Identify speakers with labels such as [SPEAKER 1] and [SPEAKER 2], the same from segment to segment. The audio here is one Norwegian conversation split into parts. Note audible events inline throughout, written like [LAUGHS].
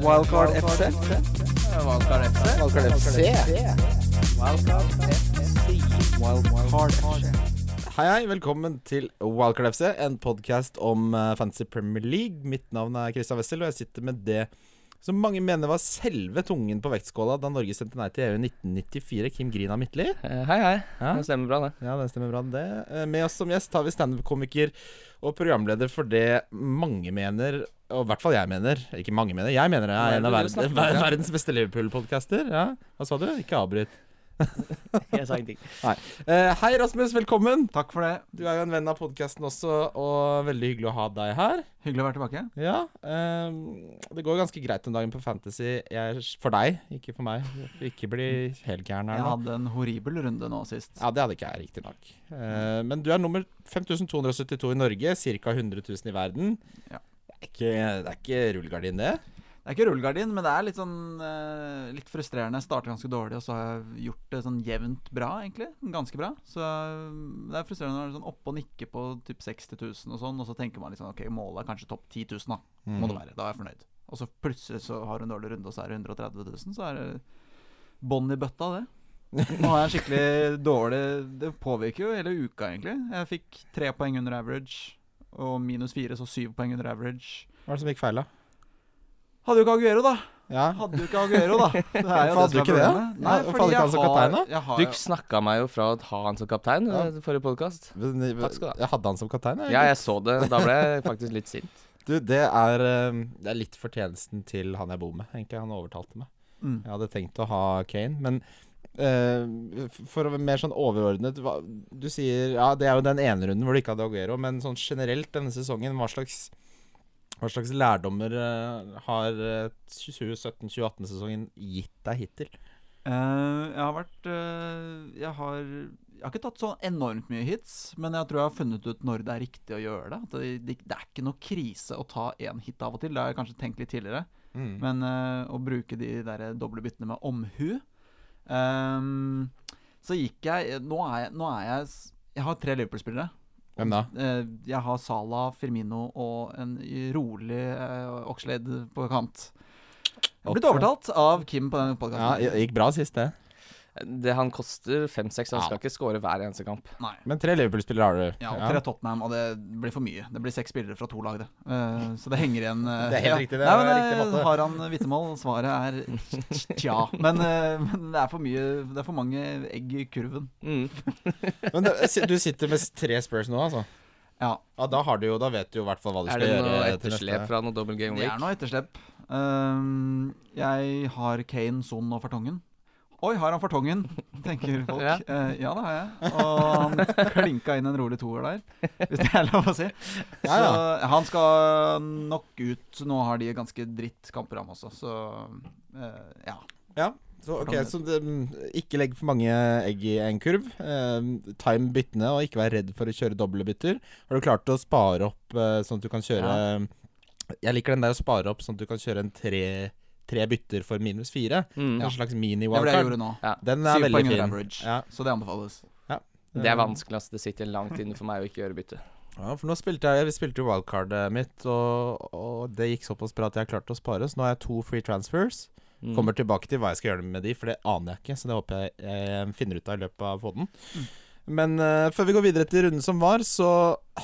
[SPEAKER 1] Wildcard FC.
[SPEAKER 2] Wildcard FC.
[SPEAKER 1] Wildcard FC.
[SPEAKER 2] Wildcard FC.
[SPEAKER 1] Wildcard FC.
[SPEAKER 3] Hei, hei, velkommen til Wildcard FC, en podkast om eh, Fantasy Premier League. Mitt navn er Christian Wessel, og jeg sitter med det som mange mener var selve tungen på vektskåla da Norge stemte nei til EU i 1994, Kim Grina Midtly.
[SPEAKER 2] Eh, Hei, hei.
[SPEAKER 3] Ja.
[SPEAKER 2] Det stemmer bra, det.
[SPEAKER 3] ja, det stemmer bra, det. Eh, Med oss som gjest har vi standup-komiker og programleder for det mange mener, og i hvert fall jeg mener Ikke mange mener, jeg mener det
[SPEAKER 2] Hva er
[SPEAKER 3] er en av
[SPEAKER 2] det du
[SPEAKER 3] verden,
[SPEAKER 2] snakker om?
[SPEAKER 3] ver- verdens beste Liverpool-podcaster. Ja, hva sa du? Ikke avbryt.
[SPEAKER 2] [LAUGHS] Jeg sa
[SPEAKER 3] [LAUGHS]
[SPEAKER 2] ingenting.
[SPEAKER 3] Eh, hei, Rasmus, velkommen.
[SPEAKER 4] Takk for det.
[SPEAKER 3] Du er jo en venn av podkasten også, og veldig hyggelig å ha deg her.
[SPEAKER 4] Hyggelig å være tilbake.
[SPEAKER 3] Ja, ehm, Det går ganske greit om dagen på Fantasy jeg, for deg, ikke for meg. Ikke bli helt gæren her
[SPEAKER 4] Jeg
[SPEAKER 3] nå.
[SPEAKER 4] hadde en horribel runde nå sist.
[SPEAKER 3] Ja, det hadde ikke jeg, riktignok. Uh, men du er nummer 5272 i Norge, ca. 100 000 i verden.
[SPEAKER 4] Ja.
[SPEAKER 3] Det er ikke, det er ikke rullegardin, det.
[SPEAKER 4] Det er ikke rullegardin, men det er litt sånn eh, litt frustrerende. Jeg Starter ganske dårlig, og så har jeg gjort det sånn jevnt bra, egentlig. Ganske bra. Så eh, det er frustrerende når du er sånn oppe og nikker på typ 60 000 og sånn, og så tenker man liksom ok, målet er kanskje topp 10 000, da.
[SPEAKER 3] Mm.
[SPEAKER 4] Må det være. Da er jeg fornøyd. Og så plutselig så har du en dårlig runde, og så er det 130 000, så er det bånn i bøtta, det. Nå har jeg en skikkelig
[SPEAKER 3] [LAUGHS]
[SPEAKER 4] dårlig Det påvirker jo hele uka, egentlig. Jeg fikk tre poeng under average, og minus fire, så syv poeng under average.
[SPEAKER 3] Hva er det som gikk feil, da?
[SPEAKER 4] Hadde jo ikke Aguero, da!
[SPEAKER 3] Ja.
[SPEAKER 4] Hadde du ikke Aguero, da? Det
[SPEAKER 3] Hvorfor hadde du ikke det, da?
[SPEAKER 4] Nei,
[SPEAKER 3] Hvorfor
[SPEAKER 4] fordi
[SPEAKER 3] hadde ikke han som
[SPEAKER 4] jeg har,
[SPEAKER 3] kaptein, da?
[SPEAKER 4] jeg har
[SPEAKER 2] Du snakka meg jo fra å ha han som kaptein
[SPEAKER 3] Ja.
[SPEAKER 2] i forrige podkast.
[SPEAKER 3] Men,
[SPEAKER 2] Takk skal du ha.
[SPEAKER 3] Jeg hadde han som kaptein, jeg.
[SPEAKER 2] Ja, jeg så det. Da ble
[SPEAKER 3] [LAUGHS]
[SPEAKER 2] jeg faktisk litt sint.
[SPEAKER 3] Du, det er, eh, det er litt fortjenesten til han jeg bor med, egentlig. Han overtalte meg.
[SPEAKER 4] mm.
[SPEAKER 3] Jeg hadde tenkt å ha Kane, men eh, f- for å være mer sånn overordnet hva, Du sier ja, det er jo den ene runden hvor du ikke hadde Aguero, men sånn generelt denne sesongen, hva slags hva slags lærdommer eh, har 2017-2018-sesongen gitt deg hittil?
[SPEAKER 4] Eh, jeg har vært eh, jeg, har, jeg har ikke tatt så enormt mye hits, men jeg tror jeg har funnet ut når det er riktig å gjøre det. At det, det, det er ikke noe krise å ta én hit av og til. Det har jeg kanskje tenkt litt tidligere.
[SPEAKER 2] Mm.
[SPEAKER 4] Men eh, å bruke de der doble byttene med omhu Ehm, Så gikk jeg Nå er jeg, nå er jeg s- Jeg har tre Liverpool-spillere.
[SPEAKER 3] Hvem da?
[SPEAKER 4] Eh, jeg har Salah, Firmino og en rolig uh, Oxlade på kant. Jeg har blitt
[SPEAKER 3] Oxlade.
[SPEAKER 4] overtalt av Kim på denne
[SPEAKER 3] Ja,
[SPEAKER 4] podkasten.
[SPEAKER 3] det gikk bra sist, det.
[SPEAKER 2] Det, han koster fem-seks, han
[SPEAKER 3] Ja.
[SPEAKER 2] skal ikke score hver eneste kamp.
[SPEAKER 4] Nei.
[SPEAKER 3] Men tre Liverpool-spillere har du.
[SPEAKER 4] Ja, og tre Tottenham, og det blir for mye. Det blir seks spillere fra to lag, det. Eh, så det henger igjen eh,
[SPEAKER 3] [LAUGHS] Det er helt
[SPEAKER 4] ja.
[SPEAKER 3] riktig, det
[SPEAKER 4] Nei,
[SPEAKER 3] er
[SPEAKER 4] men,
[SPEAKER 3] riktig
[SPEAKER 4] eh,
[SPEAKER 3] matte.
[SPEAKER 4] Har han vitnemål? Svaret
[SPEAKER 3] [LAUGHS]
[SPEAKER 4] er tja. Men, eh, men det er for mye Det er for mange egg i kurven.
[SPEAKER 2] Mm.
[SPEAKER 3] Men det, du sitter med tre Spurs nå, altså?
[SPEAKER 4] Ja.
[SPEAKER 3] Ja, da har du jo, da vet du jo i hvert fall hva du
[SPEAKER 2] Er
[SPEAKER 3] skal
[SPEAKER 2] det
[SPEAKER 3] gjøre.
[SPEAKER 2] noe
[SPEAKER 3] til neste-
[SPEAKER 2] etterslep fra noe double game
[SPEAKER 4] Det
[SPEAKER 2] week?
[SPEAKER 4] er noe etterslep. Ehm, jeg har Kane, Son og Fartongen. Oi, har han
[SPEAKER 3] [LAUGHS]
[SPEAKER 4] Fartongen? tenker folk.
[SPEAKER 2] Ja.
[SPEAKER 4] ja. ja, det har jeg. Og han klinka inn en rolig toer der, hvis det er lov å si. Så
[SPEAKER 3] Ja,
[SPEAKER 4] han skal nok ut. Nå har de ganske dritt kampprogram også, så eh, ja.
[SPEAKER 3] Så, ok,
[SPEAKER 4] Fordommel.
[SPEAKER 3] så det, mm, ikke legg for mange egg i en kurv. Eh, time byttene, og ikke vær redd for å kjøre doble bytter. Har du klart å spare opp eh, sånn at du kan kjøre Jeg liker den der å spare opp sånn at du kan kjøre en tre, tre bytter for minus fire.
[SPEAKER 2] Mm.
[SPEAKER 3] En
[SPEAKER 4] Det var
[SPEAKER 3] slags
[SPEAKER 4] det jeg
[SPEAKER 3] mini-wildcard.
[SPEAKER 4] gjorde nå.
[SPEAKER 3] Den er
[SPEAKER 4] Syv
[SPEAKER 3] veldig
[SPEAKER 4] poeng under
[SPEAKER 3] fin.
[SPEAKER 4] average,
[SPEAKER 3] Ja.
[SPEAKER 4] så det anbefales.
[SPEAKER 2] Det er vanskelig, ass. Det sitter langt inne for meg å ikke gjøre bytte.
[SPEAKER 3] Ja, for nå spilte jeg Vi spilte jo wildcardet mitt, og, og det gikk såpass bra at jeg klarte å spare. Så nå har jeg to free transfers.
[SPEAKER 2] Mm.
[SPEAKER 3] Kommer tilbake til hva jeg skal gjøre med de, for det aner jeg ikke. Så det håper jeg jeg finner ut av i løpet av podden. Men eh, før vi går videre til runden som var, så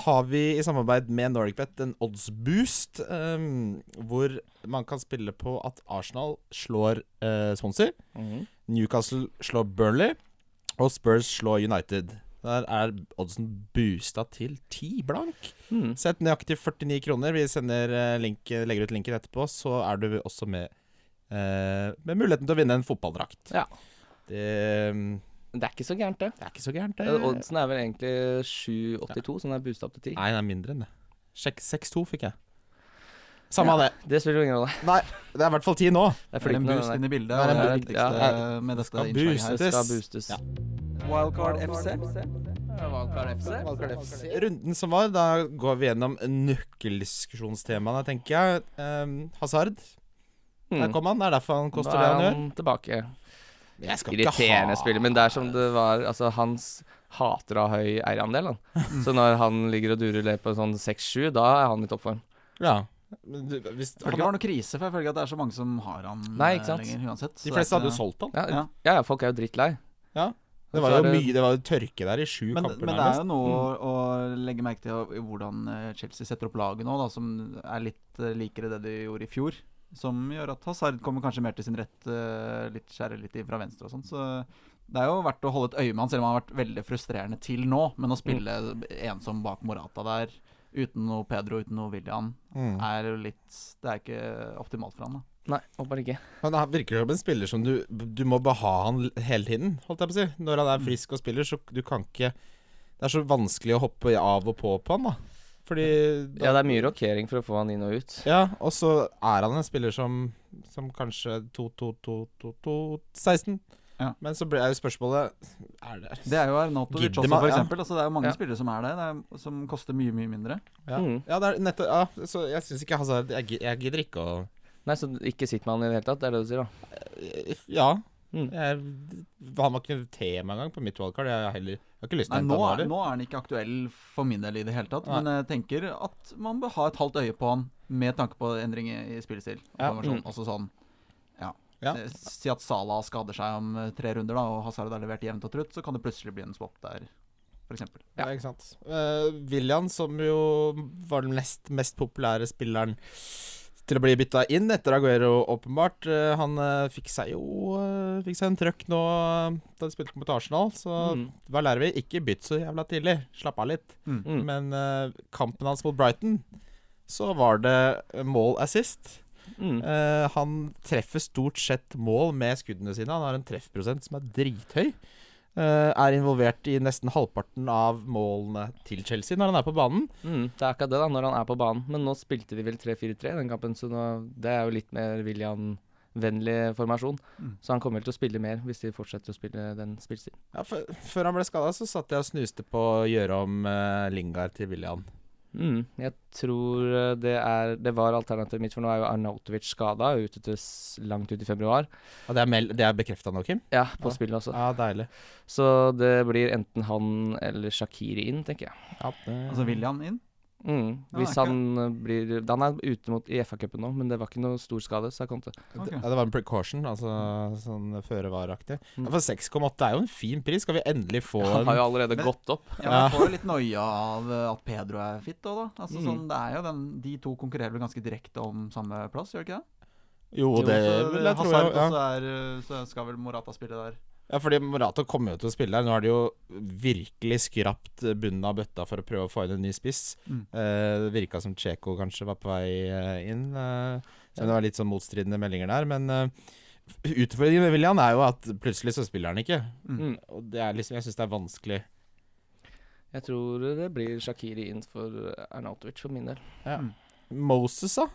[SPEAKER 3] har vi i samarbeid med NordicBet en oddsboost. Um, hvor man kan spille på at Arsenal slår eh, Swansea,
[SPEAKER 2] Mhm.
[SPEAKER 3] Newcastle slår Burnley, og Spurs slår United. Der er oddsen boosta til ti blank.
[SPEAKER 2] Mm.
[SPEAKER 3] Sett nøyaktig 49 kroner. Vi sender eh, link, legger ut linken etterpå, så er du også med eh, med muligheten til å vinne en fotballdrakt.
[SPEAKER 2] Ja.
[SPEAKER 3] Det,
[SPEAKER 2] Det er ikke så gærent, det.
[SPEAKER 3] det er ikke så gærent, det.
[SPEAKER 2] Eh, Oddsen er vel egentlig 7,82, så den er boosta opp til 10.
[SPEAKER 3] Nei, det er mindre enn det. Sjekk 6-2 fikk jeg. Samme av det.
[SPEAKER 2] Det spiller jo ingen rolle.
[SPEAKER 3] Nei, det er i hvert fall 10 nå.
[SPEAKER 4] Det er
[SPEAKER 2] Det er
[SPEAKER 4] en
[SPEAKER 2] flytende.
[SPEAKER 4] boost
[SPEAKER 2] den der.
[SPEAKER 4] inn i bildet,
[SPEAKER 3] Det er
[SPEAKER 4] og det
[SPEAKER 3] en
[SPEAKER 4] er det
[SPEAKER 2] boost. Ja.
[SPEAKER 4] viktigste med dette
[SPEAKER 3] skal
[SPEAKER 4] innslaget
[SPEAKER 3] booste.
[SPEAKER 4] her.
[SPEAKER 2] Det skal
[SPEAKER 3] Stes.
[SPEAKER 2] boostes.
[SPEAKER 3] Ja.
[SPEAKER 1] Wildcard FC.
[SPEAKER 2] Wildcard FC.
[SPEAKER 3] Runden som var, da går vi gjennom nøkkeldiskusjonstemaene, tenker jeg. Um, Hazard. Der kom han. Det er derfor han
[SPEAKER 2] Mm. Da
[SPEAKER 3] koster det
[SPEAKER 2] er
[SPEAKER 3] han gjør.
[SPEAKER 2] han tilbake.
[SPEAKER 3] Jeg skal ikke ha-
[SPEAKER 2] Irriterende spiller, men det er som det var Altså, hans hater å ha
[SPEAKER 3] Mm.
[SPEAKER 2] høy eierandel, han. Så når han ligger og durer det på sånn 6-7, da er han i toppform.
[SPEAKER 3] Ja. Men du, hvis,
[SPEAKER 4] Jeg føler ikke det var noe krise, for jeg føler ikke at det er så mange som har han
[SPEAKER 2] Nei,
[SPEAKER 4] eh,
[SPEAKER 2] ikke sant?
[SPEAKER 4] lenger uansett. så
[SPEAKER 3] de
[SPEAKER 4] det er
[SPEAKER 3] fleste hadde
[SPEAKER 4] ikke-
[SPEAKER 3] jo solgt han.
[SPEAKER 2] Ja,
[SPEAKER 4] Ja.
[SPEAKER 2] ja, ja folk er jo drittlei.
[SPEAKER 3] Ja. Det
[SPEAKER 2] Så
[SPEAKER 3] var
[SPEAKER 2] er
[SPEAKER 3] jo mye, det var jo tørke der Mm. i sju
[SPEAKER 4] Men,
[SPEAKER 3] kamper.
[SPEAKER 4] men det er
[SPEAKER 3] nærmest.
[SPEAKER 4] jo noe å å legge merke til av- i hvordan eh, Chelsea setter opp laget nå, da, som er litt eh, likere det de gjorde i fjor. Som gjør at Hazard kommer kanskje mer til sin rett, eh, litt skjærer litt inn fra venstre og sånn. Så det er jo verdt å holde et øye med han, selv om han har vært veldig frustrerende til nå. Men å spille ensom bak Morata der, uten noe Pedro, uten noe William,
[SPEAKER 3] Mm.
[SPEAKER 4] er jo litt Det er ikke optimalt for han, da.
[SPEAKER 2] Nei, åpenbart ikke.
[SPEAKER 3] Han er- virker som en spiller som du, du må bare ha han hele tiden, holdt jeg på å si. Når han er frisk og spiller, så du kan ikke Det er så vanskelig å hoppe av og på på han, da. Fordi da,
[SPEAKER 2] Ja, det er mye rokering for å få han inn og ut.
[SPEAKER 3] Ja, og så er han en spiller som, som kanskje 2-2-2-2-16.
[SPEAKER 4] Ja.
[SPEAKER 3] Men så ble- er jo spørsmålet Er det
[SPEAKER 4] Det er jo Arnautovic
[SPEAKER 3] Gidder
[SPEAKER 4] også,
[SPEAKER 3] man-
[SPEAKER 4] for
[SPEAKER 3] ja.
[SPEAKER 4] eksempel. Altså, det er jo mange
[SPEAKER 2] Ja.
[SPEAKER 4] spillere som er det, det er, som koster mye, mye mindre.
[SPEAKER 3] Ja,
[SPEAKER 2] Mm.
[SPEAKER 3] ja det er nettopp ja, Så jeg syns ikke Hazard Jeg, gi- jeg gidder ikke å
[SPEAKER 2] Nei, så ikke sitt med han i det hele tatt, det er det du sier, da.
[SPEAKER 3] Eh, Ja.
[SPEAKER 2] Mm.
[SPEAKER 3] Jeg, han var ikke tema engang på mitt valgkart. Jeg, har heller, jeg har ikke lyst
[SPEAKER 4] Nei,
[SPEAKER 3] til å
[SPEAKER 4] nå
[SPEAKER 3] hente han
[SPEAKER 4] er,
[SPEAKER 3] heller.
[SPEAKER 4] nå er han ikke aktuell for min del i det hele tatt,
[SPEAKER 3] Nei.
[SPEAKER 4] men jeg tenker at man bør ha et halvt øye på han med tanke på endring i i spillestil. og
[SPEAKER 3] Ja.
[SPEAKER 4] formasjon.
[SPEAKER 2] Mm.
[SPEAKER 4] Altså sånn ja.
[SPEAKER 3] Ja.
[SPEAKER 4] Eh, Si at Salah skader seg om eh, tre runder, da, og Hazard har levert jevnt og trutt, så kan det plutselig bli en swap der, f.eks.
[SPEAKER 3] Ja. ikke sant. Eh, William, som jo var den nest mest populære spilleren til å bli bytta inn etter Aguero, åpenbart. eh, han eh, fikk seg jo eh, Fikk seg en trøkk nå eh, da de spilte mot Arsenal, så
[SPEAKER 2] Mm.
[SPEAKER 3] hva lærer vi? Ikke bytt så jævla tidlig. Slapp av litt.
[SPEAKER 2] Mm.
[SPEAKER 3] Men eh, kampen hans mot Brighton, så var det mål assist.
[SPEAKER 2] Mm.
[SPEAKER 3] Eh, han treffer stort sett mål med skuddene sine. Han har en treffprosent som er drithøy. Eh, er involvert i nesten halvparten av målene til Chelsea når han er på banen.
[SPEAKER 2] Mm. Det er akkurat det, da, når han er på banen. Men nå spilte de vel 3-4-3 i den kampen, så nå, det er jo litt mer William-vennlig formasjon.
[SPEAKER 4] Mm.
[SPEAKER 2] Så han kommer vel til å spille mer hvis de fortsetter å spille den spillstilen.
[SPEAKER 3] Ja, f før han ble skada, så satt jeg og snuste på å gjøre om eh, Lingard til William.
[SPEAKER 2] Mm. Jeg tror eh, det er Det var alternativet mitt, for nå er jo Arnautovic skada, ute til s- langt ut i februar.
[SPEAKER 3] Ja, det er, mel- det er bekrefta nå, Kim?
[SPEAKER 2] Ja, på
[SPEAKER 3] Ja.
[SPEAKER 2] spillet også.
[SPEAKER 3] Ja, deilig.
[SPEAKER 2] Så det blir enten han eller Shakiri inn, tenker jeg.
[SPEAKER 3] Ja, det...
[SPEAKER 4] Altså William inn.
[SPEAKER 2] Mm.
[SPEAKER 4] Ja,
[SPEAKER 2] Hvis
[SPEAKER 4] ikke-
[SPEAKER 2] han eh, blir Han er ute mot i FA-cupen nå, men det var ikke noe stor skade, sa Conte.
[SPEAKER 4] Ok.
[SPEAKER 3] Ja, det var en precaution, altså sånn føre-var-aktig. Altså,
[SPEAKER 2] Mm.
[SPEAKER 3] Ja, for 6,8 er jo en fin pris. Skal vi endelig få
[SPEAKER 2] Han
[SPEAKER 3] en
[SPEAKER 2] har jo allerede
[SPEAKER 4] Men-
[SPEAKER 2] gått opp.
[SPEAKER 4] Ja,
[SPEAKER 3] Ja.
[SPEAKER 4] Jeg får jo litt noia av eh, at Pedro er fit òg, da. Altså,
[SPEAKER 2] Mm.
[SPEAKER 4] sånn, det er jo den, de to konkurrerer vel ganske direkte om samme plass, gjør de ikke det?
[SPEAKER 3] Jo, det
[SPEAKER 4] Jo, så
[SPEAKER 3] vil Eh, jeg tro.
[SPEAKER 4] Altså, Hazard
[SPEAKER 3] ja.
[SPEAKER 4] også er, eh, så skal vel Morata spille der.
[SPEAKER 3] Ja, fordi Morata kommer jo til å spille her. Nå har de jo virkelig skrapt bunnen av bøtta for å prøve å få inn en ny spiss.
[SPEAKER 4] Mm.
[SPEAKER 3] Eh, det virka som Cheko kanskje var på vei eh, inn. Eh, så det var litt sånn motstridende meldinger der. Men eh, utfordringen med William er jo at plutselig så spiller han ikke.
[SPEAKER 2] Mm.
[SPEAKER 3] Og det er liksom, jeg syns det er vanskelig.
[SPEAKER 2] Jeg tror det blir Shakiri inn for Arnautovic for min del.
[SPEAKER 4] Hmm.
[SPEAKER 3] Moses, da?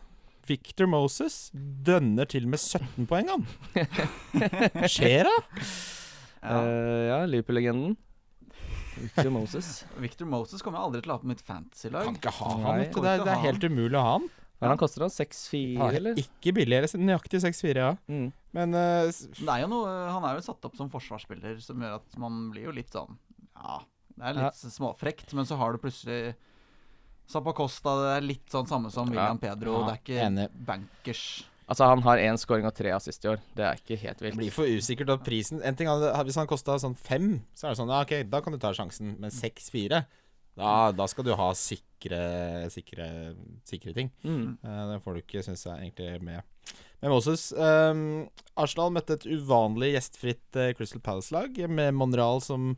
[SPEAKER 3] Victor Moses dønner til med 17 poeng, han. Hva skjer da?
[SPEAKER 2] Ja,
[SPEAKER 4] Ja.
[SPEAKER 2] Eh, ja Liverpool-legenden. Victor
[SPEAKER 4] [LAUGHS]
[SPEAKER 2] Moses.
[SPEAKER 4] Victor Moses kommer jeg aldri til å ha på mitt
[SPEAKER 3] Kan
[SPEAKER 4] fantasy-lag.
[SPEAKER 3] ikke ha
[SPEAKER 2] Nei,
[SPEAKER 3] han, vet du. Det er, det er helt umulig å ha han.
[SPEAKER 2] Hva er det han koster, da? 6-4,
[SPEAKER 3] Han er
[SPEAKER 2] eller?
[SPEAKER 3] ikke billigere. Nøyaktig 6-4, ja.
[SPEAKER 2] Mm.
[SPEAKER 3] Men eh, s-
[SPEAKER 4] Men Det er jo noe, eh, han er jo satt opp som forsvarsspiller, som gjør at man blir jo litt sånn Ja, det er
[SPEAKER 2] Ja.
[SPEAKER 4] litt småfrekt, men så har du plutselig Zappacosta, det er litt sånn samme som William Pedro. Det
[SPEAKER 3] Ja,
[SPEAKER 4] er ikke
[SPEAKER 3] enig.
[SPEAKER 4] bankers.
[SPEAKER 2] Altså, han har én scoring og tre assist i år. Det er ikke helt
[SPEAKER 3] Det
[SPEAKER 2] vilt.
[SPEAKER 3] blir for usikkert at prisen En ting er at Hvis han kosta sånn fem, så er det sånn ja, Ok, da kan du ta sjansen. Men seks-fire, da, da skal du ha sikre, sikre, sikre ting.
[SPEAKER 2] Mm.
[SPEAKER 3] Eh, det får du ikke, syns jeg, egentlig med. Men Moses ehm, Arsenal møtte et uvanlig gjestfritt eh, Crystal Palace-lag, med Monreal som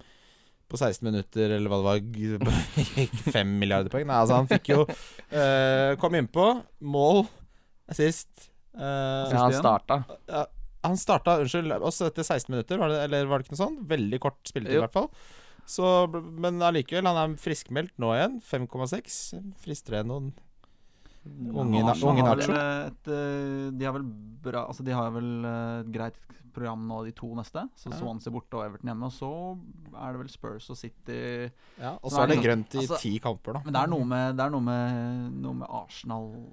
[SPEAKER 3] på 16 minutter, eller hva det var, g- [LAUGHS] gikk 5 milliarder poeng. Nei, altså, han fikk jo eh, Kom innpå. Mål eh, sist.
[SPEAKER 2] Ja, han starta.
[SPEAKER 3] Ja, han starta, unnskyld, også etter 16 minutter, var det, eller var det ikke noe sånt? Veldig kort spilletid,
[SPEAKER 2] Jo.
[SPEAKER 3] i hvert fall. Så, men allikevel, han er friskmeldt nå igjen. 5,6. Frister det noen unge,
[SPEAKER 4] Ja,
[SPEAKER 3] na
[SPEAKER 4] Arsenal
[SPEAKER 3] unge
[SPEAKER 4] har vel
[SPEAKER 3] nacho?
[SPEAKER 4] et, eh, de har vel bra Altså, de har vel eh, et greit program nå, de to neste. Så
[SPEAKER 3] Ja.
[SPEAKER 4] Swansea borte og Everton hjemme. Og så er det vel Spurs og City
[SPEAKER 3] Ja, og
[SPEAKER 4] Nå er
[SPEAKER 3] så er det
[SPEAKER 4] det-
[SPEAKER 3] grønt i
[SPEAKER 4] altså-
[SPEAKER 3] ti kamper, da.
[SPEAKER 4] Men det er noe med, det er noe med, noe med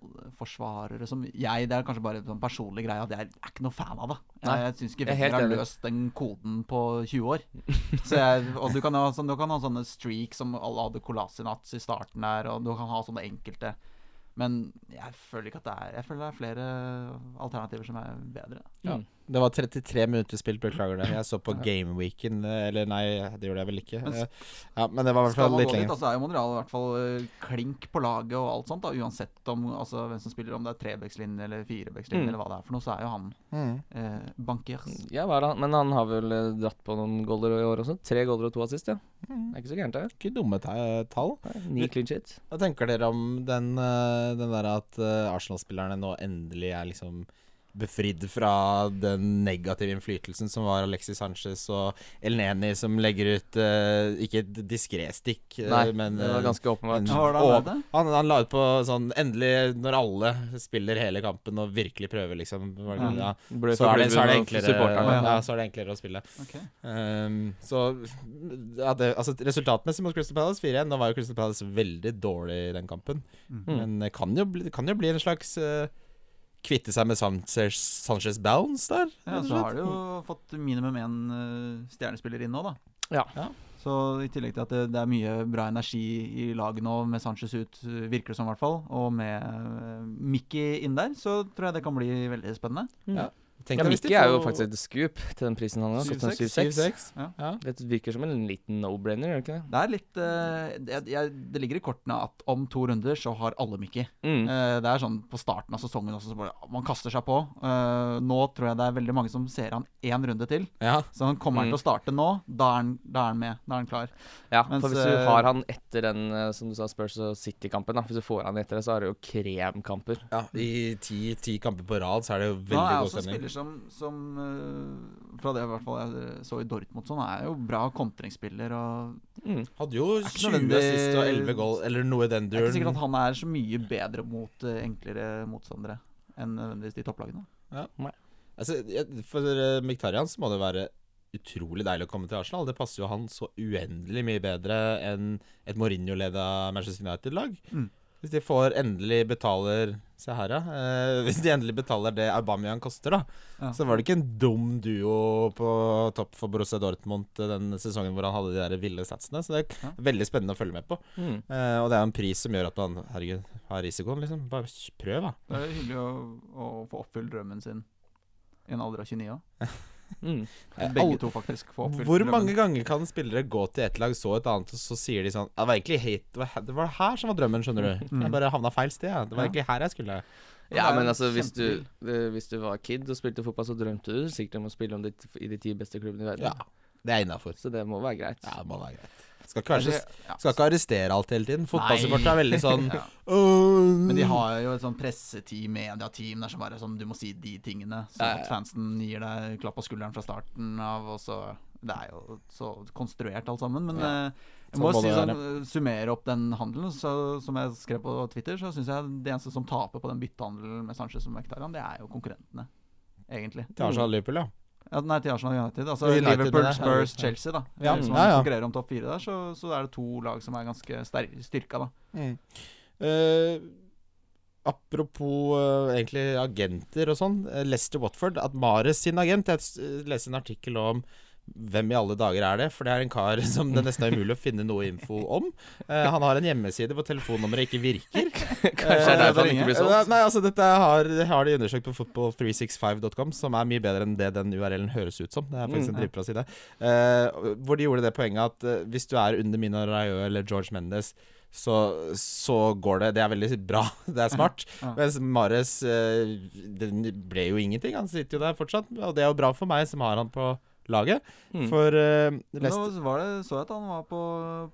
[SPEAKER 4] Arsenal-forsvarere som jeg Det er kanskje bare en sånn personlig greie at jeg er ikke noe fan av det.
[SPEAKER 2] Nei,
[SPEAKER 4] Jeg, jeg syns ikke
[SPEAKER 2] jeg er helt
[SPEAKER 4] Wenger har
[SPEAKER 2] enig.
[SPEAKER 4] løst den koden på 20 år. Så jeg, og du kan, ha, sånn, du kan ha sånne streak som alle hadde Kolasinac i starten der, og du kan ha sånne enkelte. Men jeg føler ikke at det er Jeg føler det er flere alternativer som er bedre.
[SPEAKER 3] Ja. Det var 33 minutter spilt, beklager det. Jeg så på
[SPEAKER 2] Ja.
[SPEAKER 3] Gameweeken eh, Eller nei, det gjorde jeg vel ikke.
[SPEAKER 4] Men
[SPEAKER 3] Eh, Ja, men det var i hvert
[SPEAKER 4] Skal
[SPEAKER 3] fall
[SPEAKER 4] man
[SPEAKER 3] litt
[SPEAKER 4] gå dit,
[SPEAKER 3] lenger.
[SPEAKER 4] altså, er jo Monreal i hvert fall eh, klink på laget og alt sånt, da, uansett om, altså, hvem som spiller, om det er trebekslinje eller firebekslinje
[SPEAKER 2] Mm.
[SPEAKER 4] eller hva det er for noe, så er jo han
[SPEAKER 3] Mm.
[SPEAKER 4] eh, bankers.
[SPEAKER 2] Ja, hva er han? Men han har vel eh, dratt på noen goaler i år også. Tre goaler og to assist, ja. Det er ikke så gærent, det.
[SPEAKER 3] Ikke dumme ta- tall.
[SPEAKER 2] Nei, Ni clean shit.
[SPEAKER 3] Hva tenker dere om den, eh, den der at eh, Arsenal-spillerne nå endelig er liksom befridd fra den negative innflytelsen som var Alexis Sanchez og Elneni, som legger ut eh, ikke et diskré stikk, eh,
[SPEAKER 2] Nei,
[SPEAKER 3] men
[SPEAKER 2] det var
[SPEAKER 3] eh,
[SPEAKER 2] ganske åpenbart.
[SPEAKER 3] en-
[SPEAKER 4] Hva var det han
[SPEAKER 3] og-
[SPEAKER 4] mente?
[SPEAKER 3] Han, han la ut på sånn Endelig, når alle spiller hele kampen og virkelig prøver, liksom var det-
[SPEAKER 4] Mm.
[SPEAKER 3] ja,
[SPEAKER 2] Ble
[SPEAKER 3] så, er det, så, er det
[SPEAKER 2] forklubben og supporterne.
[SPEAKER 3] enklere,
[SPEAKER 4] ja.
[SPEAKER 3] eh, ja, så er det enklere å spille.
[SPEAKER 4] Ok.
[SPEAKER 3] Ehm, så ja, det, altså, Resultatmessig mot Crystal Palace 4-1. Nå var jo Crystal Palace veldig dårlig i den kampen.
[SPEAKER 4] Mm.
[SPEAKER 2] Mm.
[SPEAKER 3] Men det kan jo bli, det kan jo bli en slags eh, kvitte seg med Sanchez, Sanchez bounce der.
[SPEAKER 4] Ja,
[SPEAKER 3] rett og
[SPEAKER 4] så har
[SPEAKER 3] slett.
[SPEAKER 4] du jo fått minimum én eh, stjernespiller inn nå, da.
[SPEAKER 2] Ja.
[SPEAKER 4] Så i tillegg til at det, det er mye bra energi i laget nå, med Sanchez ut, eh, virker det som i hvert fall, og med eh, Mickey inn der, så tror jeg det kan bli veldig spennende.
[SPEAKER 3] Tenk
[SPEAKER 2] Mm. Ja,
[SPEAKER 3] deg hvis de
[SPEAKER 2] Mikke er jo
[SPEAKER 3] får
[SPEAKER 2] faktisk et scoop til den prisen han har. Fått en
[SPEAKER 3] 7-6.
[SPEAKER 2] 7-6.
[SPEAKER 4] Ja.
[SPEAKER 3] Ja.
[SPEAKER 2] Det virker som en liten no-brainer, gjør det ikke det?
[SPEAKER 4] Det er litt eh, det, jeg, det ligger i kortene at om to runder så har alle Mickey.
[SPEAKER 2] Mm.
[SPEAKER 4] Eh, det er sånn på starten av sesongen også, så bare man kaster seg på. Eh, nå tror jeg det er veldig mange som ser han én runde til.
[SPEAKER 3] Ja.
[SPEAKER 4] Så han kommer han
[SPEAKER 2] Mm.
[SPEAKER 4] til å starte nå, da er han, da er han med. Da er han klar.
[SPEAKER 2] Ja,
[SPEAKER 4] Mens,
[SPEAKER 2] for
[SPEAKER 4] eh,
[SPEAKER 2] hvis du har han etter den eh, som du sa, Spurs og City-kampen, da, hvis du får han etter det, så har du jo kremkamper.
[SPEAKER 3] ja, I ti, ti kamper på rad så er det jo
[SPEAKER 4] Nå er
[SPEAKER 3] veldig
[SPEAKER 4] jeg
[SPEAKER 3] god
[SPEAKER 4] også en
[SPEAKER 3] stemning.
[SPEAKER 4] spiller som, som eh, Fra det i hvert fall jeg så i Dortmund, sånn er jo bra kontringsspiller. Og
[SPEAKER 2] Mm.
[SPEAKER 3] Hadde jo
[SPEAKER 4] Er
[SPEAKER 3] 20
[SPEAKER 4] 20
[SPEAKER 3] assist og 11 goal, eller noe i den
[SPEAKER 4] det er ikke sikkert
[SPEAKER 3] duren.
[SPEAKER 4] at han er så mye bedre mot eh, enklere motstandere enn nødvendigvis de topplagene.
[SPEAKER 3] Altså, jeg- for eh, Mkhitaryan så må det være utrolig deilig å komme til Arsenal. Det passer jo han så uendelig mye bedre enn et Mourinho-leda Manchester United-lag.
[SPEAKER 4] Mm.
[SPEAKER 3] Hvis de får endelig betaler Se her, ja. Eh, hvis de endelig betaler det Aubameyang koster, da,
[SPEAKER 4] Ja.
[SPEAKER 3] så var det ikke en dum duo på topp for Borussia Dortmund eh, den sesongen hvor han hadde de der ville statsene. Så det er
[SPEAKER 4] Ja.
[SPEAKER 3] veldig spennende å følge med på.
[SPEAKER 2] Mm.
[SPEAKER 3] Eh, og det er jo en pris som gjør at man herregud, har risikoen, liksom. Bare prøv, da.
[SPEAKER 4] Det er hyggelig å, å få oppfylt drømmen sin i en alder av 29 òg.
[SPEAKER 2] Mm.
[SPEAKER 4] Begge to faktisk få oppfylt
[SPEAKER 3] Hvor
[SPEAKER 4] drømmen.
[SPEAKER 3] mange ganger kan spillere gå til et lag, så et annet, og så sier de sånn «Ja, Det var egentlig hate, det var- det var her som var drømmen, skjønner du.
[SPEAKER 4] Mm.
[SPEAKER 3] Jeg bare havna feil sted. Ja. Det var
[SPEAKER 4] Ja.
[SPEAKER 3] egentlig her jeg skulle.
[SPEAKER 4] Men det
[SPEAKER 2] Ja,
[SPEAKER 4] er
[SPEAKER 2] men
[SPEAKER 4] jo
[SPEAKER 2] altså, hvis du,
[SPEAKER 4] kjempebil.
[SPEAKER 2] eh, hvis du var kid og spilte fotball, så drømte du sikkert om å spille om de t- i de ti beste klubbene i verden.
[SPEAKER 3] Ja, det er innafor.
[SPEAKER 2] Så det må være greit.
[SPEAKER 3] Ja, det må være greit. Skal ikke, være så,
[SPEAKER 4] Ja.
[SPEAKER 3] skal ikke arrestere alt hele tiden. Fotballsupportere er veldig sånn
[SPEAKER 4] [LAUGHS] Ja.
[SPEAKER 3] «Åh,
[SPEAKER 4] Men de har jo et sånn presseteam, mediateam, der som bare sånn Du må si de tingene. Så
[SPEAKER 2] Ja, ja.
[SPEAKER 4] at fansen gir deg klapp på skulderen fra starten av, og så Det er jo så konstruert alt sammen. Men
[SPEAKER 3] Ja.
[SPEAKER 4] eh, jeg
[SPEAKER 3] Sånn
[SPEAKER 4] må
[SPEAKER 3] må
[SPEAKER 4] si
[SPEAKER 3] det
[SPEAKER 4] sånn, eh, summere opp den handelen, så, som jeg skrev på Twitter, så syns jeg det eneste som taper på den byttehandelen med Sanchez og Mekhtarian, det er jo konkurrentene, egentlig.
[SPEAKER 3] Til Arsenal sånn Liverpool, ja.
[SPEAKER 4] Ja, nei, til Arsenal United. Altså
[SPEAKER 3] United,
[SPEAKER 4] Liverpool,
[SPEAKER 3] mener jeg.
[SPEAKER 4] Spurs, Chelsea, da.
[SPEAKER 3] Ja,
[SPEAKER 4] Hvis
[SPEAKER 3] mm.
[SPEAKER 4] man
[SPEAKER 3] ja, ja.
[SPEAKER 4] sånn konkurrerer om topp fire der, så, så er det to lag som er ganske ster- styrka, da.
[SPEAKER 3] Mm. Eh, apropos eh, egentlig agenter og sånn. eh, Lester Watford, at Mares sin agent Jeg s- eh, leste en artikkel om hvem i alle dager er det? For det er en kar [LAUGHS] som det nesten er umulig å finne noe info om. Eh, han har en hjemmeside hvor telefonnummeret ikke virker.
[SPEAKER 2] [LAUGHS] Kanskje det er
[SPEAKER 3] Eh,
[SPEAKER 2] derfor han ikke blir
[SPEAKER 3] Eh,
[SPEAKER 2] solgt.
[SPEAKER 3] Nei, altså dette har, har de undersøkt på football365.com, som er mye bedre enn det den URL-en høres ut som. Det er faktisk
[SPEAKER 2] Mm.
[SPEAKER 3] en dritbra side. Eh, hvor de gjorde det poenget at eh, hvis du er under Mina Rayo eller George Mendes, så, så går det. Det er veldig bra. [LAUGHS] Det er smart.
[SPEAKER 4] Ja.
[SPEAKER 3] Mens Mares eh, Den ble jo ingenting. Han sitter jo der fortsatt. Og det er jo bra for meg som har han på laget.
[SPEAKER 2] Mm.
[SPEAKER 3] For eh, Leicester-
[SPEAKER 4] Nå var det, så jeg at han var på,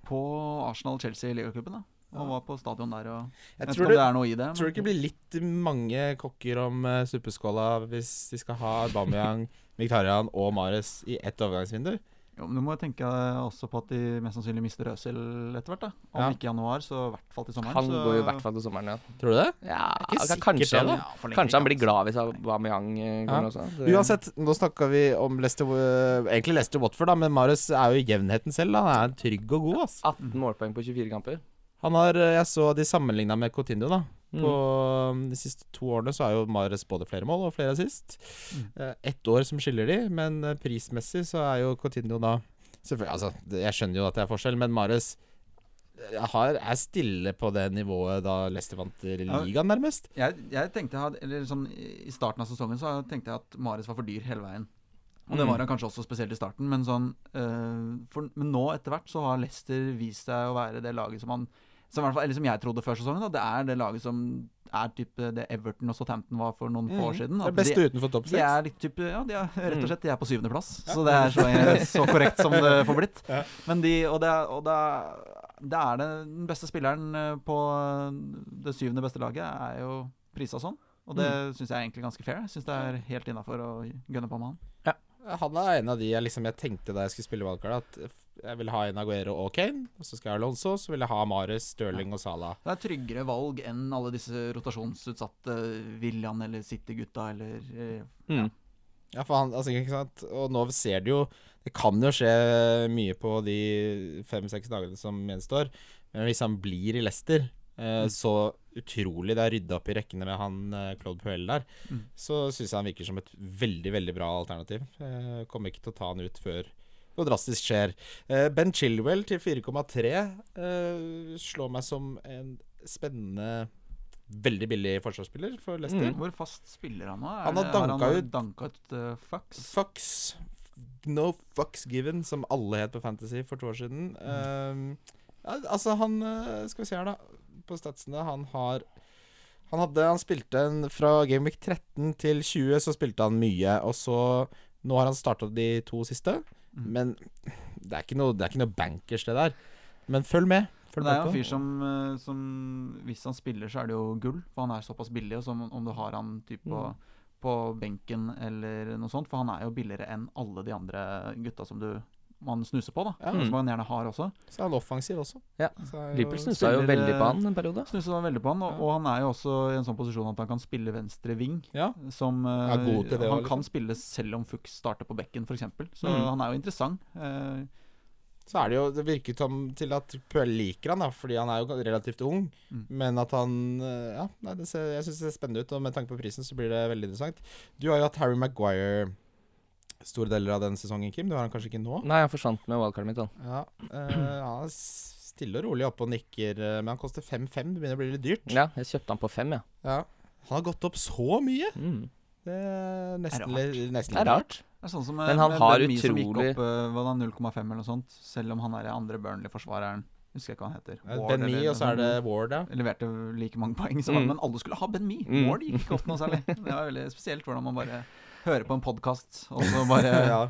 [SPEAKER 4] på Arsenal-Chelsea-ligaklubben. da Han var på stadion der og Jeg, vet
[SPEAKER 3] jeg
[SPEAKER 4] ikke
[SPEAKER 3] tror
[SPEAKER 4] om
[SPEAKER 3] det
[SPEAKER 4] det er noe i det.
[SPEAKER 3] Tror du ikke det blir litt mange kokker om eh, suppeskåla hvis de skal ha Aubameyang, [LAUGHS] Mkhitaryan og Mares i ett overgangsvindu?
[SPEAKER 4] Jo, men du må jo tenke eh, også på at de mest sannsynlig mister Øzil etter hvert. da Om
[SPEAKER 3] Ja.
[SPEAKER 4] ikke i januar, så i hvert fall til sommeren.
[SPEAKER 2] Han
[SPEAKER 4] så...
[SPEAKER 2] går jo i hvert fall til sommeren, ja.
[SPEAKER 3] Tror du det?
[SPEAKER 2] ja
[SPEAKER 3] ikke
[SPEAKER 2] ok,
[SPEAKER 3] sikkert det,
[SPEAKER 2] kanskje,
[SPEAKER 3] da.
[SPEAKER 2] han,
[SPEAKER 4] Ja, for lenge
[SPEAKER 2] kanskje han blir
[SPEAKER 4] ikke,
[SPEAKER 2] glad hvis Aubameyang eh,
[SPEAKER 3] Ja.
[SPEAKER 2] kommer også. Det-
[SPEAKER 3] Uansett, nå snakka vi om Leicester eh, Egentlig Leicester Watford, da, men Mares er jo i jevnheten selv. da. Han er trygg og god, ass.
[SPEAKER 2] 18 målpoeng på 24 kamper.
[SPEAKER 3] Han har, eh, jeg så de sammenligna med Coutinho da.
[SPEAKER 2] Mm.
[SPEAKER 3] På eh, de siste to årene så er jo Mares både flere mål og flere assist.
[SPEAKER 4] Mm.
[SPEAKER 3] Eh, Ett år som skiller de, men eh, prismessig så er jo Coutinho da Selvfølgelig, altså, det- jeg skjønner jo at det er forskjell, men Mares jeg har, er stille på det nivået da Leicester vant ligaen, nærmest.
[SPEAKER 4] Jeg, jeg tenkte jeg hadde, eller sånn, I starten av sesongen så tenkte jeg at Mares var for dyr hele veien. Og det
[SPEAKER 2] Mm.
[SPEAKER 4] var han kanskje også spesielt i starten, men, sånn, eh, for, men nå etter hvert så har Leicester vist seg å være det laget som han som, i hvert fall, eller som jeg trodde før sesongen. Da, det er det laget som er type det Everton og Southampton var for noen få år siden.
[SPEAKER 3] Mm. Det
[SPEAKER 4] at
[SPEAKER 3] er best
[SPEAKER 4] altså, de,
[SPEAKER 3] utenfor topp
[SPEAKER 4] de
[SPEAKER 3] seks.
[SPEAKER 4] er litt type, ja, de er, rett
[SPEAKER 2] Mm.
[SPEAKER 4] og slett de er på syvendeplass, så det er så, eh,
[SPEAKER 3] [LAUGHS]
[SPEAKER 4] så korrekt som det får blitt.
[SPEAKER 3] Ja.
[SPEAKER 4] Men de, og det, er- og det, er- det er det, den beste spilleren eh, på det syvende beste laget er jo prisa sånn. Og det
[SPEAKER 3] Mm.
[SPEAKER 4] synes syns jeg er egentlig ganske fair. Jeg Syns det er helt innafor å gønne på med han.
[SPEAKER 3] Eh, Han er en av de jeg, liksom, jeg tenkte da jeg skulle spille valgkart, at jeg vil ha en Aguero og Kane. Og så skal jeg ha Alonso, så vil jeg ha Mares, Stirling og Salah.
[SPEAKER 4] Det er tryggere valg enn alle disse rotasjonsutsatte William eller City-gutta eller eh,
[SPEAKER 2] Mm.
[SPEAKER 3] Ja, for han, altså, ikke sant? Og nå ser du jo Det kan jo skje mye på de fem-seks dagene som gjenstår. Men hvis han blir i Leicester, eh, så utrolig det er rydda opp i rekkene med han eh, Claude Puel der,
[SPEAKER 4] Mm.
[SPEAKER 3] så syns jeg han virker som et veldig, veldig bra alternativ. Eh, kommer ikke til å ta han ut før noe drastisk skjer. Eh, ben Chilwell til 4,3 eh, slår meg som en spennende, veldig billig forsvarsspiller for Leicester.
[SPEAKER 4] Hvor fast spiller han nå? Er
[SPEAKER 3] Han har
[SPEAKER 4] det-
[SPEAKER 3] danka ut-
[SPEAKER 4] danka ut eh, fucks?
[SPEAKER 3] Fucks No fucks given, som alle het på Fantasy for to år siden. Ehm, ja, altså, han eh, Skal vi se her, da. På statsene. Han har Han hadde Han spilte en fra Gameweek 13 til 20, så spilte han mye. Og så Nå har han starta de to siste,
[SPEAKER 4] Mm.
[SPEAKER 3] men det er ikke noe Det er ikke noe bankers, det der. Men følg med. Følg
[SPEAKER 4] det er
[SPEAKER 3] med
[SPEAKER 4] jo en
[SPEAKER 3] på.
[SPEAKER 4] fyr som, eh, som Hvis han spiller, så er det jo gull, for han er såpass billig. Og som om du har han typ på, på benken eller noe sånt, for han er jo billigere enn alle de andre gutta som du man snuser på, da.
[SPEAKER 3] Ja.
[SPEAKER 4] Som altså, man gjerne har også.
[SPEAKER 3] Så er han offensiv også.
[SPEAKER 2] Ja.
[SPEAKER 3] Så er jo-
[SPEAKER 2] Mm. Liverpool snusa jo
[SPEAKER 4] spiller-
[SPEAKER 2] veldig på han en periode.
[SPEAKER 4] Snuser da veldig på han, og,
[SPEAKER 3] Ja.
[SPEAKER 4] og han er jo også i en sånn posisjon at han kan spille venstre ving.
[SPEAKER 3] Ja.
[SPEAKER 4] Som eh,
[SPEAKER 3] Er god til
[SPEAKER 4] Han
[SPEAKER 3] det også, liksom.
[SPEAKER 4] kan spille selv om Fuchs starter på bekken, f.eks. Så
[SPEAKER 2] Mm.
[SPEAKER 4] han er jo interessant. Eh,
[SPEAKER 3] så er det jo Det virker som til at Puel liker han da fordi han er jo relativt ung.
[SPEAKER 4] Mm.
[SPEAKER 3] Men at han eh, Ja, nei, det ser, jeg syns det ser spennende ut, og med tanke på prisen så blir det veldig interessant. Du har jo hatt Harry Maguire store deler av den sesongen, Kim. Du har han kanskje ikke nå?
[SPEAKER 2] Nei, han forsvant med wildcardet mitt, han.
[SPEAKER 3] Ja, eh, han er s- stille og rolig oppe og nikker, eh, men han koster 5-5. Det begynner å bli litt dyrt.
[SPEAKER 2] Ja, jeg kjøpte han på fem, ja.
[SPEAKER 3] Ja. Han har gått opp så mye!
[SPEAKER 2] Mm.
[SPEAKER 3] Det er nesten,
[SPEAKER 4] Er det
[SPEAKER 3] litt- nesten
[SPEAKER 2] Det er
[SPEAKER 3] litt
[SPEAKER 2] rart.
[SPEAKER 4] Det er sånn som
[SPEAKER 2] Men han har
[SPEAKER 4] Bellamy som gikk
[SPEAKER 2] utrolig-
[SPEAKER 4] opp, eh, hva da, 0,5 eller noe sånt, selv om han er i andre Burnley-forsvareren. Husker jeg ikke hva han heter.
[SPEAKER 3] Ja,
[SPEAKER 4] Ward
[SPEAKER 3] Eh, Ben Mee,
[SPEAKER 4] eller
[SPEAKER 3] og så er det
[SPEAKER 4] noe sånt.
[SPEAKER 3] Ward, ja.
[SPEAKER 4] Leverte like mange poeng som
[SPEAKER 2] Mm.
[SPEAKER 4] han, men alle skulle ha Ben Mee.
[SPEAKER 2] Mm.
[SPEAKER 4] Ward gikk ikke opp noe særlig. Det var veldig spesielt hvordan man bare hører på en podkast, og så bare
[SPEAKER 3] [LAUGHS] ja.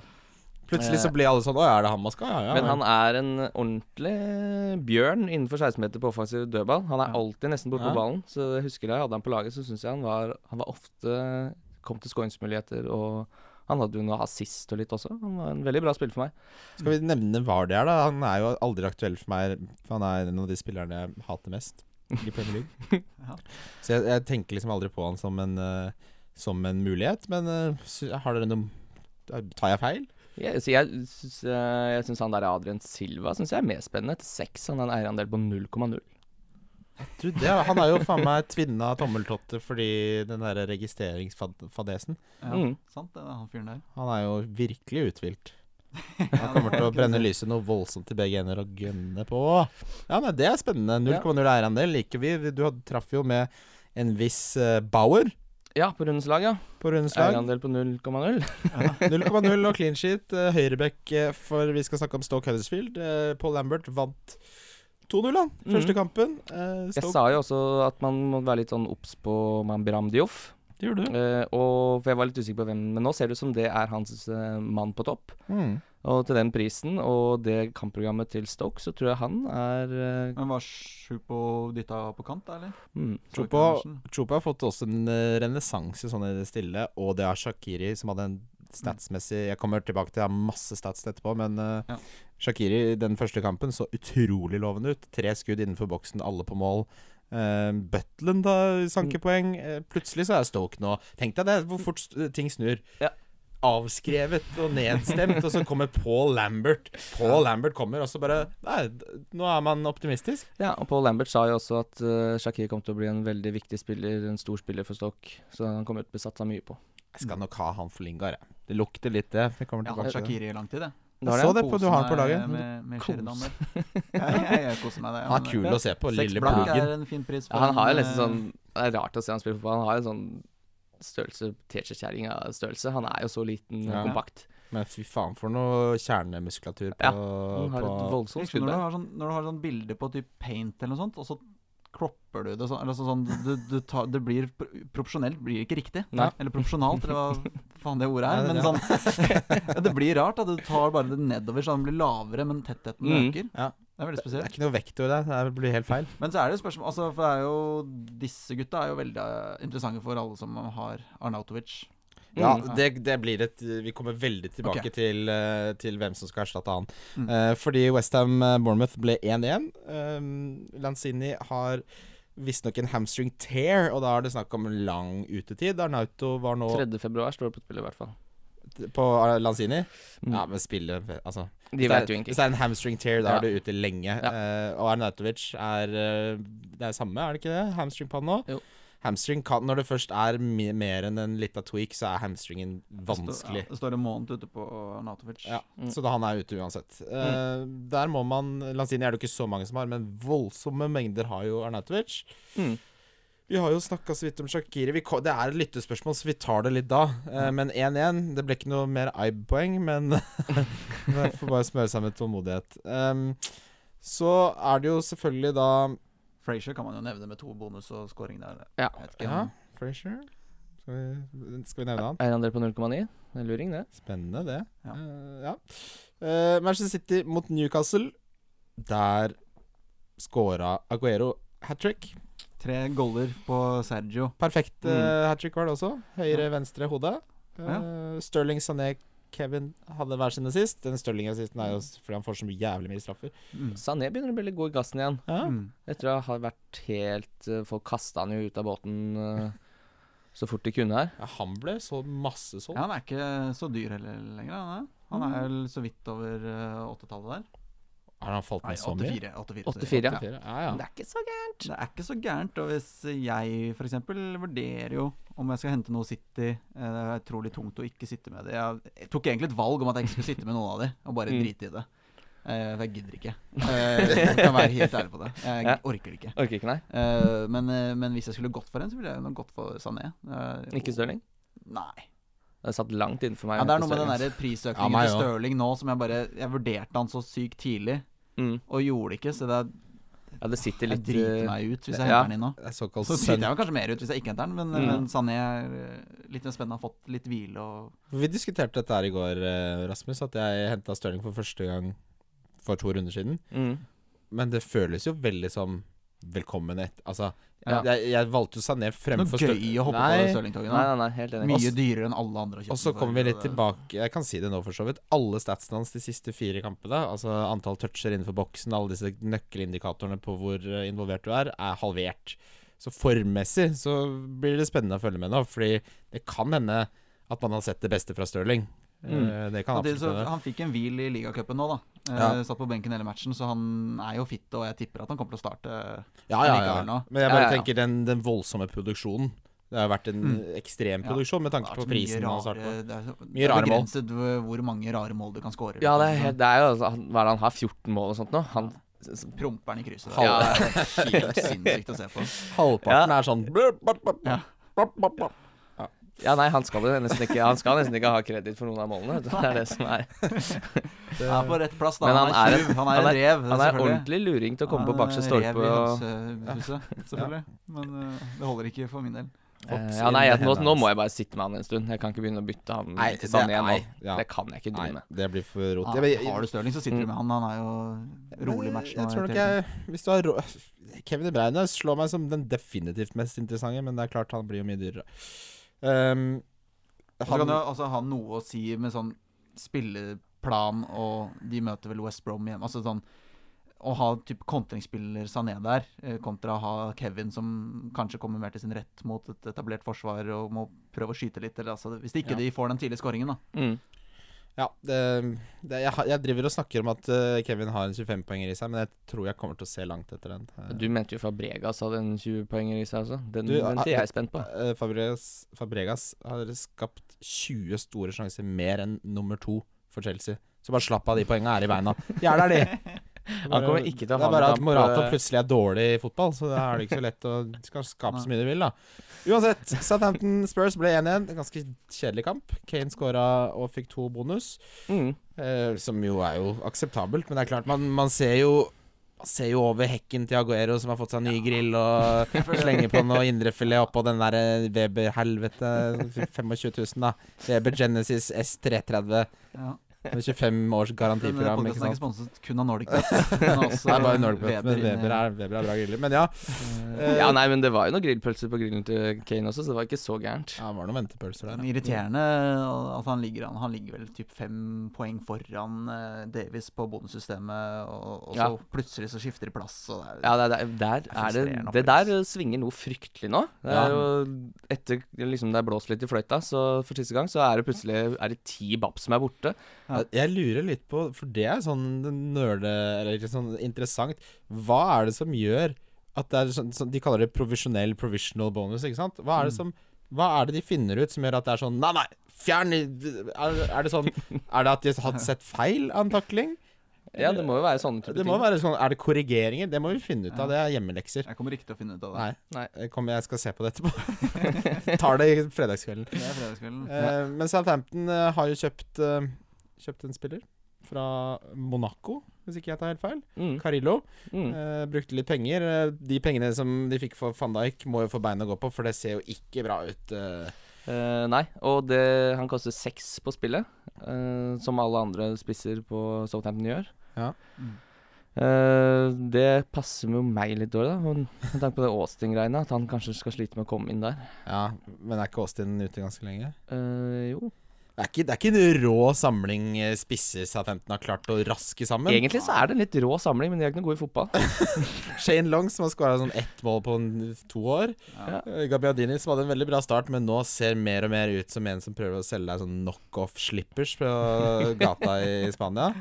[SPEAKER 3] Plutselig så blir alle sånn Å, er det han man skal ha? Ja, ja.
[SPEAKER 2] Men han er en ordentlig bjørn innenfor 16-meter på offensiv dødball. Han er
[SPEAKER 4] Ja.
[SPEAKER 2] alltid nesten borte
[SPEAKER 3] Ja.
[SPEAKER 2] på ballen. Så jeg husker da jeg hadde han på laget, så syns jeg han var, han var ofte Kom til skåringsmuligheter, og han hadde jo noe assist og litt også. Han var en veldig bra spiller for meg.
[SPEAKER 3] Skal vi nevne Vardy her, da? Han er jo aldri aktuell for meg. For han er en av de spillerne jeg hater mest i Premier League.
[SPEAKER 4] Ja.
[SPEAKER 3] Så jeg, jeg tenker liksom aldri på han som en, eh, som en mulighet. Men eh, sy- har dere noe eh, Tar jeg feil?
[SPEAKER 2] Jeg, så jeg, syns, eh, jeg syns han der Adrian Silva synes jeg er mer spennende. Til seks. Han har en eierandel på 0,0.
[SPEAKER 3] Tror det, ja. Han er jo faen meg tvinna tommeltotte fordi den der registreringsfadesen.
[SPEAKER 4] ja,
[SPEAKER 2] Mm.
[SPEAKER 4] Sant, det er han fyren der.
[SPEAKER 3] Han er jo virkelig uthvilt. Han kommer til å brenne lyset noe voldsomt til begge ender og gønne på. Ja, nei, Det er spennende. 0,0 eierandel liker vi. Du had- traff jo med en viss eh, Bauer
[SPEAKER 2] Ja, på rundens lag, ja.
[SPEAKER 3] på rundens lag. [LAUGHS]
[SPEAKER 2] Eierandel på 0,0.
[SPEAKER 3] 0,0 og clean sheet. Eh, Høyrebekk, eh, for vi skal snakke om Stoke Huddersfield. Eh, Paul Lambert vant 2-0, han. Første
[SPEAKER 2] Mhm.
[SPEAKER 3] kampen. Eh,
[SPEAKER 2] Jeg
[SPEAKER 3] Stoke
[SPEAKER 2] sa jo også at man må være litt sånn obs på Mambram Dioff.
[SPEAKER 3] Det gjorde
[SPEAKER 2] Eh, og for jeg var litt usikker på hvem, men nå ser det ut som det er hans eh, mann på topp.
[SPEAKER 3] Mm.
[SPEAKER 2] Og til den prisen og det kampprogrammet til Stoke, så tror jeg han er eh,
[SPEAKER 4] Men var Sjupo dytta på kant, da, eller?
[SPEAKER 2] mm.
[SPEAKER 3] Sjupo- Chopa har fått også en eh, renessanse sånn i det stille, og det er Shakiri som hadde en statsmessig Jeg kommer tilbake til jeg har masse stats etterpå, men eh,
[SPEAKER 4] Ja.
[SPEAKER 3] Shakiri den første kampen så utrolig lovende ut. Tre skudd innenfor boksen, alle på mål. Uh, Butland da, sankepoeng. Eh, plutselig så er Stoke nå Tenk deg det, hvor fort st- ting snur.
[SPEAKER 2] Ja.
[SPEAKER 3] Avskrevet og nedstemt, og så kommer Paul Lambert. Paul Lambert kommer, og så bare Nei, d- nå er man optimistisk.
[SPEAKER 2] Ja, og Paul Lambert sa jo også at uh, Shakir kom til å bli en veldig viktig spiller, en stor spiller for Stoke. Så han kommer til å bli satsa mye på.
[SPEAKER 3] Jeg skal nok ha han for Lingard, jeg. Det lukter litt det. Jeg kommer
[SPEAKER 4] Jeg har hatt
[SPEAKER 3] tilbake til det.
[SPEAKER 4] Shakiri i lang tid, jeg.
[SPEAKER 2] Da har
[SPEAKER 3] så
[SPEAKER 2] jeg en
[SPEAKER 3] det på- du har den på laget.
[SPEAKER 4] eh, Med, med
[SPEAKER 2] Kos.
[SPEAKER 4] Sheridan
[SPEAKER 2] [LAUGHS]
[SPEAKER 4] der. Jeg, jeg, jeg koser meg, det.
[SPEAKER 3] Han er kul å se på.
[SPEAKER 4] Seks
[SPEAKER 3] Lille
[SPEAKER 4] blank
[SPEAKER 3] pluggen.
[SPEAKER 4] er en fin pris.
[SPEAKER 2] Ja, han har jo liksom
[SPEAKER 4] eh,
[SPEAKER 2] sånn Det er rart å se han spille fotball. Han har jo sånn størrelse T-skjortekjerring av størrelse. Han er jo så liten og
[SPEAKER 3] Ja.
[SPEAKER 2] kompakt.
[SPEAKER 3] Men fy faen for noe kjernemuskulatur på,
[SPEAKER 2] Ja, Han har et
[SPEAKER 3] på
[SPEAKER 2] voldsomt
[SPEAKER 4] Liksom, når, du
[SPEAKER 2] skuddbein.
[SPEAKER 4] har sånn, når du har sånn bilde på typ paint eller noe sånt, og så klopper du det sånn, eller så sånn du, du tar, Det blir pro- proporsjonelt blir det ikke riktig.
[SPEAKER 2] Nei.
[SPEAKER 4] Eller proporsjonalt, eller hva faen det ordet
[SPEAKER 3] Nei,
[SPEAKER 4] er.
[SPEAKER 3] det-
[SPEAKER 4] Men sånn [LAUGHS] Det blir rart at du tar bare det nedover, så den blir lavere, men tettheten
[SPEAKER 2] Mm.
[SPEAKER 4] øker.
[SPEAKER 3] Ja.
[SPEAKER 4] Det er veldig
[SPEAKER 3] Det
[SPEAKER 4] spesielt.
[SPEAKER 3] er ikke noe vekt over det. Det blir helt feil.
[SPEAKER 4] Men så er det jo spørsmål altså, For det er jo disse gutta er jo veldig eh, interessante for alle som har Arnautovic.
[SPEAKER 3] Ja,
[SPEAKER 2] Mm.
[SPEAKER 3] det, det blir et Vi kommer veldig tilbake
[SPEAKER 4] Ok.
[SPEAKER 3] til, eh, til hvem som skal erstatte han.
[SPEAKER 4] Mm.
[SPEAKER 3] Eh, fordi Westham Bournemouth ble 1-1. Um, Lanzini har visstnok en hamstring tear, og da er det snakk om lang utetid. Arnauto var nå
[SPEAKER 2] 3. februar står det på spillet, i hvert fall.
[SPEAKER 3] på eh, Lanzini.
[SPEAKER 2] Mm.
[SPEAKER 3] Ja, men spille Altså
[SPEAKER 2] De
[SPEAKER 3] hvis det er-
[SPEAKER 2] vet jo
[SPEAKER 3] Hvis
[SPEAKER 2] egentlig
[SPEAKER 3] det er en hamstring tear, da
[SPEAKER 2] Ja.
[SPEAKER 3] er du ute lenge. Eh, og Arnautovic er eh, Det er samme, er det ikke det? Hamstring på han nå?
[SPEAKER 2] Jo.
[SPEAKER 3] Hamstring kan, Når det først er mi- mer enn en lita tweak, så er hamstringen vanskelig.
[SPEAKER 4] Det står, ja, det står en måned ute på Arnautovic.
[SPEAKER 3] Ja,
[SPEAKER 2] Mm.
[SPEAKER 3] Så da han er ute uansett. Eh, Der må man Lanzini er det jo ikke så mange som har, men voldsomme mengder har jo Arnautovic.
[SPEAKER 2] Mm.
[SPEAKER 3] Vi har jo snakka så vidt om Shakiri. Vi, ko- det er et lyttespørsmål, så vi tar det litt da. Eh, Men 1-1 Det ble ikke noe mer IB-poeng, men [LAUGHS] det får bare smøre seg med tålmodighet. Ehm, så er det jo selvfølgelig da
[SPEAKER 4] Frazier kan man jo nevne med to bonus og scoring der.
[SPEAKER 2] Ja.
[SPEAKER 4] Jeg vet ikke,
[SPEAKER 3] Ja,
[SPEAKER 4] han-
[SPEAKER 3] Frazier. Skal vi, skal vi nevne han?
[SPEAKER 2] Er han dere på 0,9? Det er luring, det.
[SPEAKER 3] Spennende, det.
[SPEAKER 4] Ja.
[SPEAKER 3] Eh, ja. Eh, Manchester City mot Newcastle. Der scora Aguero hat trick.
[SPEAKER 4] Tre goller på Sergio.
[SPEAKER 3] Perfekt
[SPEAKER 2] Mm.
[SPEAKER 3] hat trick var det også. Høyre, venstre, hode. Eh, Sterling, Sané, Kevin hadde hver sin assist. Den Sterling-assisten er jo s- fordi han får så mye jævlig mye straffer.
[SPEAKER 2] Sané begynner å bli litt god i gassen igjen.
[SPEAKER 3] Ja.
[SPEAKER 4] Mm.
[SPEAKER 2] Etter å ha vært helt eh, Folk kasta han jo ut av båten eh, så fort de kunne her.
[SPEAKER 3] Ja, han ble så masse
[SPEAKER 4] Ja,
[SPEAKER 3] solgt.
[SPEAKER 4] han er ikke så dyr heller lenger. Han er, han er vel så vidt over eh, 8-tallet der.
[SPEAKER 3] Har han falt
[SPEAKER 4] Nei,
[SPEAKER 3] ned så mye?
[SPEAKER 4] 84. 84,
[SPEAKER 2] 84, ja.
[SPEAKER 3] 84, Ja, ja.
[SPEAKER 2] Men Det er ikke så gærent.
[SPEAKER 4] Det er ikke så gærent. Og hvis jeg f.eks. vurderer jo om jeg skal hente noe City eh, Det er utrolig tungt å ikke sitte med det. Jeg jeg tok egentlig et valg om at jeg ikke skulle sitte med noen av de, og bare
[SPEAKER 2] Mm.
[SPEAKER 4] drite i det. Eh, For jeg gidder ikke. Eh, Jeg kan være helt ærlig på det. Jeg
[SPEAKER 2] Ja.
[SPEAKER 4] orker det ikke.
[SPEAKER 2] Orker ikke, nei.
[SPEAKER 4] Eh, Men, eh, men hvis jeg skulle gått for en, så ville jeg nok gått for Sané. Eh,
[SPEAKER 2] Ikke Stirling.
[SPEAKER 4] Nei.
[SPEAKER 2] Det er satt langt innenfor meg.
[SPEAKER 4] Ja,
[SPEAKER 2] å
[SPEAKER 4] det er
[SPEAKER 2] hente
[SPEAKER 4] noe med den
[SPEAKER 2] Sterling.
[SPEAKER 4] der
[SPEAKER 3] Ja,
[SPEAKER 4] prisøkningen
[SPEAKER 3] meg
[SPEAKER 4] til
[SPEAKER 3] også.
[SPEAKER 4] Stirling nå som jeg bare Jeg vurderte han så sykt tidlig,
[SPEAKER 2] mm.
[SPEAKER 4] og gjorde det ikke, så det er,
[SPEAKER 2] Ja, det sitter
[SPEAKER 4] jeg
[SPEAKER 2] litt
[SPEAKER 4] driter
[SPEAKER 2] eh,
[SPEAKER 4] meg ut hvis jeg henter
[SPEAKER 2] ja.
[SPEAKER 4] han inn nå.
[SPEAKER 3] Det er såkalt
[SPEAKER 4] Så
[SPEAKER 3] sun
[SPEAKER 4] driter jeg meg kanskje mer ut hvis jeg ikke henter den, men,
[SPEAKER 2] Mm.
[SPEAKER 4] men Sané er eh, litt mer spennende, har fått litt hvile og
[SPEAKER 3] Vi diskuterte dette her i går, eh, Rasmus, at jeg henta Stirling for første gang for to runder siden.
[SPEAKER 2] mm.
[SPEAKER 3] Men det føles jo veldig som velkommen et Altså,
[SPEAKER 2] Ja.
[SPEAKER 3] jeg, jeg valgte jo Sané
[SPEAKER 4] Noe
[SPEAKER 3] fremfor
[SPEAKER 4] gøy å hoppe på
[SPEAKER 3] Nei,
[SPEAKER 4] Stirling-toget
[SPEAKER 2] Nei,
[SPEAKER 4] nå.
[SPEAKER 2] nei, nei, helt enig.
[SPEAKER 4] Mye dyrere enn alle andre. har kjøpt
[SPEAKER 3] og så
[SPEAKER 4] den for, eh,
[SPEAKER 3] kommer vi litt
[SPEAKER 4] og det-
[SPEAKER 3] tilbake Jeg kan si det nå, for så vidt. Alle statsene hans de siste fire kampene, altså antall toucher innenfor boksen, alle disse nøkkelindikatorene på hvor eh, involvert du er, er halvert. Så formmessig så blir det spennende å følge med nå, fordi det kan hende at man har sett det beste fra Stirling.
[SPEAKER 4] Mm.
[SPEAKER 3] Eh, Det kan
[SPEAKER 4] Samtidig
[SPEAKER 3] absolutt
[SPEAKER 4] så
[SPEAKER 3] hende.
[SPEAKER 4] Han fikk en hvil i ligacupen nå, da.
[SPEAKER 3] Ja.
[SPEAKER 4] Eh, Satt på benken hele matchen, så han er jo fit, og jeg tipper at han kommer til å starte
[SPEAKER 3] Ja, ja,
[SPEAKER 4] likevel
[SPEAKER 3] ja.
[SPEAKER 4] nå.
[SPEAKER 3] Men jeg
[SPEAKER 2] Ja,
[SPEAKER 3] bare
[SPEAKER 2] ja, ja.
[SPEAKER 3] tenker den, den voldsomme produksjonen. Det har jo vært en ekstrem
[SPEAKER 4] Mm. Ja.
[SPEAKER 3] produksjon med
[SPEAKER 4] Det
[SPEAKER 3] tanke
[SPEAKER 4] har
[SPEAKER 3] på
[SPEAKER 4] vært
[SPEAKER 3] prisen.
[SPEAKER 4] mye
[SPEAKER 3] han starter
[SPEAKER 4] rare,
[SPEAKER 3] på.
[SPEAKER 4] det er, så-
[SPEAKER 3] Mye
[SPEAKER 4] det er
[SPEAKER 3] rare mål.
[SPEAKER 4] begrenset hvor- hvor mange rare mål du kan score. Liksom,
[SPEAKER 2] Ja, det er, helt- det er jo altså, han- Hva er det han har? 14 mål og sånt nå? Han s- s-
[SPEAKER 4] Promperen sånn i krysset. der.
[SPEAKER 2] Ja.
[SPEAKER 4] Det er helt sinnssykt å se på.
[SPEAKER 3] Halvparten er sånn blub, blub, blub,
[SPEAKER 4] Ja.
[SPEAKER 3] blub, blub, blub.
[SPEAKER 2] Ja, nei, han skal jo nesten ikke Han skal nesten ikke ha kreditt for noen av målene. vet du. Det er det som er
[SPEAKER 4] Han er på rett plass, da.
[SPEAKER 2] Men
[SPEAKER 4] Han,
[SPEAKER 2] han
[SPEAKER 4] er
[SPEAKER 2] er en-
[SPEAKER 4] tjuv. Han er en
[SPEAKER 2] han
[SPEAKER 4] rev.
[SPEAKER 2] Han er ordentlig luring til å komme på bakerste stolpe og
[SPEAKER 4] Hønsehuset, eh, selvfølgelig. Men eh, det holder ikke for min del.
[SPEAKER 2] Eh,
[SPEAKER 3] Fox
[SPEAKER 2] Ja, nei,
[SPEAKER 3] inn i
[SPEAKER 2] jeg, nå,
[SPEAKER 3] hendene
[SPEAKER 2] nå
[SPEAKER 3] hans.
[SPEAKER 2] må jeg bare sitte med han en stund. Jeg kan ikke begynne å bytte han
[SPEAKER 3] Nei,
[SPEAKER 2] til
[SPEAKER 3] det-
[SPEAKER 2] Sané igjen nå.
[SPEAKER 3] nei, ja.
[SPEAKER 2] Det kan jeg ikke
[SPEAKER 3] Nei,
[SPEAKER 2] drive med.
[SPEAKER 3] det blir for rot.
[SPEAKER 4] Ja,
[SPEAKER 3] Jeg- jeg-
[SPEAKER 4] har du Stirling, så sitter du med han. Han er jo rolig i
[SPEAKER 3] jeg,
[SPEAKER 4] matchen.
[SPEAKER 3] jeg
[SPEAKER 4] og
[SPEAKER 3] tror
[SPEAKER 4] helt
[SPEAKER 3] nok jeg Hvis du har rå [LAUGHS] Kevin De Bruyne slår meg som den definitivt mest interessante, men det er klart han blir jo mye dyrere. Um,
[SPEAKER 4] Og Så kan du altså ha noe å si med sånn spilleplan, og de møter vel West Brom hjemme. Altså sånn å ha typ kontringsspiller Sané der, eh, kontra å ha Kevin som kanskje kommer mer til sin rett mot et etablert forsvar og må prøve å skyte litt. Eller, altså, hvis ikke
[SPEAKER 3] Ja.
[SPEAKER 4] de får den tidlige skåringen, da.
[SPEAKER 2] Mm.
[SPEAKER 3] Ja, det, det, jeg, har- jeg driver og snakker om at eh, Kevin har en 25-poenger i seg, men jeg tror jeg kommer til å se langt etter den. Eh,
[SPEAKER 2] Du mente jo Fabregas hadde en 20-poenger i seg også. Den,
[SPEAKER 3] Du,
[SPEAKER 2] den
[SPEAKER 3] eh,
[SPEAKER 2] er jeg spent på.
[SPEAKER 3] Eh, Fabregas, Fabregas har skapt 20 store sjanser mer enn nummer to for Chelsea. Så bare slapp av, de poengene er i beina. De er der, de.
[SPEAKER 2] [LAUGHS] Han kommer ikke til å
[SPEAKER 3] Det
[SPEAKER 2] ha
[SPEAKER 3] er bare
[SPEAKER 2] noen
[SPEAKER 3] at
[SPEAKER 2] kamp,
[SPEAKER 3] Morata
[SPEAKER 2] eh,
[SPEAKER 3] plutselig er dårlig i fotball, så da er det ikke så lett å skal skape så mye de vil, da. Uansett, Southampton Spurs ble 1-1. En ganske kjedelig kamp. Kane skåra og fikk to bonus.
[SPEAKER 2] Mm.
[SPEAKER 3] Eh, som jo er jo akseptabelt, men det er klart, man, man ser jo man ser jo over hekken til Aguero, som har fått seg ny grill, og [LAUGHS] slenger på noe indrefilet oppå den der eh, Weber-helvete. 25 000, da. Weber Genesis S330.
[SPEAKER 4] Ja.
[SPEAKER 3] med 25 års
[SPEAKER 4] Denne
[SPEAKER 3] garantiprogram,
[SPEAKER 4] podcasten
[SPEAKER 3] ikke
[SPEAKER 4] er ikke
[SPEAKER 3] sant.
[SPEAKER 4] sponset kun av Nordic Bet.
[SPEAKER 3] [LAUGHS]
[SPEAKER 4] men altså også
[SPEAKER 3] Det er bare Norway, men
[SPEAKER 4] inn i-
[SPEAKER 3] altså, Weber er, Weber er bra griller. Men ja. eh,
[SPEAKER 2] Ja, nei, men det var jo noen grillpølser på grillen til Kane også, så det var ikke så gærent.
[SPEAKER 3] ja, det var noen ventepølser der.
[SPEAKER 4] Men
[SPEAKER 3] ja.
[SPEAKER 4] Irriterende at han ligger an. Han ligger vel typ fem poeng foran eh, Davies på bonussystemet, og, og så
[SPEAKER 2] Ja.
[SPEAKER 4] plutselig så skifter de plass. Og det er,
[SPEAKER 2] Ja, det, det, der er det,
[SPEAKER 4] frustrerende
[SPEAKER 2] det
[SPEAKER 4] opplegg,
[SPEAKER 2] der eh, svinger noe fryktelig nå. Det
[SPEAKER 3] Ja.
[SPEAKER 2] er jo Etter liksom det er blåst litt i fløyta, så for siste gang, så er det plutselig er det ti bapp som er borte.
[SPEAKER 4] Ja.
[SPEAKER 3] Jeg- Jeg lurer litt på, for det er sånn nerde, eller ikke sånn interessant Hva er det som gjør at det er sånn, sånn De kaller det provisjonell provisional bonus, ikke sant? Hva er det som Hva er det de finner ut som gjør at det er sånn Nei, nei, fjern i- er, er det sånn Er det at de har sett feil av en takling?
[SPEAKER 2] Ja, det må jo være sånne type
[SPEAKER 3] Det må
[SPEAKER 2] ting.
[SPEAKER 3] være sånn Er det korrigeringer? Det må vi finne ut av. Det er hjemmelekser.
[SPEAKER 4] Jeg kommer ikke til å finne ut av det.
[SPEAKER 3] Nei.
[SPEAKER 2] Nei.
[SPEAKER 3] Jeg kommer- jeg skal se på det etterpå. [LAUGHS] Tar det i fredagskvelden.
[SPEAKER 4] Det er fredagskvelden.
[SPEAKER 3] Eh, Men Southampton eh, har jo kjøpt eh, Kjøpt en spiller fra Monaco, hvis ikke jeg tar helt feil.
[SPEAKER 2] Mm,
[SPEAKER 3] Carillo.
[SPEAKER 2] mm.
[SPEAKER 3] Eh, brukte litt penger. Eh, De pengene som de fikk for van Dijk, må jo få bein å gå på, for det ser jo ikke bra ut. eh.
[SPEAKER 2] Eh, nei, og det, han koster seks på spillet, eh, som alle andre spisser på Southampton gjør.
[SPEAKER 3] Ja.
[SPEAKER 4] Mm.
[SPEAKER 2] Eh, det passer jo meg litt dårlig, da, med med tanke på det Austin-greiene. At han kanskje skal slite med å komme inn der.
[SPEAKER 3] Ja, Men er ikke Austin ute ganske lenge?
[SPEAKER 2] Eh, jo.
[SPEAKER 3] Det er ikke, det er ikke en rå samling eh, spisser Southampton har klart å raske sammen.
[SPEAKER 2] Egentlig så er det en litt rå samling, men de er ikke noe gode i fotball.
[SPEAKER 3] Shane Long, som har skåra sånn ett mål på en- to år.
[SPEAKER 4] Ja.
[SPEAKER 3] Eh, Gabbiadini, som hadde en veldig bra start, men nå ser mer og mer ut som en som prøver å selge deg sånn knockoff-slippers
[SPEAKER 4] [LAUGHS]
[SPEAKER 3] på gata i Spania.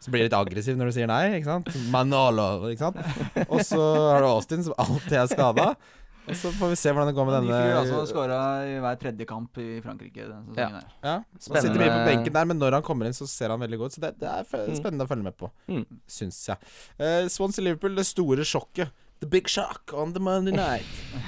[SPEAKER 3] Som blir litt aggressiv når du sier nei, ikke sant? Manolo, ikke sant? Og så har du Austin, som alltid er skada. Og så får vi se hvordan det går med
[SPEAKER 4] Men de fyrer altså
[SPEAKER 3] denne
[SPEAKER 4] skåra i hver tredje kamp i Frankrike denne sesongen.
[SPEAKER 2] Ja.
[SPEAKER 4] her.
[SPEAKER 3] ja, Han sitter mye på benken der, men når han kommer inn, så ser han veldig god ut. Så det, det er fe-
[SPEAKER 2] Mm.
[SPEAKER 3] spennende å følge med på,
[SPEAKER 2] Mm.
[SPEAKER 3] syns jeg. Eh, Swansea-Liverpool, det store sjokket. The big shock on the Monday night.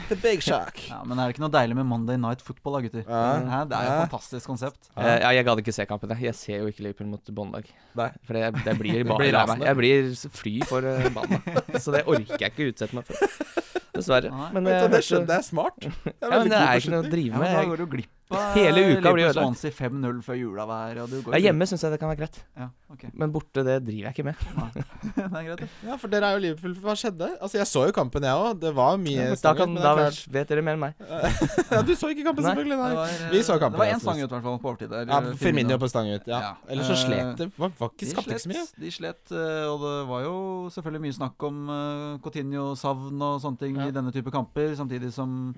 [SPEAKER 3] The big
[SPEAKER 2] [LAUGHS]
[SPEAKER 3] shock.
[SPEAKER 4] Ja, men er det ikke noe deilig med Monday Night Football, da, gutter?
[SPEAKER 3] Ja.
[SPEAKER 4] Hæ? Det er jo
[SPEAKER 3] Ja.
[SPEAKER 4] et fantastisk konsept.
[SPEAKER 3] Ja.
[SPEAKER 2] Eh, ja, jeg gadd ikke se kampen. Jeg Jeg ser jo ikke Liverpool mot Båndag.
[SPEAKER 3] Nei.
[SPEAKER 2] For jeg, jeg blir
[SPEAKER 3] [LAUGHS] Du
[SPEAKER 2] bare
[SPEAKER 3] blir
[SPEAKER 2] lei
[SPEAKER 3] rasende.
[SPEAKER 2] meg. Jeg blir s- fly for uh, banen. Så det orker jeg ikke
[SPEAKER 3] [LAUGHS]
[SPEAKER 2] utsette meg for. Dessverre.
[SPEAKER 4] Nei.
[SPEAKER 2] Men,
[SPEAKER 3] Vet du, det
[SPEAKER 2] jeg hørte-
[SPEAKER 3] skjønner jeg er smart. Det er
[SPEAKER 2] ja,
[SPEAKER 3] veldig
[SPEAKER 2] men det
[SPEAKER 3] god
[SPEAKER 2] er ikke noe å
[SPEAKER 4] Ja,
[SPEAKER 3] beslutning.
[SPEAKER 2] drive
[SPEAKER 4] men
[SPEAKER 2] med.
[SPEAKER 4] da
[SPEAKER 2] Jeg-
[SPEAKER 4] går du glipp av
[SPEAKER 2] Hele uka blir ødelagt.
[SPEAKER 4] Swansea 5-0 før jula hver, og du går
[SPEAKER 2] Ja, hjemme syns jeg det kan være greit,
[SPEAKER 4] Ja, ok.
[SPEAKER 2] men borte det driver jeg ikke med.
[SPEAKER 4] Nei. [LAUGHS] det er greit, det.
[SPEAKER 3] Ja, for dere er jo Liverpool. Hva skjedde? Altså, jeg så jo kampen, jeg òg. Det var mye
[SPEAKER 2] [LAUGHS] Da,
[SPEAKER 3] stanger,
[SPEAKER 2] kan,
[SPEAKER 3] men det
[SPEAKER 2] da
[SPEAKER 3] er klart- [LAUGHS]
[SPEAKER 2] vet dere mer enn meg.
[SPEAKER 3] ja, Du så ikke kampen,
[SPEAKER 2] Nei.
[SPEAKER 3] selvfølgelig.
[SPEAKER 4] Det
[SPEAKER 3] Nei.
[SPEAKER 4] var, eh,
[SPEAKER 3] Vi så kampen,
[SPEAKER 4] Det var
[SPEAKER 3] jeg
[SPEAKER 4] én
[SPEAKER 3] synes.
[SPEAKER 4] stang ut, i hvert fall, på overtid. der.
[SPEAKER 3] Ja,
[SPEAKER 4] Eh,
[SPEAKER 3] Firmino på stang ut, ja.
[SPEAKER 4] Ja.
[SPEAKER 3] Eller så
[SPEAKER 2] Eh,
[SPEAKER 3] slet det. Var, var ikke
[SPEAKER 4] De
[SPEAKER 3] skapt ikke så mye.
[SPEAKER 4] slet, de slet, eh, og det var jo selvfølgelig mye snakk om eh, Coutinho-savn og sånne ting
[SPEAKER 3] Ja.
[SPEAKER 4] i denne type kamper, samtidig som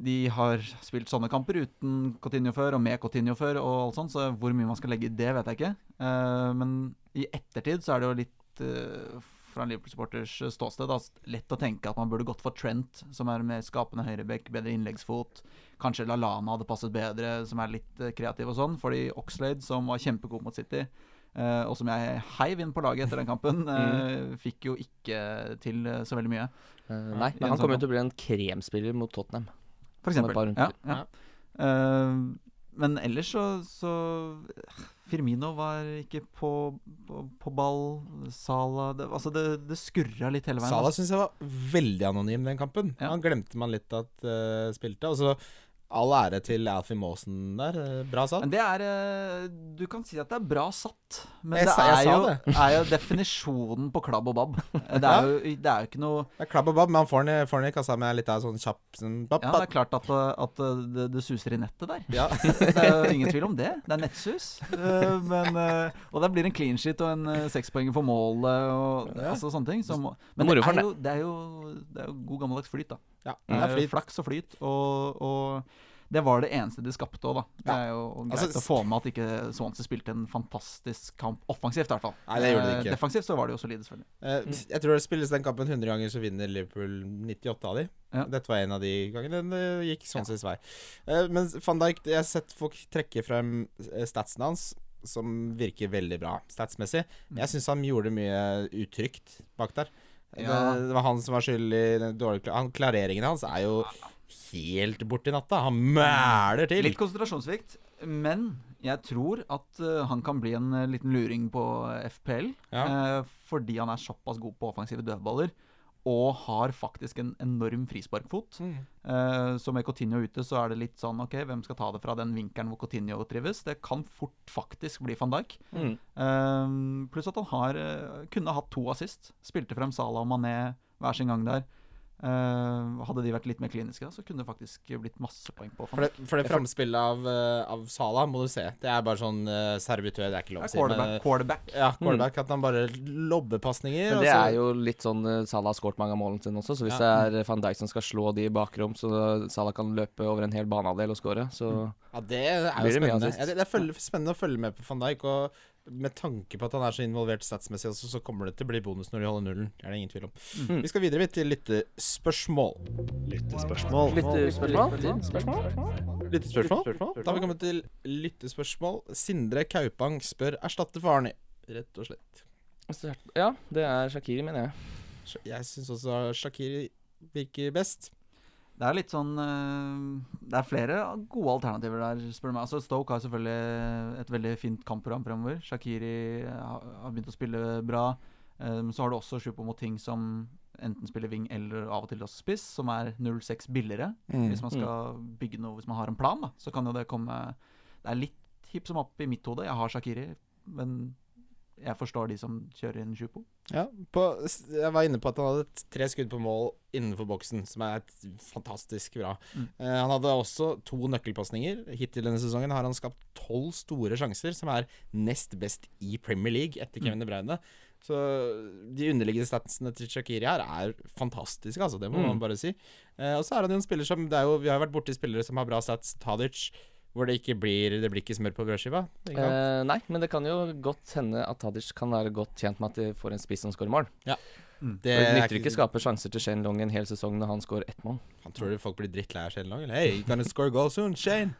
[SPEAKER 4] de har spilt sånne kamper uten Coutinho før, og med Coutinho før, og alt sånt, så hvor mye man skal legge i det, vet jeg ikke. Eh, men i ettertid så er det jo litt eh, fra en Liverpool-supporters ståsted da, lett å tenke at man burde gått for Trent, som er mer skapende høyrebekk, bedre innleggsfot. Kanskje LaLana hadde passet bedre, som er litt eh, kreativ og sånn. Fordi Oxlade, som var kjempegod mot City, eh, og som jeg heiv inn på laget etter den [LAUGHS] kampen, eh, fikk jo ikke til eh, så veldig mye.
[SPEAKER 2] Eh, nei, men han kommer jo til å bli en kremspiller mot Tottenham.
[SPEAKER 4] For
[SPEAKER 2] Som et
[SPEAKER 4] eksempel.
[SPEAKER 2] par runder.
[SPEAKER 4] Ja, ja. Eh, men ellers så, så Firmino var ikke på, på, på ball. Sala det, Altså, det, det skurra litt hele veien.
[SPEAKER 3] Salah syns jeg var veldig anonym den kampen.
[SPEAKER 4] Ja.
[SPEAKER 3] Han glemte man litt at eh, spilte. Og så all ære til Alfie Maasen der. eh, Bra satt.
[SPEAKER 4] Men det er eh, Du kan si at det er bra satt, men
[SPEAKER 3] Jeg
[SPEAKER 4] det
[SPEAKER 3] sa-
[SPEAKER 4] er,
[SPEAKER 3] jeg sa
[SPEAKER 4] jo,
[SPEAKER 3] det.
[SPEAKER 4] [LAUGHS] er jo definisjonen på klabb og
[SPEAKER 3] [LAUGHS]
[SPEAKER 4] babb. Det
[SPEAKER 3] Ja.
[SPEAKER 4] er jo, det er jo ikke noe
[SPEAKER 3] Det er klabb og babb, men han får den i- får den i kassa med litt av sånn kjapp sånn, bapp,
[SPEAKER 4] Ja, det
[SPEAKER 3] bapp.
[SPEAKER 4] er klart at, eh, at eh, det, det suser i nettet
[SPEAKER 3] [LAUGHS]
[SPEAKER 4] der.
[SPEAKER 3] Ja.
[SPEAKER 4] Det er jo ingen tvil om det. Det er nettsus. Eh, Men, eh, og det blir en clean shit og en eh, sekspoenger for målet og
[SPEAKER 3] Ja.
[SPEAKER 4] altså, sånne ting. Som,
[SPEAKER 2] er
[SPEAKER 4] men
[SPEAKER 2] moro
[SPEAKER 4] det
[SPEAKER 2] for
[SPEAKER 4] er,
[SPEAKER 2] den,
[SPEAKER 4] jo, det, er jo, det er jo god gammeldags flyt, da.
[SPEAKER 3] ja.
[SPEAKER 4] Det
[SPEAKER 3] Det er
[SPEAKER 4] er
[SPEAKER 3] flyt.
[SPEAKER 4] Eh, Flaks og flyt. Og, og det var det eneste de skapte òg, da. Det
[SPEAKER 3] Ja.
[SPEAKER 4] er jo greit
[SPEAKER 3] Altså,
[SPEAKER 4] å få med at ikke Swansea spilte en fantastisk kamp offensivt, i hvert fall.
[SPEAKER 3] Nei, det gjorde de
[SPEAKER 4] Eh,
[SPEAKER 3] ikke.
[SPEAKER 4] Defensivt så var det jo solide, selvfølgelig.
[SPEAKER 3] Eh, Jeg tror det spilles den kampen 100 ganger, så vinner Liverpool 98 av de.
[SPEAKER 4] Ja.
[SPEAKER 3] Dette var en av de gangene den eh, gikk sånn vei. Eh, Men van Dijk, jeg har sett folk trekke frem eh, statsen hans. som virker veldig bra statsmessig.
[SPEAKER 4] Mm.
[SPEAKER 3] Jeg syns han gjorde mye utrygt bak der.
[SPEAKER 4] Ja.
[SPEAKER 3] Det, det var han som var skyld i den dårlige kla- han, Klareringene hans er jo helt borti natta. Han mæler til!
[SPEAKER 4] Litt konsentrasjonssvikt, men jeg tror at eh, han kan bli en eh, liten luring på FPL. eh, fordi han er såpass god på offensive dødballer. Og har faktisk en enorm frisparkfot.
[SPEAKER 3] Mm.
[SPEAKER 4] Eh, så med Coutinho ute, så er det litt sånn OK, hvem skal ta det fra den vinkelen hvor Coutinho trives? Det kan fort faktisk bli van Dijk.
[SPEAKER 2] Mm.
[SPEAKER 4] Eh, pluss at han har, eh, kunne hatt to assist. Spilte frem Salah og Mané hver sin gang der. Eh, hadde de vært litt mer kliniske, da, så kunne det faktisk blitt masse poeng på.
[SPEAKER 3] For
[SPEAKER 4] Van Dijk.
[SPEAKER 3] det, for det framspillet av, eh, av Sala må du se. Det er bare sånn eh, servitør, det er ikke lov å si. men,
[SPEAKER 4] Quarterback, quarterback.
[SPEAKER 3] eh, ja, quarterback. At han bare altså, lobber pasninger.
[SPEAKER 2] Men
[SPEAKER 3] og
[SPEAKER 2] det
[SPEAKER 3] så-
[SPEAKER 2] er jo litt sånn eh, Salah har skåret mange av målene sine også, så hvis det er van Dijk som skal slå de i bakrom, så Salah kan løpe over en hel banehalvdel og skåre, så
[SPEAKER 3] Ja, det er jo
[SPEAKER 2] Blir det mye
[SPEAKER 3] spennende.
[SPEAKER 2] assist?
[SPEAKER 3] Ja, det, det er følge, spennende å følge med på van Dijk. Og med tanke på at han er så involvert statsmessig også, så kommer det til å bli bonus når de holder nullen. Det er det ingen tvil om.
[SPEAKER 2] Mm.
[SPEAKER 3] Vi skal videre vidt til lyttespørsmål.
[SPEAKER 5] Lyttespørsmål. Lyttespørsmål?
[SPEAKER 3] Da har vi kommet til lyttespørsmål. Sindre Kaupang spør erstatte faren i. Rett og slett.
[SPEAKER 2] Ja, det er Shakiri, mener jeg.
[SPEAKER 3] Sj- Jeg syns også Shakiri virker best.
[SPEAKER 4] Det er litt sånn eh, Det er flere gode alternativer der, spør du meg. Altså, Stoke har selvfølgelig et veldig fint kampprogram fremover. Shakiri har har begynt å spille bra. Eh, Men så har du også Shupomoting som enten spiller wing eller av og til også spiss, som er 0-6 billigere.
[SPEAKER 2] Mm.
[SPEAKER 3] Mm.
[SPEAKER 4] Hvis man skal bygge noe, hvis man har en plan, da, så kan jo det komme Det er litt hipp som opp i mitt hode. Jeg har Shakiri, men jeg forstår de som kjører inn Shupo.
[SPEAKER 3] Ja, på, s- jeg var inne på at han hadde t- tre skudd på mål innenfor boksen, som er et fantastisk bra.
[SPEAKER 4] Mm.
[SPEAKER 3] Eh, han hadde også to nøkkelpasninger. Hittil denne sesongen har han skapt tolv store sjanser, som er nest best i Premier League etter
[SPEAKER 2] Mm.
[SPEAKER 3] Kevin De Bruyne. Så de underliggende statsene til Shakiri her er fantastiske, altså. Det må
[SPEAKER 2] Mm.
[SPEAKER 3] man bare si. Eh, og så er han jo en spiller som det er jo, Vi har jo vært borti spillere som har bra stats, Tadic, hvor det ikke blir, det blir ikke smør på brødskiva. ikke sant?
[SPEAKER 2] Eh, nei, men det kan jo godt hende at Tadic kan være godt tjent med at de får en spiss som skårer mål.
[SPEAKER 3] det
[SPEAKER 2] Det
[SPEAKER 3] er
[SPEAKER 2] nytter ikke å skape sjanser til Shane Long en hel sesong når han skårer ett mål.
[SPEAKER 3] Han tror folk blir drittlei av Shane Long. eller? Hey, you gonna score a goal soon, Shane?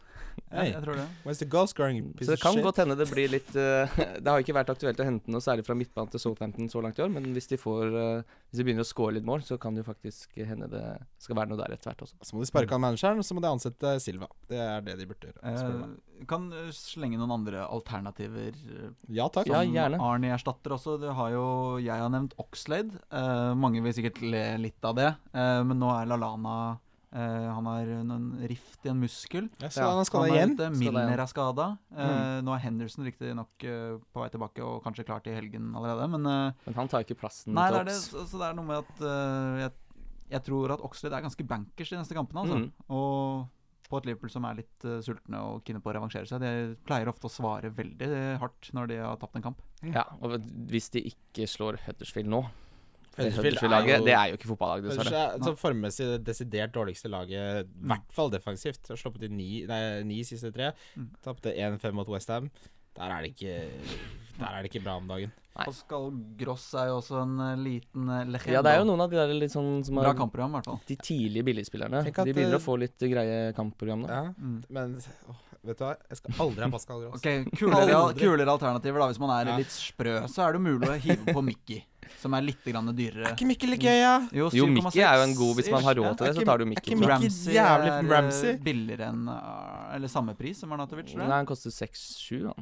[SPEAKER 3] Hey,
[SPEAKER 4] Jeg, jeg tror det.
[SPEAKER 3] where's the goal scoring piece
[SPEAKER 2] Så det
[SPEAKER 3] of
[SPEAKER 2] kan
[SPEAKER 3] shit?
[SPEAKER 2] godt hende det blir litt eh, [LAUGHS] Det har jo ikke vært aktuelt å hente noe særlig fra midtbanen til Southampton så langt i år, men hvis de, får, eh, hvis de begynner å skåre litt mål, så kan det jo faktisk hende det skal være noe der etter hvert også.
[SPEAKER 3] Så må de sparke av manageren, og så må de ansette Silva. Det er det de burde gjøre. spør du meg.
[SPEAKER 4] Eh, kan eh, slenge noen andre alternativer. eh,
[SPEAKER 3] Ja takk.
[SPEAKER 2] Ja, gjerne.
[SPEAKER 4] Arnie erstatter også. Det har jo, jeg har nevnt Oxlade. Eh, mange vil sikkert le litt av det, eh, men nå er Lalana eh, Han har en rift i en muskel.
[SPEAKER 3] Mm. Ja, så
[SPEAKER 2] Ja,
[SPEAKER 3] han skal
[SPEAKER 4] Han
[SPEAKER 3] Mm.
[SPEAKER 4] er
[SPEAKER 3] igjen.
[SPEAKER 4] ute,
[SPEAKER 2] Skadet igjen.
[SPEAKER 4] Milner er skada. Eh, nå er Henderson riktignok eh, på vei tilbake og kanskje klar til helgen allerede, men eh,
[SPEAKER 2] Men han tar ikke plassen
[SPEAKER 4] Nei, det
[SPEAKER 2] til
[SPEAKER 4] er det,
[SPEAKER 2] Ops.
[SPEAKER 4] så, så det er noe med at eh, jeg, jeg tror at Oxlade er ganske bankers de neste kampene. Altså.
[SPEAKER 2] Mhm.
[SPEAKER 4] Og på et Liverpool som er litt eh, sultne og kine på å revansjere seg. De pleier ofte å svare veldig eh, hardt når de har tapt en kamp.
[SPEAKER 2] Ja, og hvis de ikke slår Huddersfield nå for
[SPEAKER 3] Huddersfield er jo-
[SPEAKER 2] Huddersfield-laget, det er jo ikke fotballag,
[SPEAKER 3] Ellers
[SPEAKER 2] dessverre.
[SPEAKER 3] er så formmessig det desidert dårligste laget, i hvert fall defensivt. Har sluppet inn ni, nei, ni siste tre.
[SPEAKER 4] Mm.
[SPEAKER 3] Tapte 1-5 mot Westham. Der er det ikke Der er det ikke bra om dagen.
[SPEAKER 2] Nei.
[SPEAKER 4] Pascal Gross er jo også en eh, liten eh, legende.
[SPEAKER 2] Ja, det er jo noen av de der litt sånn som
[SPEAKER 4] Bra
[SPEAKER 2] har
[SPEAKER 4] kampprogram, i hvert fall.
[SPEAKER 2] de tidlige billigspillerne.
[SPEAKER 3] Tenk at,
[SPEAKER 2] De begynner
[SPEAKER 3] eh,
[SPEAKER 2] å få litt greie kampprogram nå.
[SPEAKER 3] Ja,
[SPEAKER 4] Mm.
[SPEAKER 3] men åh, vet du hva, jeg skal aldri ha Pascal Gross.
[SPEAKER 4] Ok, kulere,
[SPEAKER 3] Aldri.
[SPEAKER 4] kulere alternativer, da. Hvis man er
[SPEAKER 3] Ja.
[SPEAKER 4] litt sprø, så er det mulig å hive på Mickey, som er litt grann dyrere.
[SPEAKER 3] Er ikke Mikkel litt gøy, ja?
[SPEAKER 2] Jo, Mickey er jo en god Hvis man har
[SPEAKER 4] 7,6
[SPEAKER 2] råd til
[SPEAKER 3] Er
[SPEAKER 2] det, så
[SPEAKER 3] ikke-
[SPEAKER 2] tar du
[SPEAKER 3] er
[SPEAKER 2] Mickey.
[SPEAKER 3] ikke Mickey
[SPEAKER 4] Ramsey er
[SPEAKER 3] jævlig
[SPEAKER 4] eh,
[SPEAKER 3] Ramsey?
[SPEAKER 4] billigere enn eh, Eller samme pris som Arnatovic, tror
[SPEAKER 2] Nei,
[SPEAKER 4] jeg.
[SPEAKER 2] han koster 6-7, han.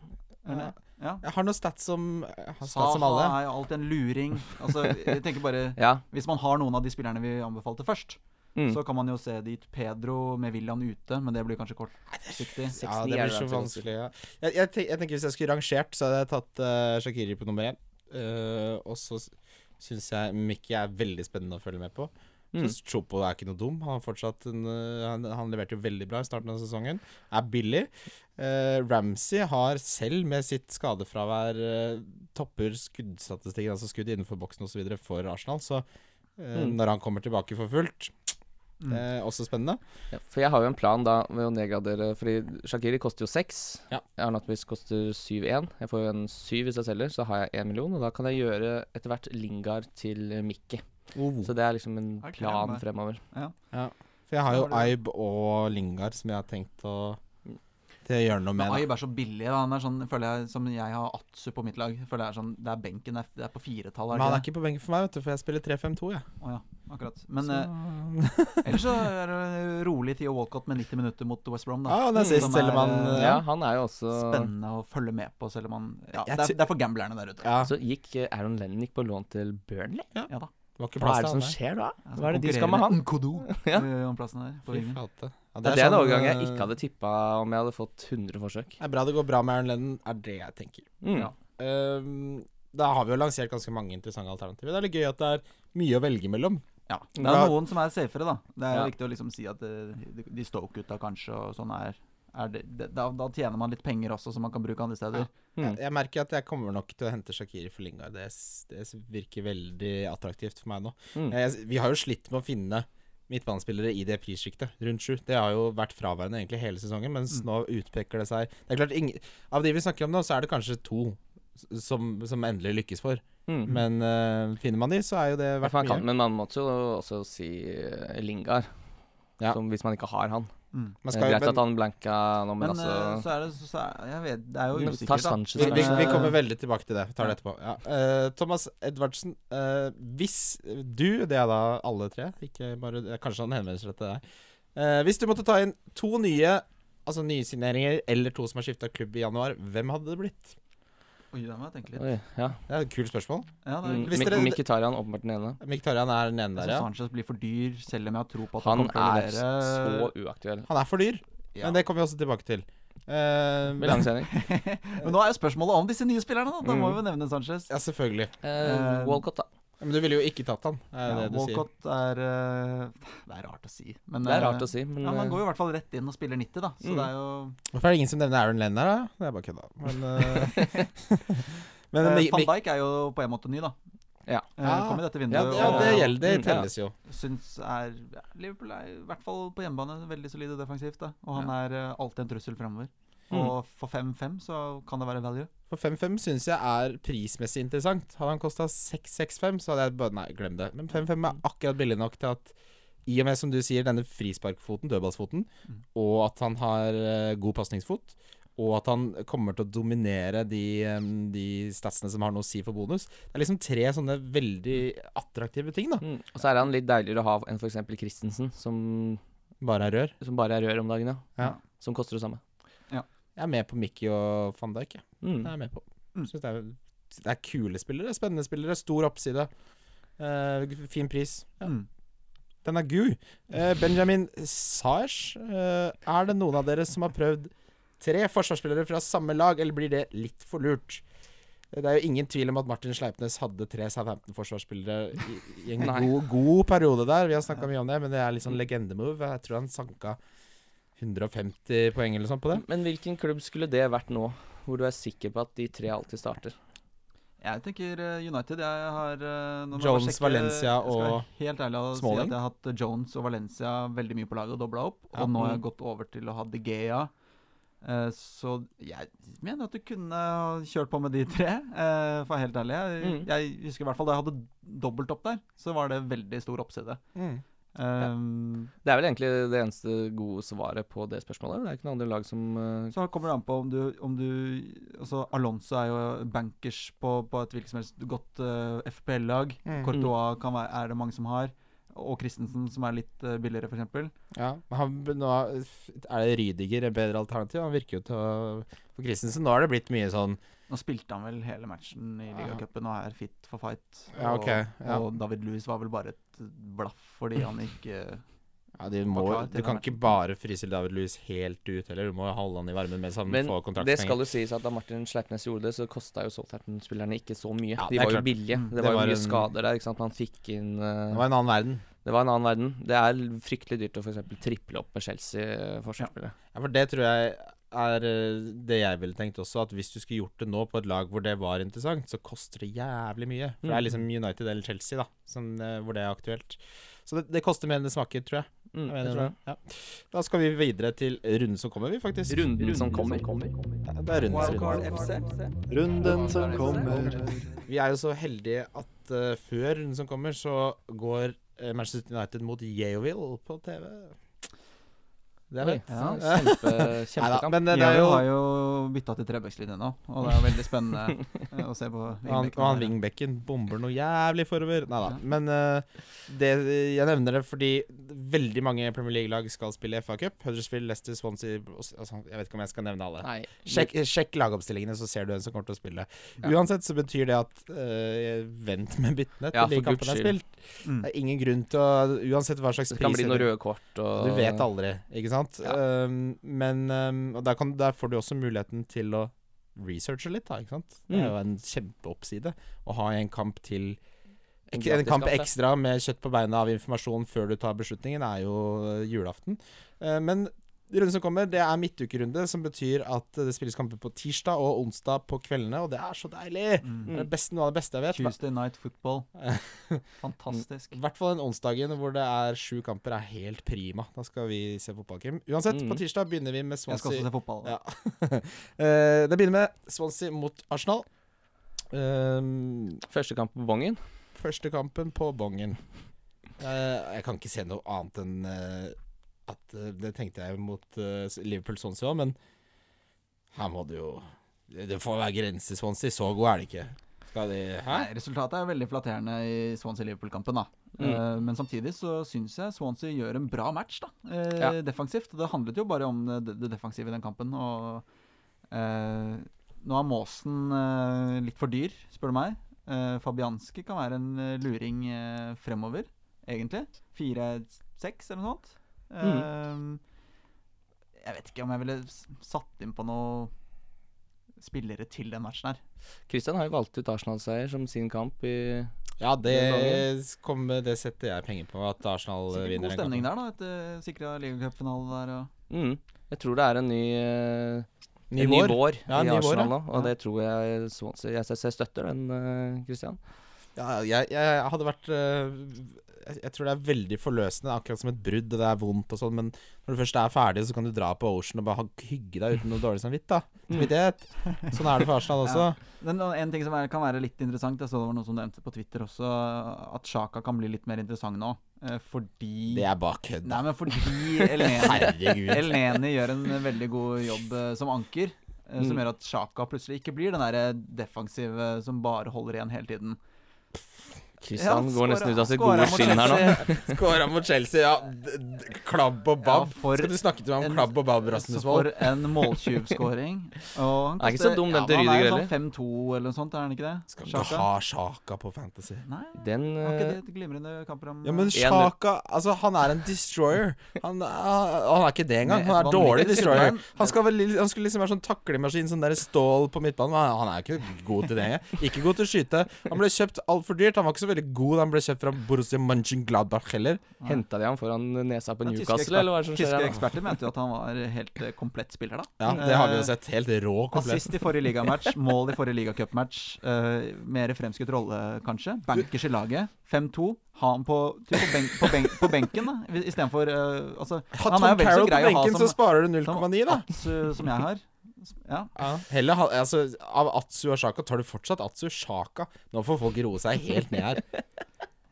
[SPEAKER 4] Eller- Ja.
[SPEAKER 3] Jeg har noe stats som jeg har stats som
[SPEAKER 4] Saha
[SPEAKER 3] alle.
[SPEAKER 4] er jo alltid en luring. Altså, jeg tenker
[SPEAKER 3] [LAUGHS]
[SPEAKER 4] bare
[SPEAKER 2] Ja.
[SPEAKER 4] Hvis man har noen av de spillerne vi anbefalte først,
[SPEAKER 2] Mm.
[SPEAKER 4] så kan man jo se dit Pedro med William ute, men det blir kanskje kortsiktig.
[SPEAKER 3] Ja, det
[SPEAKER 2] 69 er
[SPEAKER 3] blir
[SPEAKER 2] det
[SPEAKER 3] så
[SPEAKER 2] ganske
[SPEAKER 3] vanskelig. Ja. Jeg, jeg, tenk, jeg tenker Hvis jeg skulle rangert, så hadde jeg tatt eh, Shakiri på nummer én. Eh, og så syns jeg Mickey er veldig spennende å følge med på.
[SPEAKER 2] Mm.
[SPEAKER 3] Synes Chopo er ikke noe dum. Han, har fortsatt en, eh, han, han leverte jo veldig bra i starten av sesongen. Er billig. Uh, Ramsey har selv med sitt skadefravær eh, topper skuddstatistikken, altså skudd innenfor boksen osv., for Arsenal. Så eh,
[SPEAKER 2] Mm.
[SPEAKER 3] når han kommer tilbake for fullt
[SPEAKER 4] Mm.
[SPEAKER 3] eh, Også spennende.
[SPEAKER 2] Ja, for jeg har jo en plan da med å nedgradere Fordi Shakiri koster jo 6
[SPEAKER 3] Ja.
[SPEAKER 2] Arnatovic koster 7-1 Jeg får jo en 7 hvis jeg selger Så har jeg 1 million Og da kan jeg gjøre etter hvert Lingard til Mikke
[SPEAKER 3] Oh.
[SPEAKER 2] Så det er liksom en
[SPEAKER 4] Jeg gleder
[SPEAKER 2] plan
[SPEAKER 4] meg.
[SPEAKER 2] fremover
[SPEAKER 3] For jeg har jo
[SPEAKER 4] Da har du-
[SPEAKER 3] Ibe og Lingard som jeg har tenkt å Det gjør noe med
[SPEAKER 4] Men
[SPEAKER 3] det.
[SPEAKER 4] Aib er så billig. Da. Han er sånn, føler jeg, som jeg har Atsu på mitt lag. Føler jeg er sånn, Det er benken, det er- det er på firetall.
[SPEAKER 3] Men
[SPEAKER 4] er
[SPEAKER 3] han er
[SPEAKER 4] det ikke
[SPEAKER 3] ikke på benken for meg, vet du, for jeg spiller 3-5-2, jeg.
[SPEAKER 4] det? Å ja, akkurat. Men eh,
[SPEAKER 3] Så...
[SPEAKER 4] ellers så er det rolig Theo Walcott med 90 minutter mot West Brom. Da,
[SPEAKER 3] Ja, han er sist,
[SPEAKER 4] Som
[SPEAKER 3] selv om han,
[SPEAKER 4] eh,
[SPEAKER 3] eh,
[SPEAKER 2] Ja, han er jo også
[SPEAKER 4] Spennende å følge med på, selv om han ja,
[SPEAKER 3] Jeg
[SPEAKER 4] det, er,
[SPEAKER 3] ty-
[SPEAKER 4] det er for gamblerne der ute.
[SPEAKER 3] Ja,
[SPEAKER 2] Så gikk eh, Aaron Lennon gikk på lån til Burnley?
[SPEAKER 4] Ja da.
[SPEAKER 3] det var ikke
[SPEAKER 2] Hva
[SPEAKER 3] plass
[SPEAKER 2] er det
[SPEAKER 3] til han
[SPEAKER 2] sånn som
[SPEAKER 3] der.
[SPEAKER 2] skjer da?
[SPEAKER 4] Ja, så
[SPEAKER 2] Hva er det de skal
[SPEAKER 4] konkurrerer
[SPEAKER 2] med han?
[SPEAKER 4] Nkodo
[SPEAKER 2] [LAUGHS] Ja.
[SPEAKER 4] eh, om plassen der. På
[SPEAKER 3] Fy
[SPEAKER 4] vingen.
[SPEAKER 3] flate. Ja,
[SPEAKER 2] Det er en
[SPEAKER 3] sånn,
[SPEAKER 2] overgang jeg
[SPEAKER 3] eh,
[SPEAKER 2] ikke hadde tippa om jeg hadde fått 100 forsøk.
[SPEAKER 3] Det er bra det går bra med Aaron Lennon, er det jeg tenker.
[SPEAKER 2] Mm.
[SPEAKER 4] Ja.
[SPEAKER 3] Ehm, da har vi jo lansert ganske mange interessante alternativer. Det er litt gøy at det er mye å velge mellom.
[SPEAKER 4] Ja. Det
[SPEAKER 3] Bra.
[SPEAKER 4] er noen som er safere, da. Det er
[SPEAKER 2] Ja.
[SPEAKER 4] viktig å liksom si at eh, de, de Stoke-gutta kanskje og sånn er, er det, det, da, da tjener man litt penger også, som man kan bruke andre steder.
[SPEAKER 2] Mm.
[SPEAKER 3] Jeg, jeg merker at jeg kommer nok til å hente Shakiri for Lingard. Det, s- det s- virker veldig attraktivt for meg nå. Eh,
[SPEAKER 2] Mm.
[SPEAKER 3] Jeg, vi har jo slitt med å finne midtbanespillere i det prissjiktet, rundt sju. Det har jo vært fraværende egentlig hele sesongen,
[SPEAKER 2] Mm.
[SPEAKER 3] mens nå utpeker det seg Det er klart, ingen, Av de vi snakker om nå, så er det kanskje to s- som, som endelig lykkes for.
[SPEAKER 2] Mm.
[SPEAKER 3] Men eh, finner man de, så er jo det
[SPEAKER 2] Ja,
[SPEAKER 3] verdt
[SPEAKER 2] for han
[SPEAKER 3] mye.
[SPEAKER 2] kan, men man måtte jo også si eh, Lingard,
[SPEAKER 3] Ja.
[SPEAKER 2] som hvis man ikke har han.
[SPEAKER 4] Mm.
[SPEAKER 3] Man
[SPEAKER 2] Det
[SPEAKER 3] skal
[SPEAKER 2] er
[SPEAKER 3] jo-
[SPEAKER 2] greit
[SPEAKER 3] men-
[SPEAKER 2] at han blanka nå, men,
[SPEAKER 4] Men eh,
[SPEAKER 2] altså
[SPEAKER 4] så er det så er, Jeg vet, det er jo
[SPEAKER 2] Men
[SPEAKER 4] usikkert.
[SPEAKER 2] Tash
[SPEAKER 4] da.
[SPEAKER 2] Sanchez
[SPEAKER 3] Vi, vi,
[SPEAKER 2] er-
[SPEAKER 3] vi kommer veldig tilbake til det. Vi tar det etterpå. Ja. Eh, Thomas Edvardsen, eh, hvis du Det er da alle tre, ikke bare eh, Kanskje han henvender seg til deg. Eh, hvis du måtte ta inn to nye Altså nysigneringer eller to som har skifta klubb i januar, hvem hadde det blitt?
[SPEAKER 4] Oi, da må jeg tenke litt.
[SPEAKER 2] Oi, ja.
[SPEAKER 3] Det er et kult spørsmål.
[SPEAKER 4] Ja, det er,
[SPEAKER 2] Mm.
[SPEAKER 4] egentlig-
[SPEAKER 3] Hvis
[SPEAKER 2] Mik
[SPEAKER 3] dere-
[SPEAKER 2] Mkhitaryan åpenbart den ene.
[SPEAKER 3] Mkhitaryan er den ene
[SPEAKER 4] jeg synes
[SPEAKER 3] der, ja.
[SPEAKER 4] Sanchez blir for dyr, selv om jeg har tro på at han,
[SPEAKER 2] Han
[SPEAKER 4] kommer til å
[SPEAKER 2] er
[SPEAKER 4] levere.
[SPEAKER 2] så uaktuell.
[SPEAKER 3] Han er for dyr,
[SPEAKER 4] Ja.
[SPEAKER 3] men det kommer vi også tilbake til. Eh,
[SPEAKER 2] Med lang sending.
[SPEAKER 3] [LAUGHS]
[SPEAKER 4] Men nå er jo spørsmålet om disse nye spillerne, da. Da må
[SPEAKER 2] Mm.
[SPEAKER 4] vi jo nevne Sanchez.
[SPEAKER 3] ja, selvfølgelig.
[SPEAKER 2] Eh, Walcott, da.
[SPEAKER 3] Men du ville jo ikke tatt han, er
[SPEAKER 4] Ja,
[SPEAKER 3] det du sier.
[SPEAKER 4] Walcott er eh, Det er rart å si. Men,
[SPEAKER 2] Det er
[SPEAKER 4] eh,
[SPEAKER 2] rart å si, men
[SPEAKER 4] Ja, Man
[SPEAKER 2] eh,
[SPEAKER 4] går jo i hvert fall rett inn og spiller 90, da. Så det
[SPEAKER 2] Mm.
[SPEAKER 4] er jo
[SPEAKER 3] Hvorfor er det ingen som nevner Aaron Lenn her, da? Det er bare kødda. Men, eh,
[SPEAKER 4] [LAUGHS]
[SPEAKER 3] [LAUGHS] men
[SPEAKER 4] Eh,
[SPEAKER 3] Mik-
[SPEAKER 4] Van Dijk er jo på en måte ny, da.
[SPEAKER 2] Ja.
[SPEAKER 4] Eh,
[SPEAKER 3] Ah.
[SPEAKER 4] Kom i dette vinduet.
[SPEAKER 3] Ja, det, ja, det
[SPEAKER 4] og
[SPEAKER 3] gjelder. Det
[SPEAKER 2] Mm, ja.
[SPEAKER 3] telles jo.
[SPEAKER 4] Syns er ja, Liverpool er i hvert fall på hjemmebane veldig solide defensivt. da Og han er eh, alltid en trussel fremover.
[SPEAKER 2] Mm.
[SPEAKER 4] Og for 5-5 så kan det være value.
[SPEAKER 3] For 5-5 syns jeg er prismessig interessant. Hadde han kosta 6-6-5, så hadde jeg bare Nei, glem det. Men 5-5 er akkurat billig nok til at i og med, som du sier, denne frisparkfoten, dødballsfoten,
[SPEAKER 4] Mm.
[SPEAKER 3] og at han har eh, god pasningsfot, og at han kommer til å dominere de, eh, de statsene som har noe å si for bonus Det er liksom tre sånne veldig attraktive ting, da.
[SPEAKER 2] mm. Og så er han litt deiligere å ha enn f.eks. Christensen, som,
[SPEAKER 3] Bare er rør.
[SPEAKER 2] som bare er rør om dagen, ja.
[SPEAKER 3] Ja.
[SPEAKER 2] Som koster det samme.
[SPEAKER 3] Jeg er med på Mickey og van Dijk, jeg.
[SPEAKER 2] Mm.
[SPEAKER 3] Det er jeg med på.
[SPEAKER 4] Mm.
[SPEAKER 3] Synes det, er, det er kule spillere, spennende spillere, stor oppside. Eh, g- fin pris.
[SPEAKER 4] Mm.
[SPEAKER 3] Den er gul. Eh, Benjamin Sars, eh, er det noen av dere som har prøvd tre forsvarsspillere fra samme lag, eller blir det litt for lurt? Eh, Det er jo ingen tvil om at Martin Sleipnes hadde tre Southampton-forsvarsspillere i, i en
[SPEAKER 2] Nei.
[SPEAKER 3] god, god periode der. Vi har snakka mye om det, men det er litt sånn legendemove. Jeg tror han sanka 150 poeng eller sånt på det.
[SPEAKER 2] Men hvilken klubb skulle det vært nå, hvor du er sikker på at de tre alltid starter?
[SPEAKER 4] Jeg tenker eh, United. Jeg har eh, nå må jeg bare
[SPEAKER 3] Jones,
[SPEAKER 4] sjekke-
[SPEAKER 3] Valencia
[SPEAKER 4] jeg skal være
[SPEAKER 3] og
[SPEAKER 4] Helt ærlig å si
[SPEAKER 3] Smalling.
[SPEAKER 4] at jeg har hatt Jones og Valencia veldig mye på laget og dobla opp. Og
[SPEAKER 3] Ja.
[SPEAKER 4] nå har
[SPEAKER 2] Mm.
[SPEAKER 4] jeg gått over til å ha De Gea. Eh, Så jeg mener at du kunne ha kjørt på med de tre, eh, for å være helt ærlig. Jeg,
[SPEAKER 2] Mm.
[SPEAKER 4] jeg husker i hvert fall da jeg hadde dobbelt opp der, så var det veldig stor oppside.
[SPEAKER 1] Hmm.
[SPEAKER 4] Um,
[SPEAKER 2] Det er vel egentlig det eneste gode svaret på det spørsmålet. Det er ikke noen andre lag som eh,
[SPEAKER 4] Så kommer det an på om du, om du Altså, Alonso er jo bankers på, på et hvilket som helst godt eh, FPL-lag.
[SPEAKER 3] Mm.
[SPEAKER 4] Courtois kan være, er det mange som har. Og Christensen, som er litt eh, billigere, f.eks.
[SPEAKER 3] Ja, men han, nå er det Rydiger et bedre alternativ. Han virker jo til å For Christensen, nå har det blitt mye sånn
[SPEAKER 4] Nå spilte han vel hele matchen i ligacupen og er fit for fight.
[SPEAKER 3] Ja,
[SPEAKER 4] Og,
[SPEAKER 3] ok, ja.
[SPEAKER 4] og David Lewis var vel bare et blaff fordi han ikke
[SPEAKER 3] ja, de må,
[SPEAKER 4] Forklar til
[SPEAKER 3] Du kan
[SPEAKER 4] den
[SPEAKER 3] ikke bare fryse David Lewis helt ut heller. Du må holde han i varmen mens han
[SPEAKER 2] Men
[SPEAKER 3] får
[SPEAKER 2] det skal
[SPEAKER 3] kontraktspenger.
[SPEAKER 2] jo sies at da Martin Sleipnes gjorde det, så kosta jo Southampton-spillerne ikke så mye.
[SPEAKER 3] Ja,
[SPEAKER 2] de
[SPEAKER 3] det er
[SPEAKER 2] var jo
[SPEAKER 3] klart.
[SPEAKER 2] billige.
[SPEAKER 4] Mm.
[SPEAKER 2] Det,
[SPEAKER 3] Det
[SPEAKER 2] var jo
[SPEAKER 3] var
[SPEAKER 2] mye
[SPEAKER 3] en-
[SPEAKER 2] skader der. ikke sant? Man fikk inn eh,
[SPEAKER 3] Det var en annen verden.
[SPEAKER 2] Det var en annen verden. Det er fryktelig dyrt å f.eks. triple opp med eh, Chelsea-forsvarsspillere.
[SPEAKER 3] Ja, for det tror jeg er eh, det jeg ville tenkt også, at hvis du skulle gjort det nå på et lag hvor det var interessant, så koster det jævlig mye. For
[SPEAKER 2] Mm.
[SPEAKER 3] det er liksom United eller Chelsea, da, som, eh, hvor det er aktuelt. Så det, det koster mer enn det smaker, tror jeg.
[SPEAKER 2] Mm,
[SPEAKER 3] jeg,
[SPEAKER 2] jeg
[SPEAKER 3] mener
[SPEAKER 2] tror det.
[SPEAKER 3] det. Ja. Da skal vi videre til runden som kommer, vi, faktisk.
[SPEAKER 2] Runden som kommer.
[SPEAKER 3] Ja, Det er runden som
[SPEAKER 1] Wildcard
[SPEAKER 3] kommer.
[SPEAKER 1] FC.
[SPEAKER 5] Runden som kommer.
[SPEAKER 3] Vi er jo så heldige at eh, før runden som kommer, så går eh, Manchester United mot Yeovil på TV. Det er fett.
[SPEAKER 4] Ja.
[SPEAKER 2] Så [LAUGHS] Kjempe,
[SPEAKER 3] Neida, [LAUGHS]
[SPEAKER 2] kjempekamp.
[SPEAKER 3] men eh, [LAUGHS] det er
[SPEAKER 4] Jeg
[SPEAKER 3] jo
[SPEAKER 4] har jo bytta til trebøkslinje nå, og det er veldig
[SPEAKER 3] [LAUGHS]
[SPEAKER 4] spennende eh, å se på.
[SPEAKER 3] Og han, og han wingbacken bomber noe jævlig forover. Nei da. Men eh, det, jeg nevner det fordi veldig mange Premier League-lag skal spille FA-cup. Huddersfield, Leicester, Swansea altså, Jeg vet ikke om jeg skal nevne alle.
[SPEAKER 2] Nei,
[SPEAKER 3] Sjekk, sjekk lagoppstillingene, så ser du hvem som kommer til å spille. Uansett så betyr det at eh, vent med byttene til
[SPEAKER 2] Ja,
[SPEAKER 3] de
[SPEAKER 2] for guds
[SPEAKER 3] kampene er
[SPEAKER 2] skyld.
[SPEAKER 3] spilt.
[SPEAKER 4] Mm.
[SPEAKER 3] Det er ingen grunn til å Uansett hva slags
[SPEAKER 2] det kan
[SPEAKER 3] pris
[SPEAKER 2] bli noen røde kort og
[SPEAKER 3] du vet aldri, ikke sant? Um, men um, og der, kan, der får du også muligheten til å researche litt, da, ikke sant? Det er
[SPEAKER 2] Mm.
[SPEAKER 3] jo en kjempeoppside å ha en kamp til En,
[SPEAKER 2] En
[SPEAKER 3] en kamp
[SPEAKER 2] gratiskamp, ja.
[SPEAKER 3] ekstra med kjøtt på beina av informasjon før du tar beslutningen, er jo uh, julaften. Uh, men runden som kommer, det er midtukerunde, som betyr at uh, det spilles kamper på tirsdag og onsdag på kveldene, og det er så deilig!
[SPEAKER 4] Mm.
[SPEAKER 3] Det er best, noe av det beste jeg vet.
[SPEAKER 4] Tuesday Night
[SPEAKER 3] [LAUGHS]
[SPEAKER 4] Football. Fantastisk.
[SPEAKER 3] I hvert fall den onsdagen hvor det er sju kamper, er helt prima. Da skal vi se fotballkrim. Uansett,
[SPEAKER 2] Mm.
[SPEAKER 3] på tirsdag begynner vi med
[SPEAKER 4] Jeg skal
[SPEAKER 3] Swansea
[SPEAKER 4] også se fotball.
[SPEAKER 3] Ja. [LAUGHS] Eh, det begynner med Swansea mot Arsenal. Ehm,
[SPEAKER 2] Første kamp på bongen.
[SPEAKER 3] første kampen på bongen. Eh, jeg kan ikke se noe annet enn eh, at eh, Det tenkte jeg mot eh, Liverpool Swansea òg, men her må det jo Det det får være grenser, Swansea. Så god er det ikke. Skal de Hæ?
[SPEAKER 4] Nei, resultatet er veldig flatterende i Swansea-Liverpool-kampen, da.
[SPEAKER 2] Mm.
[SPEAKER 4] Eh, men samtidig så syns jeg Swansea gjør en bra match, da. eh,
[SPEAKER 2] Ja.
[SPEAKER 4] Defensivt. Det handlet jo bare om det, det defensive i den kampen, og eh, Nå er Maasen eh, litt for dyr, spør du meg. Eh, Fabianski kan være en eh, luring eh, fremover, egentlig. Fire-seks eller noe sånt.
[SPEAKER 2] Mm.
[SPEAKER 4] Eh, Jeg vet ikke om jeg ville s- satt inn på noe spillere til den matchen her.
[SPEAKER 2] Christian har jo valgt ut Arsenal-seier som sin kamp i
[SPEAKER 3] Ja,
[SPEAKER 2] Den
[SPEAKER 3] det, kommer- det setter jeg penger på, at Arsenal
[SPEAKER 4] Sikkert
[SPEAKER 3] vinner
[SPEAKER 4] god
[SPEAKER 3] den kampen.
[SPEAKER 4] stemning der, da, etter sikra ligacupfinale der. Og...
[SPEAKER 2] mm. Jeg tror det er en ny, eh,
[SPEAKER 3] Ny
[SPEAKER 2] en
[SPEAKER 3] vår.
[SPEAKER 2] ny vår
[SPEAKER 3] Ja,
[SPEAKER 2] i
[SPEAKER 3] ny vår,
[SPEAKER 2] Arsenal
[SPEAKER 3] ja.
[SPEAKER 2] nå, og
[SPEAKER 4] Ja.
[SPEAKER 2] det tror jeg Swansea Jeg, jeg, jeg støtter den, eh, Christian.
[SPEAKER 3] Ja, jeg, jeg hadde vært øh, jeg, jeg tror det er veldig forløsende, akkurat som et brudd, og det er vondt og sånn, men når du først er ferdig, så kan du dra på Ocean og bare ha- hygge deg uten noe dårlig samvitt, da. samvittighet. Sånn er det for Arsenal også.
[SPEAKER 4] Men og en ting som er, kan være litt interessant, jeg så det var noen som nevnte på Twitter også, at Sjaka kan bli litt mer interessant nå. eh, Fordi
[SPEAKER 3] Det er bare kødd.
[SPEAKER 4] Nei, men fordi Elneni,
[SPEAKER 3] Herregud.
[SPEAKER 4] Elneni gjør en veldig god jobb eh, som anker. eh, Som
[SPEAKER 2] Mm.
[SPEAKER 4] gjør at Sjaka plutselig ikke blir den der defensive som bare holder igjen hele tiden.
[SPEAKER 2] Christian
[SPEAKER 4] Ja,
[SPEAKER 2] går
[SPEAKER 4] skåra-
[SPEAKER 2] nesten ut av sitt
[SPEAKER 4] skåra
[SPEAKER 2] gode
[SPEAKER 4] mot
[SPEAKER 2] skinn her nå.
[SPEAKER 4] Chelsea.
[SPEAKER 3] Skåra mot Chelsea, ja. D- d- Klabb og
[SPEAKER 4] Ja,
[SPEAKER 3] babb.
[SPEAKER 4] for
[SPEAKER 3] Skal du snakke til meg
[SPEAKER 4] en-
[SPEAKER 3] om klabb og babb,
[SPEAKER 4] Så
[SPEAKER 3] Rasmus
[SPEAKER 4] for
[SPEAKER 3] Wold?
[SPEAKER 4] en måltyvskåring. Han
[SPEAKER 2] [LAUGHS] Er ikke så
[SPEAKER 4] koster-
[SPEAKER 2] dum, den til
[SPEAKER 4] men Han er
[SPEAKER 2] Rydiger
[SPEAKER 4] jo
[SPEAKER 2] heller.
[SPEAKER 4] sånn 5-2 eller noe sånt, er han ikke det?
[SPEAKER 3] Skal du ha Sjaka på Fantasy?
[SPEAKER 4] Nei,
[SPEAKER 2] Den
[SPEAKER 4] har ikke
[SPEAKER 2] eh,
[SPEAKER 4] det et glimrende kampprogram?
[SPEAKER 3] Ja, men Sjaka Altså, han er en destroyer. Han, er- han er ikke det engang. Han er
[SPEAKER 4] Vanvittig
[SPEAKER 3] dårlig destroyer.
[SPEAKER 4] destroyer.
[SPEAKER 3] Han, skal vel, han skulle liksom være sånn taklemaskin, sånn der stål på midtbanen. Men han- han er ikke god til det. Ikke god til å skyte. Han ble kjøpt altfor dyrt. Han var ikke så veldig god da han ble kjøpt fra Borussia Mönchengladbach heller.
[SPEAKER 2] henta de ham foran nesa på
[SPEAKER 4] Men tyske ekspert-
[SPEAKER 2] Newcastle, eller hva er det som skjer?
[SPEAKER 4] Tyske
[SPEAKER 2] her nå?
[SPEAKER 4] eksperter mente jo at han var helt eh, komplett spiller, da.
[SPEAKER 3] Ja, det har vi jo
[SPEAKER 4] Eh,
[SPEAKER 3] sett. Helt rå komplett.
[SPEAKER 4] Assist i forrige ligamatch, mål i forrige ligacupmatch. Uh, mer fremskutt rolle, kanskje. Bankers i laget. 5-2. Ha han på, typ på, benk, på, benk, på benken, da. Istedenfor uh, altså,
[SPEAKER 3] Ha
[SPEAKER 4] Han er
[SPEAKER 3] Tom
[SPEAKER 4] jo vel så
[SPEAKER 3] Carroll på
[SPEAKER 4] grei å ha
[SPEAKER 3] benken, så
[SPEAKER 4] som-
[SPEAKER 3] sparer du 0,9, da.
[SPEAKER 4] Atsu som jeg har. Ja.
[SPEAKER 3] Ja. Heller, ha- altså, av Atsu og Sjaka tar du fortsatt Atsu Sjaka. Nå får folk roe seg helt ned her.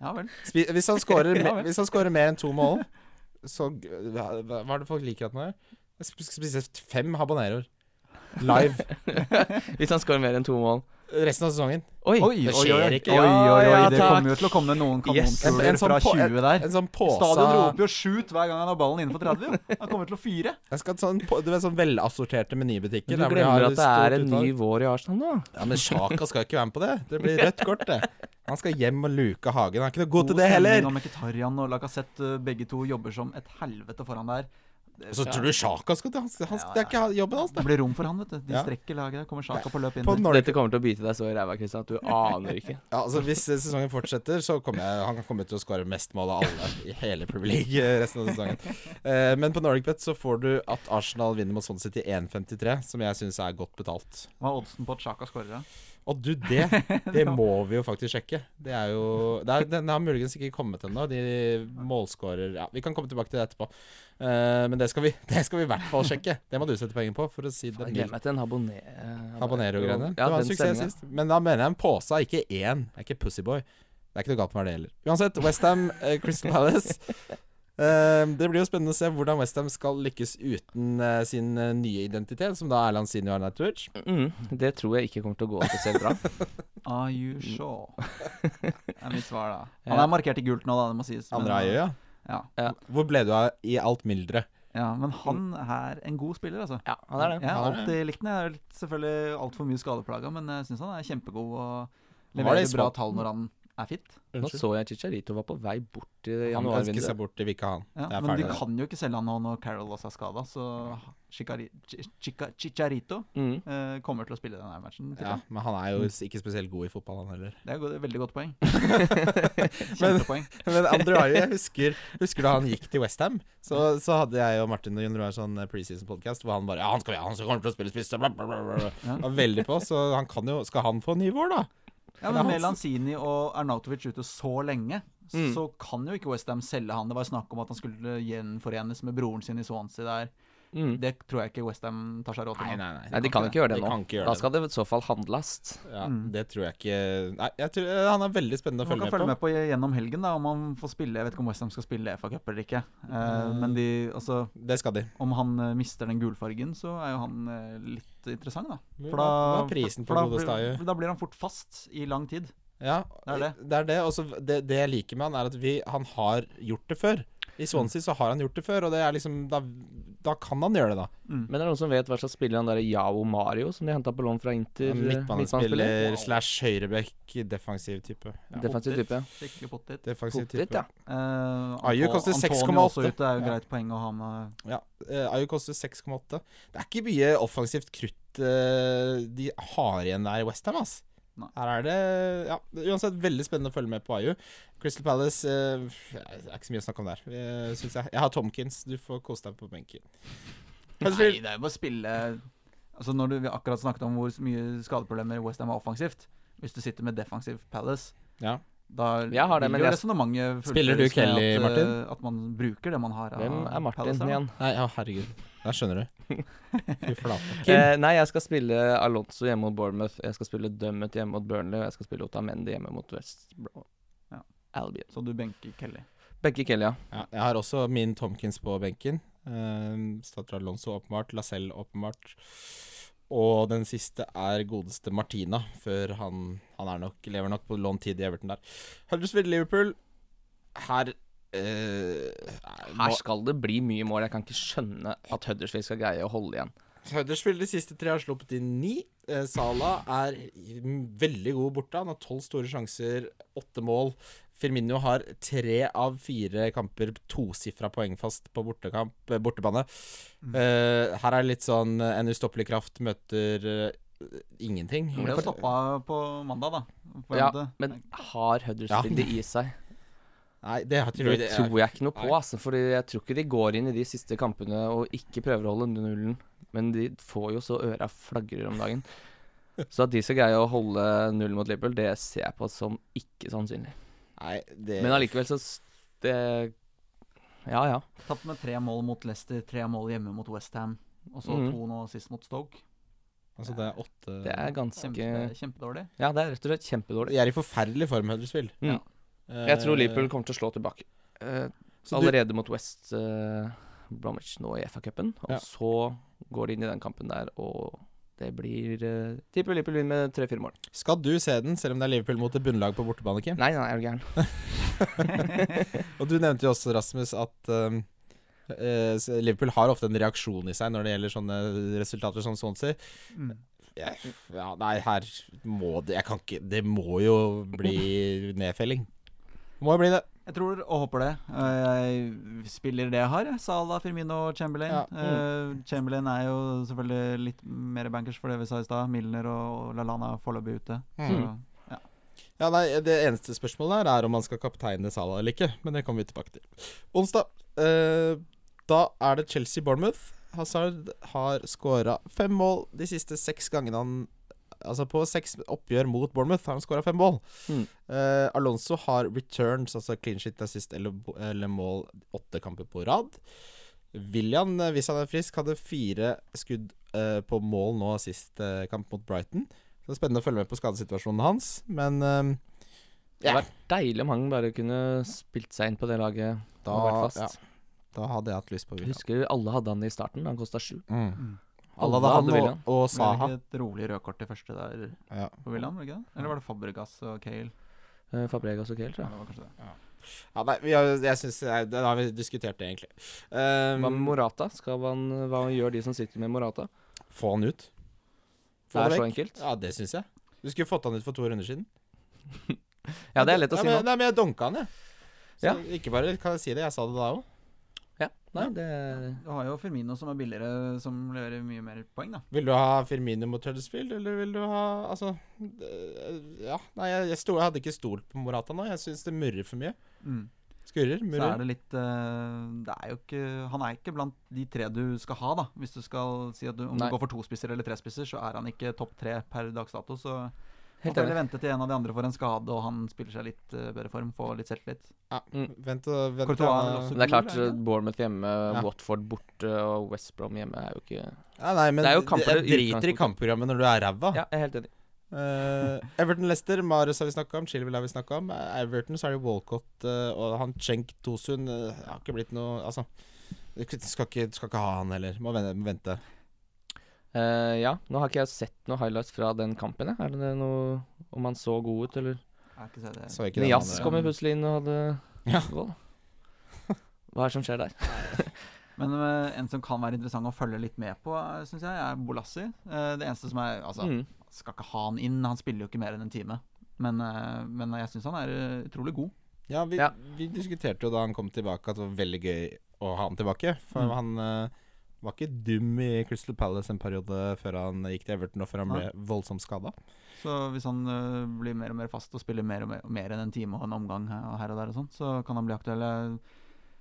[SPEAKER 4] ja vel.
[SPEAKER 3] Spi- Hvis han
[SPEAKER 4] [LAUGHS]
[SPEAKER 3] scorer,
[SPEAKER 4] Ja vel.
[SPEAKER 3] hvis han scorer mer enn to mål, så g- Hva hva er det folk liker at han gjør? Jeg sp- skal spise fem habaneroer. Live.
[SPEAKER 2] Hvis han skårer mer enn to mål.
[SPEAKER 3] Resten av
[SPEAKER 2] [LAUGHS]
[SPEAKER 3] sesongen.
[SPEAKER 2] Oi!
[SPEAKER 4] Oi,
[SPEAKER 3] det
[SPEAKER 4] oi,
[SPEAKER 3] skjer
[SPEAKER 4] oi,
[SPEAKER 3] ikke.
[SPEAKER 4] Oi, oi, oi.
[SPEAKER 2] Ja,
[SPEAKER 4] Det
[SPEAKER 2] takk.
[SPEAKER 4] kommer jo til å komme noen
[SPEAKER 2] Yes.
[SPEAKER 3] En-
[SPEAKER 4] kanonkuler
[SPEAKER 3] en sånn
[SPEAKER 4] fra
[SPEAKER 3] på-
[SPEAKER 4] 20 der.
[SPEAKER 3] En sånn
[SPEAKER 4] Stadion
[SPEAKER 3] pose
[SPEAKER 4] roper jo 'shoot' hver gang han har ballen innenfor 30. jo. Han kommer til å fyre.
[SPEAKER 3] Jeg skal ha sånn, på- Du vet sånn velassorterte menybutikker.
[SPEAKER 2] Du
[SPEAKER 3] der hvor de har
[SPEAKER 2] glemmer at det
[SPEAKER 3] stort
[SPEAKER 2] er en ny
[SPEAKER 3] utvalg.
[SPEAKER 2] vår i Arsenal nå.
[SPEAKER 3] Ja, Men Sjaka skal ikke være med på det. Det blir rødt kort, det. Han skal hjem og luke Hagen. Han er ikke noe god til det
[SPEAKER 4] stemning
[SPEAKER 3] heller.
[SPEAKER 4] Og Mkhitaryan og Lacassette eh, begge to jobber som et helvete foran der.
[SPEAKER 3] Og Så tror du Sjaka skal til han, skal- han, skal- Det er ikke jobben hans,
[SPEAKER 4] Det
[SPEAKER 3] det.
[SPEAKER 4] blir rom for han, vet du. De
[SPEAKER 3] Ja.
[SPEAKER 4] strekker laget der. Kommer Sjaka på løp inn.
[SPEAKER 3] På
[SPEAKER 4] der.
[SPEAKER 3] Nordic
[SPEAKER 2] Dette kommer til å bite deg så i ræva, Christian, at du aner ikke.
[SPEAKER 3] Ja, altså Hvis eh, sesongen fortsetter, så kommer jeg, han kommer til å skåre mest mål av alle i hele Premier League eh, resten av sesongen. Eh, men på Nordic Bet så får du at Arsenal vinner mot Swansea til 1,53, som jeg syns er godt betalt.
[SPEAKER 4] Hva er oddsen på at Sjaka scorer? da?
[SPEAKER 3] Og du, det Det må vi jo faktisk sjekke. Det er jo det er, Den har muligens ikke kommet ennå. De målskårer Ja, vi kan komme tilbake til det etterpå. Eh, men det skal, vi, det skal vi i hvert fall sjekke. Det må du sette penger på, for å si det
[SPEAKER 2] Jeg
[SPEAKER 3] mildt.
[SPEAKER 2] gleder meg til en habone...
[SPEAKER 3] Habanero-greiene.
[SPEAKER 2] Ja,
[SPEAKER 3] det var en
[SPEAKER 2] den
[SPEAKER 3] suksess
[SPEAKER 2] stemningen.
[SPEAKER 3] sist. Men da mener jeg en pose, ikke
[SPEAKER 2] [LAUGHS]
[SPEAKER 3] én. Det er ikke Pussyboy. Det er ikke noe galt med det heller. Uansett, Westham, Crystal eh, Palace. Eh, det blir jo spennende å se hvordan Westham skal lykkes uten eh, sin eh, nye identitet, som da er Lanzini og Arnautovic.
[SPEAKER 2] Mm, det tror jeg ikke kommer til å gå spesielt bra.
[SPEAKER 4] Are
[SPEAKER 3] Mm.
[SPEAKER 4] you
[SPEAKER 3] [LAUGHS]
[SPEAKER 4] sure? Det er mitt svar, da. Han er markert i gult nå, da, det må sies. men-
[SPEAKER 3] Andre øya.
[SPEAKER 4] Ja.
[SPEAKER 3] Hvor ble du av i alt mylderet?
[SPEAKER 4] ja, men han er en god spiller, altså.
[SPEAKER 2] Ja, han er
[SPEAKER 4] Jeg
[SPEAKER 2] det.
[SPEAKER 4] har
[SPEAKER 3] Han er det.
[SPEAKER 4] alltid likt den. Jeg er litt, selvfølgelig altfor mye skadeplaga, men jeg syns han er kjempegod og
[SPEAKER 3] Var det
[SPEAKER 4] leverer
[SPEAKER 3] i
[SPEAKER 4] bra
[SPEAKER 3] Spal-
[SPEAKER 4] tall når han er fit.
[SPEAKER 2] Nå så jeg Chicharito var på vei bort i
[SPEAKER 3] Han ønsker
[SPEAKER 2] januarvinduet.
[SPEAKER 3] seg bort, de vil ikke ha han.
[SPEAKER 4] Ja,
[SPEAKER 3] det er
[SPEAKER 4] men de
[SPEAKER 3] ferdig.
[SPEAKER 4] kan jo ikke selge han nå når Carol også er skada, så Chicari- Chi- Chica- Chicharito
[SPEAKER 2] Mm.
[SPEAKER 4] eh, kommer til å spille denne matchen. tipper
[SPEAKER 3] Ja,
[SPEAKER 4] jeg.
[SPEAKER 3] men han er jo s- ikke spesielt god i fotball, han heller.
[SPEAKER 4] Det er et veldig godt
[SPEAKER 3] [LAUGHS]
[SPEAKER 4] poeng. Kjempepoeng.
[SPEAKER 3] Men Andre Ayew, jeg husker, husker da han gikk til Westham, så, så hadde jeg og Martin og Jon Roar sånn preseason-podkast hvor han bare Ja, han skal, ja, han skal komme til å spille spiss, bla, bla, bla, bla.
[SPEAKER 4] Ja.
[SPEAKER 3] Var veldig på, så han kan jo Skal han få ny vår, da?
[SPEAKER 4] Ja, men med Lanzini og Arnautovic ute så lenge,
[SPEAKER 2] Mm.
[SPEAKER 4] så kan jo ikke Westham selge han. Det var snakk om at han skulle gjenforenes med broren sin i Swansea der.
[SPEAKER 2] Mm.
[SPEAKER 4] Det tror jeg ikke Westham tar seg råd til. nå.
[SPEAKER 3] nei.
[SPEAKER 2] Nei, de kan ikke gjøre det
[SPEAKER 3] De
[SPEAKER 2] nå.
[SPEAKER 3] kan ikke gjøre
[SPEAKER 2] Da
[SPEAKER 3] det.
[SPEAKER 2] skal det i så fall handles.
[SPEAKER 3] Ja,
[SPEAKER 4] Mm.
[SPEAKER 3] Det tror jeg ikke Nei, jeg tror, eh, han er veldig spennende å
[SPEAKER 4] Man
[SPEAKER 3] følge
[SPEAKER 4] kan
[SPEAKER 3] med
[SPEAKER 4] følge
[SPEAKER 3] på.
[SPEAKER 4] med på gjennom helgen da, om han får spille. Jeg vet ikke om Westham skal spille FA-cup eller ikke. Eh,
[SPEAKER 3] Mm.
[SPEAKER 4] men de, altså,
[SPEAKER 3] Det skal de.
[SPEAKER 4] om han eh, mister den gulfargen, så er jo han eh, litt interessant, da. For da,
[SPEAKER 3] Hva er prisen på
[SPEAKER 4] for da
[SPEAKER 3] Godes
[SPEAKER 4] blir-
[SPEAKER 3] Daje?
[SPEAKER 4] Da blir han fort fast i lang tid.
[SPEAKER 3] Ja,
[SPEAKER 4] Det er det.
[SPEAKER 3] Det er det. Og så det, det jeg liker med han, er at vi, han har gjort det før. I Swansea så har han gjort det før, og det er liksom Da, da kan han gjøre det, da.
[SPEAKER 2] Men er det noen som vet hva slags spiller han der Yao Mario som de henta på lån fra Inter? eh, midtbanespiller?
[SPEAKER 3] Midtbanespiller slash høyrebekk, defensiv type. Ja.
[SPEAKER 2] Defensiv type.
[SPEAKER 4] Skikkelig pottit.
[SPEAKER 3] Defensiv
[SPEAKER 2] Potet,
[SPEAKER 3] type.
[SPEAKER 2] ja.
[SPEAKER 4] Eh, Anto-
[SPEAKER 3] Ayew koster
[SPEAKER 4] Antonio også
[SPEAKER 3] 6,8.
[SPEAKER 4] ute, Det er jo
[SPEAKER 3] Ja.
[SPEAKER 4] greit poeng å ha med.
[SPEAKER 3] Ja. eh, Ayu koster 6,8. Det er ikke mye offensivt krutt eh, de har igjen der i Westham, ass.
[SPEAKER 4] Nei.
[SPEAKER 3] Her er det ja, uansett veldig spennende å følge med på Ayu. Crystal Palace eh, Det er ikke så mye å snakke om der, eh, syns jeg. Jeg har Tomkins, du får kose deg på benken.
[SPEAKER 4] Nei,
[SPEAKER 3] Huddersfield-
[SPEAKER 4] det er jo bare å spille Altså Når du vi har akkurat snakket om hvor mye skadeproblemer Westham har offensivt Hvis du sitter med defensiv Palace
[SPEAKER 3] Ja.
[SPEAKER 4] da
[SPEAKER 2] Jeg har det,
[SPEAKER 4] vil
[SPEAKER 2] men
[SPEAKER 4] jo
[SPEAKER 2] jeg-
[SPEAKER 4] resonnementet
[SPEAKER 3] Spiller du
[SPEAKER 4] fullføres med
[SPEAKER 3] Kelly,
[SPEAKER 4] at, eh,
[SPEAKER 3] Martin?
[SPEAKER 4] At man bruker det man har. av
[SPEAKER 2] Hvem er
[SPEAKER 4] Palace her,
[SPEAKER 2] Martin
[SPEAKER 4] da.
[SPEAKER 2] igjen?
[SPEAKER 3] Nei, ja, herregud. Der skjønner du. [LAUGHS] Fy flate. Kim?
[SPEAKER 2] Eh, nei, jeg skal spille Alonso hjemme mot Bournemouth. Jeg skal spille Dummet hjemme mot Burnley. Og jeg skal spille Otamendi hjemme mot West Brom.
[SPEAKER 4] Ja.
[SPEAKER 2] Albion.
[SPEAKER 4] Så du benker Kelly.
[SPEAKER 2] Begge Kelia.
[SPEAKER 3] Ja, jeg har også min Tomkins på benken. Um, Statra Alonso, åpenbart. Lacelle, åpenbart. Og den siste er godeste Martina, før han, han er nok, lever nok på lånt tid i Everton der. Huddersfield-Liverpool Her eh,
[SPEAKER 2] Her
[SPEAKER 3] må-
[SPEAKER 2] skal det bli mye mål. Jeg kan ikke skjønne at Huddersfield skal greie å holde igjen.
[SPEAKER 3] Huddersfield de siste tre har sluppet inn ni. Eh, Salah er i- m- veldig god borte. Han har tolv store sjanser, åtte mål. Firmino har tre av fire kamper tosifra poengfast på bortekamp, eh, bortebane. Eh, her er litt sånn eh, en ustoppelig kraft møter eh, ingenting.
[SPEAKER 4] Han ble jo
[SPEAKER 3] For-
[SPEAKER 4] stoppa på mandag, da. På
[SPEAKER 2] Ja,
[SPEAKER 4] Emde.
[SPEAKER 2] men har Huddersfield det i seg?
[SPEAKER 3] Nei, det har tror
[SPEAKER 2] Det
[SPEAKER 3] jeg det er-
[SPEAKER 2] tror jeg ikke noe på,
[SPEAKER 3] Nei.
[SPEAKER 2] altså. For jeg tror ikke de går inn i de siste kampene og ikke prøver å holde nullen. Men de får jo så øra flagrer om dagen. Så at de skal greie å holde nullen mot Liverpool, det ser jeg på som ikke sannsynlig.
[SPEAKER 3] Nei, det
[SPEAKER 2] Men allikevel så s- det Ja, ja.
[SPEAKER 4] Tapt med tre mål mot Leicester, tre mål hjemme mot Westham. Og så
[SPEAKER 2] Mhm.
[SPEAKER 4] to nå sist mot Stoke.
[SPEAKER 3] Altså, det er åtte
[SPEAKER 2] Det er ganske
[SPEAKER 4] Kjempe, Kjempedårlig.
[SPEAKER 2] Ja, det er rett og slett kjempedårlig.
[SPEAKER 3] De er i forferdelig form, Huddersfield.
[SPEAKER 2] Mm.
[SPEAKER 3] Eh,
[SPEAKER 2] Jeg tror Liverpool kommer til å slå tilbake. Eh,
[SPEAKER 3] så du-
[SPEAKER 2] allerede mot West eh, Bromwich nå i FA-cupen. Og
[SPEAKER 3] Ja.
[SPEAKER 2] så går de inn i den kampen der, og det blir uh, Tipper Liverpool vinner med tre-fire mål.
[SPEAKER 3] Skal du se den, selv om det er Liverpool mot et bunnlag på bortebane, Kim?
[SPEAKER 2] Nei, nei, er du gæren.
[SPEAKER 3] Og du nevnte jo også, Rasmus, at um, eh, s- Liverpool har ofte en reaksjon i seg når det gjelder sånne resultater som Swansea.
[SPEAKER 4] Mm.
[SPEAKER 3] Jeg, ja, nei, her må det Jeg kan ikke Det må jo bli nedfelling. Må jo bli det.
[SPEAKER 4] Jeg tror og håper det. Eh, Jeg spiller det jeg har. jeg. Salah, Firmino og Chamberlain.
[SPEAKER 3] Ja.
[SPEAKER 4] Eh, Chamberlain er jo selvfølgelig litt mer bankers for det vi sa i stad. Milner og Lallana er foreløpig ute.
[SPEAKER 2] Mm.
[SPEAKER 4] Så
[SPEAKER 3] Ja, nei, Det eneste spørsmålet her er om man skal kapteine Salah eller ikke, men det kommer vi tilbake til. Onsdag. eh, da er det Chelsea-Bournemouth. Hazard har skåra fem mål de siste seks gangene han Altså på seks oppgjør mot Bournemouth har han skåra fem mål.
[SPEAKER 2] Mm.
[SPEAKER 3] Eh, Alonso har returns, altså clean shit assist eller, bo- eller mål åtte kamper på rad. William, eh, hvis han er frisk, hadde fire skudd eh, på mål nå sist eh, kamp mot Brighton. Så det er spennende å følge med på skadesituasjonen hans, men eh,
[SPEAKER 2] Det
[SPEAKER 3] Ja.
[SPEAKER 2] hadde vært deilig om han bare kunne spilt seg inn på det laget.
[SPEAKER 3] Da,
[SPEAKER 2] og vært
[SPEAKER 3] ja,
[SPEAKER 2] fast.
[SPEAKER 3] da hadde jeg hatt lyst på
[SPEAKER 2] Jeg
[SPEAKER 3] William.
[SPEAKER 2] Husker alle hadde han i starten. Han kosta sju.
[SPEAKER 3] Mm.
[SPEAKER 4] Mm.
[SPEAKER 3] Alle hadde han og,
[SPEAKER 2] William.
[SPEAKER 3] og
[SPEAKER 4] Ble det
[SPEAKER 3] Saha.
[SPEAKER 4] ikke et rolig rødkort til første der
[SPEAKER 3] Ja.
[SPEAKER 4] på William? Eller var det Fabregas og Cale?
[SPEAKER 2] Eh, Fabregas og Kael,
[SPEAKER 4] Ja,
[SPEAKER 2] tror jeg.
[SPEAKER 4] det var kanskje det.
[SPEAKER 3] Ja, nei, vi har, jeg synes, nei, det har vi diskutert det, egentlig. Ehm,
[SPEAKER 2] Hva med Morata? Skal man, hva gjør de som sitter med Morata?
[SPEAKER 3] få han ut.
[SPEAKER 2] Det er
[SPEAKER 3] han
[SPEAKER 2] så
[SPEAKER 3] vekk.
[SPEAKER 2] enkelt.
[SPEAKER 3] Ja, det syns jeg. Du skulle fått han ut for to runder siden.
[SPEAKER 2] Ja, det er lett å
[SPEAKER 3] Nei,
[SPEAKER 2] si
[SPEAKER 3] men-
[SPEAKER 2] nå.
[SPEAKER 3] Nei, men jeg donka han, jeg. Så
[SPEAKER 2] Ja.
[SPEAKER 3] Ikke bare kan jeg si det, jeg sa det da òg.
[SPEAKER 2] Ja, nei, det er-
[SPEAKER 4] Du har jo Firmino som er billigere, som leverer mye mer poeng, da.
[SPEAKER 3] Vil du ha Firmino mot Huddersfield, eller vil du ha Altså det- Ja. Nei, jeg, jeg, sto, jeg hadde ikke stolt på Morata nå. Jeg syns det murrer for mye.
[SPEAKER 4] Mm.
[SPEAKER 3] Skurrer,
[SPEAKER 4] Så er
[SPEAKER 3] murrer.
[SPEAKER 4] det litt eh, Det er jo ikke Han er ikke blant de tre du skal ha, da. Hvis du skal si at du, om
[SPEAKER 2] Nei.
[SPEAKER 4] du går for to spisser eller tre spisser, så er han ikke topp tre per dags dato. Så man
[SPEAKER 2] Helt
[SPEAKER 4] får
[SPEAKER 2] enig.
[SPEAKER 4] heller vente til en av de andre får en skade, og han spiller seg litt eh, bedre form, får litt selvtillit.
[SPEAKER 3] Ja,
[SPEAKER 2] Mm.
[SPEAKER 3] vent og vent.
[SPEAKER 4] Courtois
[SPEAKER 3] ja.
[SPEAKER 4] er vel også
[SPEAKER 2] Men det er klart, eh,
[SPEAKER 4] Gul, er det ikke?
[SPEAKER 2] Bournemouth hjemme,
[SPEAKER 3] Ja.
[SPEAKER 2] Watford borte og West Brom hjemme er jo ikke
[SPEAKER 3] ja, nei, men
[SPEAKER 2] Det er jo
[SPEAKER 3] d-
[SPEAKER 2] kamper
[SPEAKER 3] jeg
[SPEAKER 2] i
[SPEAKER 3] driter i
[SPEAKER 2] utgangspunktet.
[SPEAKER 3] kampprogrammet når du er ræva.
[SPEAKER 2] Ja, jeg er helt enig.
[SPEAKER 3] Eh, Everton Leicester, Marius har vi snakka om, Chilwell har vi snakka om. Eh, Everton så er det Walcott eh, og han Cenk Tosun eh, har ikke blitt noe Altså, du skal ikke, skal ikke ha han heller. Må vente. Må vente.
[SPEAKER 2] Eh, ja, nå har ikke jeg sett noen highlights fra den kampen. Jeg. Er det noe om han så god ut, eller
[SPEAKER 4] Jeg har ikke sett det.
[SPEAKER 3] Så ikke den
[SPEAKER 2] Nias
[SPEAKER 3] andre.
[SPEAKER 2] kom jo plutselig inn og hadde
[SPEAKER 3] Ja.
[SPEAKER 2] vold. Hva er det som skjer der?
[SPEAKER 4] Men eh, en som kan være interessant å følge litt med på, syns jeg, er Bolassi. Eh, det eneste som er Altså,
[SPEAKER 2] Mm.
[SPEAKER 4] skal ikke ha han inn, han spiller jo ikke mer enn en time. Men, eh, men jeg syns han er eh, utrolig god.
[SPEAKER 3] Ja, vi,
[SPEAKER 2] Ja.
[SPEAKER 3] vi diskuterte jo da han kom tilbake, at det var veldig gøy å ha han tilbake. For
[SPEAKER 4] Mm.
[SPEAKER 3] han eh, var ikke dum i Crystal Palace en periode før han gikk til Everton, og før han ble
[SPEAKER 4] Nei.
[SPEAKER 3] voldsomt skada.
[SPEAKER 4] Så hvis han øh, blir mer og mer fast og spiller mer og mer, mer enn en time og en omgang her og her og der, og sånn, så kan han bli aktuell.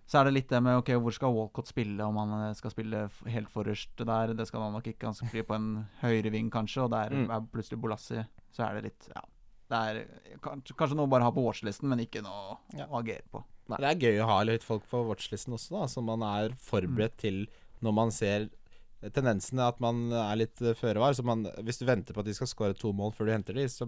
[SPEAKER 4] Så er det litt det med ok, hvor skal Walcott spille, om han øh, skal spille f- helt forrest der. Det skal han nok ikke. Han skal bli på en høyre ving, kanskje, og der
[SPEAKER 2] Mm.
[SPEAKER 4] er plutselig Bolassi. Så er det litt Ja. Det er kanskje, kanskje noe å bare ha på watchlisten, men ikke noe
[SPEAKER 3] Ja.
[SPEAKER 4] å agere på.
[SPEAKER 2] Nei.
[SPEAKER 3] Det er gøy å ha litt folk på watchlisten også, da, som man er
[SPEAKER 4] Mm.
[SPEAKER 3] forberedt til når man ser tendensene at man er litt eh, føre var. Så man, hvis du venter på at de skal skåre to mål før du henter de, så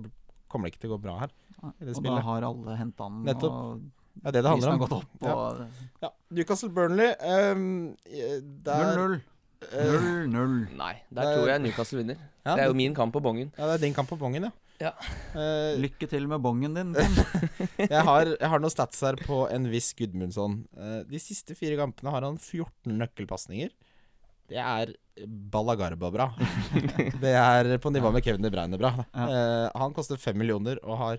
[SPEAKER 3] kommer det ikke til å gå bra her. det
[SPEAKER 4] Og da
[SPEAKER 3] spillet.
[SPEAKER 4] har alle henta han,
[SPEAKER 3] Nettopp.
[SPEAKER 4] og
[SPEAKER 3] Det er det det
[SPEAKER 4] prisen har
[SPEAKER 3] handler
[SPEAKER 4] gått
[SPEAKER 3] om.
[SPEAKER 4] opp. Og
[SPEAKER 3] Ja. Newcastle Burnley ehm, eh, der,
[SPEAKER 4] 0-0.
[SPEAKER 3] eh,
[SPEAKER 4] 0-0.
[SPEAKER 2] Nei,
[SPEAKER 3] Det
[SPEAKER 2] der
[SPEAKER 3] er-
[SPEAKER 2] tror jeg Newcastle vinner.
[SPEAKER 3] ja,
[SPEAKER 2] Det
[SPEAKER 3] det,
[SPEAKER 2] er jo min kamp på bongen.
[SPEAKER 3] ja, det er din kamp på bongen, ja.
[SPEAKER 2] Ja.
[SPEAKER 3] Eh,
[SPEAKER 4] Lykke til med bongen din.
[SPEAKER 3] jeg, har, jeg har noen stats her på en viss Gudmundsson. Eh, de siste fire kampene har han 14 nøkkelpasninger. Det er
[SPEAKER 2] [LAUGHS]
[SPEAKER 3] Ballagarba-bra. det er på nivå med Kevin De Bruyne-bra. Eh, han koster 5 millioner og har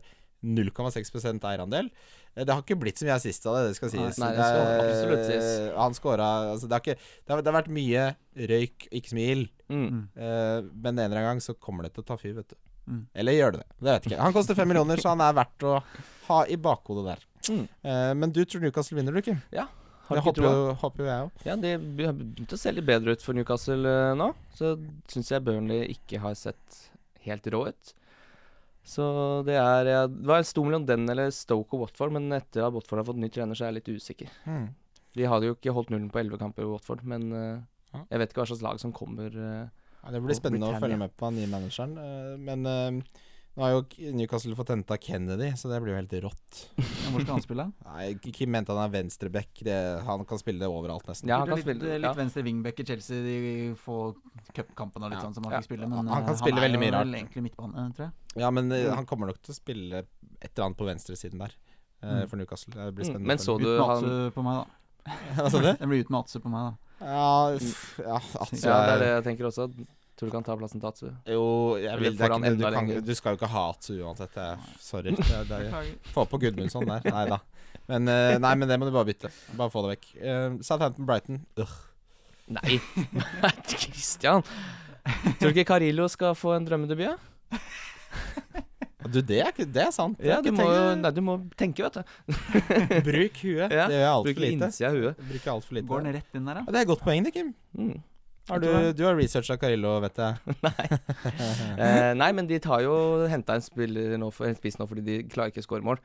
[SPEAKER 3] 0,6 eierandel. Eh, Det har ikke blitt så mye assist av det, det skal sies.
[SPEAKER 2] Nei, det skal
[SPEAKER 3] er-
[SPEAKER 2] absolutt sies.
[SPEAKER 3] Han scora altså, det, har ikke- det, har- det har vært mye røyk, ikke så mye ild.
[SPEAKER 2] Mm.
[SPEAKER 3] Eh, men en eller annen gang så kommer det til å ta fyr, vet du.
[SPEAKER 4] Mm.
[SPEAKER 3] Eller gjør det det? Det vet jeg ikke. Han koster fem millioner, så han er verdt å ha i bakhodet der.
[SPEAKER 2] Mm.
[SPEAKER 3] Eh, men du tror Newcastle vinner, du, Kim?
[SPEAKER 2] Har
[SPEAKER 3] det håper
[SPEAKER 2] ikke troa.
[SPEAKER 3] jo, håper jo jeg òg.
[SPEAKER 2] Ja, det be- har begynt å se litt bedre ut for Newcastle eh, nå. Så syns jeg Burnley ikke har sett helt rå ut. Så det er ja, Det var en stor mellom den eller Stoke og Watford, men etter at Watford har fått ny trener, så er jeg litt usikker.
[SPEAKER 3] Mm.
[SPEAKER 2] De hadde jo ikke holdt nullen på 11 kamper i Watford, men eh,
[SPEAKER 3] Ja.
[SPEAKER 2] jeg vet ikke hva slags lag som kommer. eh.
[SPEAKER 3] Ja, det blir
[SPEAKER 2] Og
[SPEAKER 3] spennende å
[SPEAKER 2] Britannia.
[SPEAKER 3] følge med på den nye manageren. Eh, men eh, nå har jo K- Newcastle fått henta Kennedy, så det blir jo helt rått.
[SPEAKER 4] Hvor skal han spille?
[SPEAKER 3] Nei, K- Kim mente han er venstreback. Det- Han kan spille det overalt, nesten.
[SPEAKER 2] Ja, han kan
[SPEAKER 4] litt, eh,
[SPEAKER 2] spille.
[SPEAKER 4] litt
[SPEAKER 2] Ja.
[SPEAKER 4] venstre wingback i Chelsea de få cupkampene og litt
[SPEAKER 3] Ja,
[SPEAKER 4] sånn som han
[SPEAKER 2] ja.
[SPEAKER 4] fikk spille.
[SPEAKER 3] Han-
[SPEAKER 4] Men
[SPEAKER 3] han kan
[SPEAKER 4] eh,
[SPEAKER 3] spille
[SPEAKER 4] er
[SPEAKER 3] veldig
[SPEAKER 4] jo
[SPEAKER 3] mye
[SPEAKER 4] vel egentlig midtbane, tror jeg.
[SPEAKER 3] Ja, men eh,
[SPEAKER 2] Mm.
[SPEAKER 3] han kommer nok til å spille et eller annet på venstresiden der. eh,
[SPEAKER 4] Mm.
[SPEAKER 3] For Newcastle. Det blir
[SPEAKER 2] Mm,
[SPEAKER 3] spennende.
[SPEAKER 2] Men
[SPEAKER 3] å [LAUGHS]
[SPEAKER 2] så
[SPEAKER 3] følge
[SPEAKER 2] du
[SPEAKER 4] Uten Atsu
[SPEAKER 2] han
[SPEAKER 4] på meg, da.
[SPEAKER 3] med. Hva sa du?
[SPEAKER 4] Den blir uten Atsu på meg, da.
[SPEAKER 3] Ja, f- ja, Atsu
[SPEAKER 2] Ja, det er det jeg tenker også. Tror du ikke han tar plassen til Atsu?
[SPEAKER 3] Jo, jeg
[SPEAKER 2] Eller
[SPEAKER 3] vil det er
[SPEAKER 2] får han
[SPEAKER 3] ikke, du,
[SPEAKER 2] enda
[SPEAKER 3] kan,
[SPEAKER 2] lenger?
[SPEAKER 3] du skal jo ikke ha Atsu uansett. det er- Sorry. Det, er- det, er- få på Gudmundsson der. Nei da. Men, eh, nei, men det må du bare bytte. Bare få det vekk. Eh, Southampton-Brighton.
[SPEAKER 2] Nei, [LAUGHS] Christian! Tror du ikke Carillo skal få en drømmedebut? ja?
[SPEAKER 3] Du, det er, ikke- det er sant.
[SPEAKER 2] Ja,
[SPEAKER 3] Jeg
[SPEAKER 2] du
[SPEAKER 3] har
[SPEAKER 2] må
[SPEAKER 3] ikke
[SPEAKER 2] jo
[SPEAKER 3] tenkt-
[SPEAKER 2] Nei, du må tenke, vet du.
[SPEAKER 3] [LAUGHS] Bruk huet.
[SPEAKER 2] Ja,
[SPEAKER 3] Det gjør jeg altfor
[SPEAKER 2] Bruke
[SPEAKER 3] lite.
[SPEAKER 2] innsida av huet.
[SPEAKER 3] Bruker alt for lite.
[SPEAKER 2] eh.
[SPEAKER 4] Går den rett inn der,
[SPEAKER 3] Ja,
[SPEAKER 4] da?
[SPEAKER 3] det er et godt poeng, det, Kim.
[SPEAKER 2] Mm.
[SPEAKER 3] Har du, du har researcha Carillo, vet jeg. [LAUGHS]
[SPEAKER 2] Eh, nei, men de tar jo henta en spiller nå for, en spiss nå fordi de klarer ikke å skåre mål.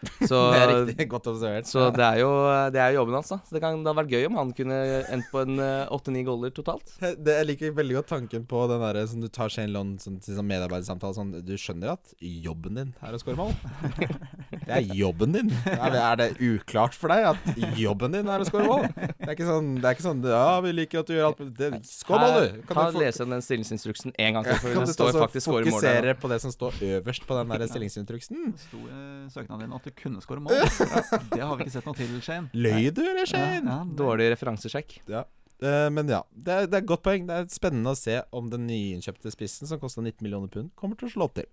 [SPEAKER 2] Så,
[SPEAKER 3] Det er riktig. Godt observert.
[SPEAKER 2] så det er jo det er jo jobben hans, da. Så det, kan, det hadde vært gøy om han kunne endt på en eh, åtte-ni goller totalt.
[SPEAKER 3] Det, jeg liker veldig godt tanken på den der, som du tar Shane Lund sånn, til sånn medarbeidersamtale sånn Du skjønner at jobben din er å score
[SPEAKER 2] [LAUGHS]
[SPEAKER 3] mål? Det er jobben din. Er det, er det uklart for deg at jobben din er å score mål? Det er ikke sånn, det er ikke sånn Ja, vi liker at du gjør alt men det- Skår mål, du!
[SPEAKER 2] Ta
[SPEAKER 3] Kan du, fo-
[SPEAKER 2] Lese den stillingsinstruksen en
[SPEAKER 3] [LAUGHS]
[SPEAKER 2] gang til, for
[SPEAKER 3] kan
[SPEAKER 2] det
[SPEAKER 3] du ta
[SPEAKER 2] står
[SPEAKER 3] så
[SPEAKER 2] faktisk skåre mål der.
[SPEAKER 3] fokusere på det som står øverst på den der stillingsinstruksen?
[SPEAKER 4] Det sto i søknaden din at du kunne skåre
[SPEAKER 2] [LAUGHS]
[SPEAKER 4] mål. Ja, det har vi ikke sett noe til, Shane.
[SPEAKER 3] Løy du, eller, Shane?
[SPEAKER 4] Ja, ja, det-
[SPEAKER 2] Dårlig referansesjekk.
[SPEAKER 3] Eh, men ja, det er, det er et godt poeng. Det er spennende å se om den nyinnkjøpte spissen, som kosta 19 millioner pund, kommer til å slå til.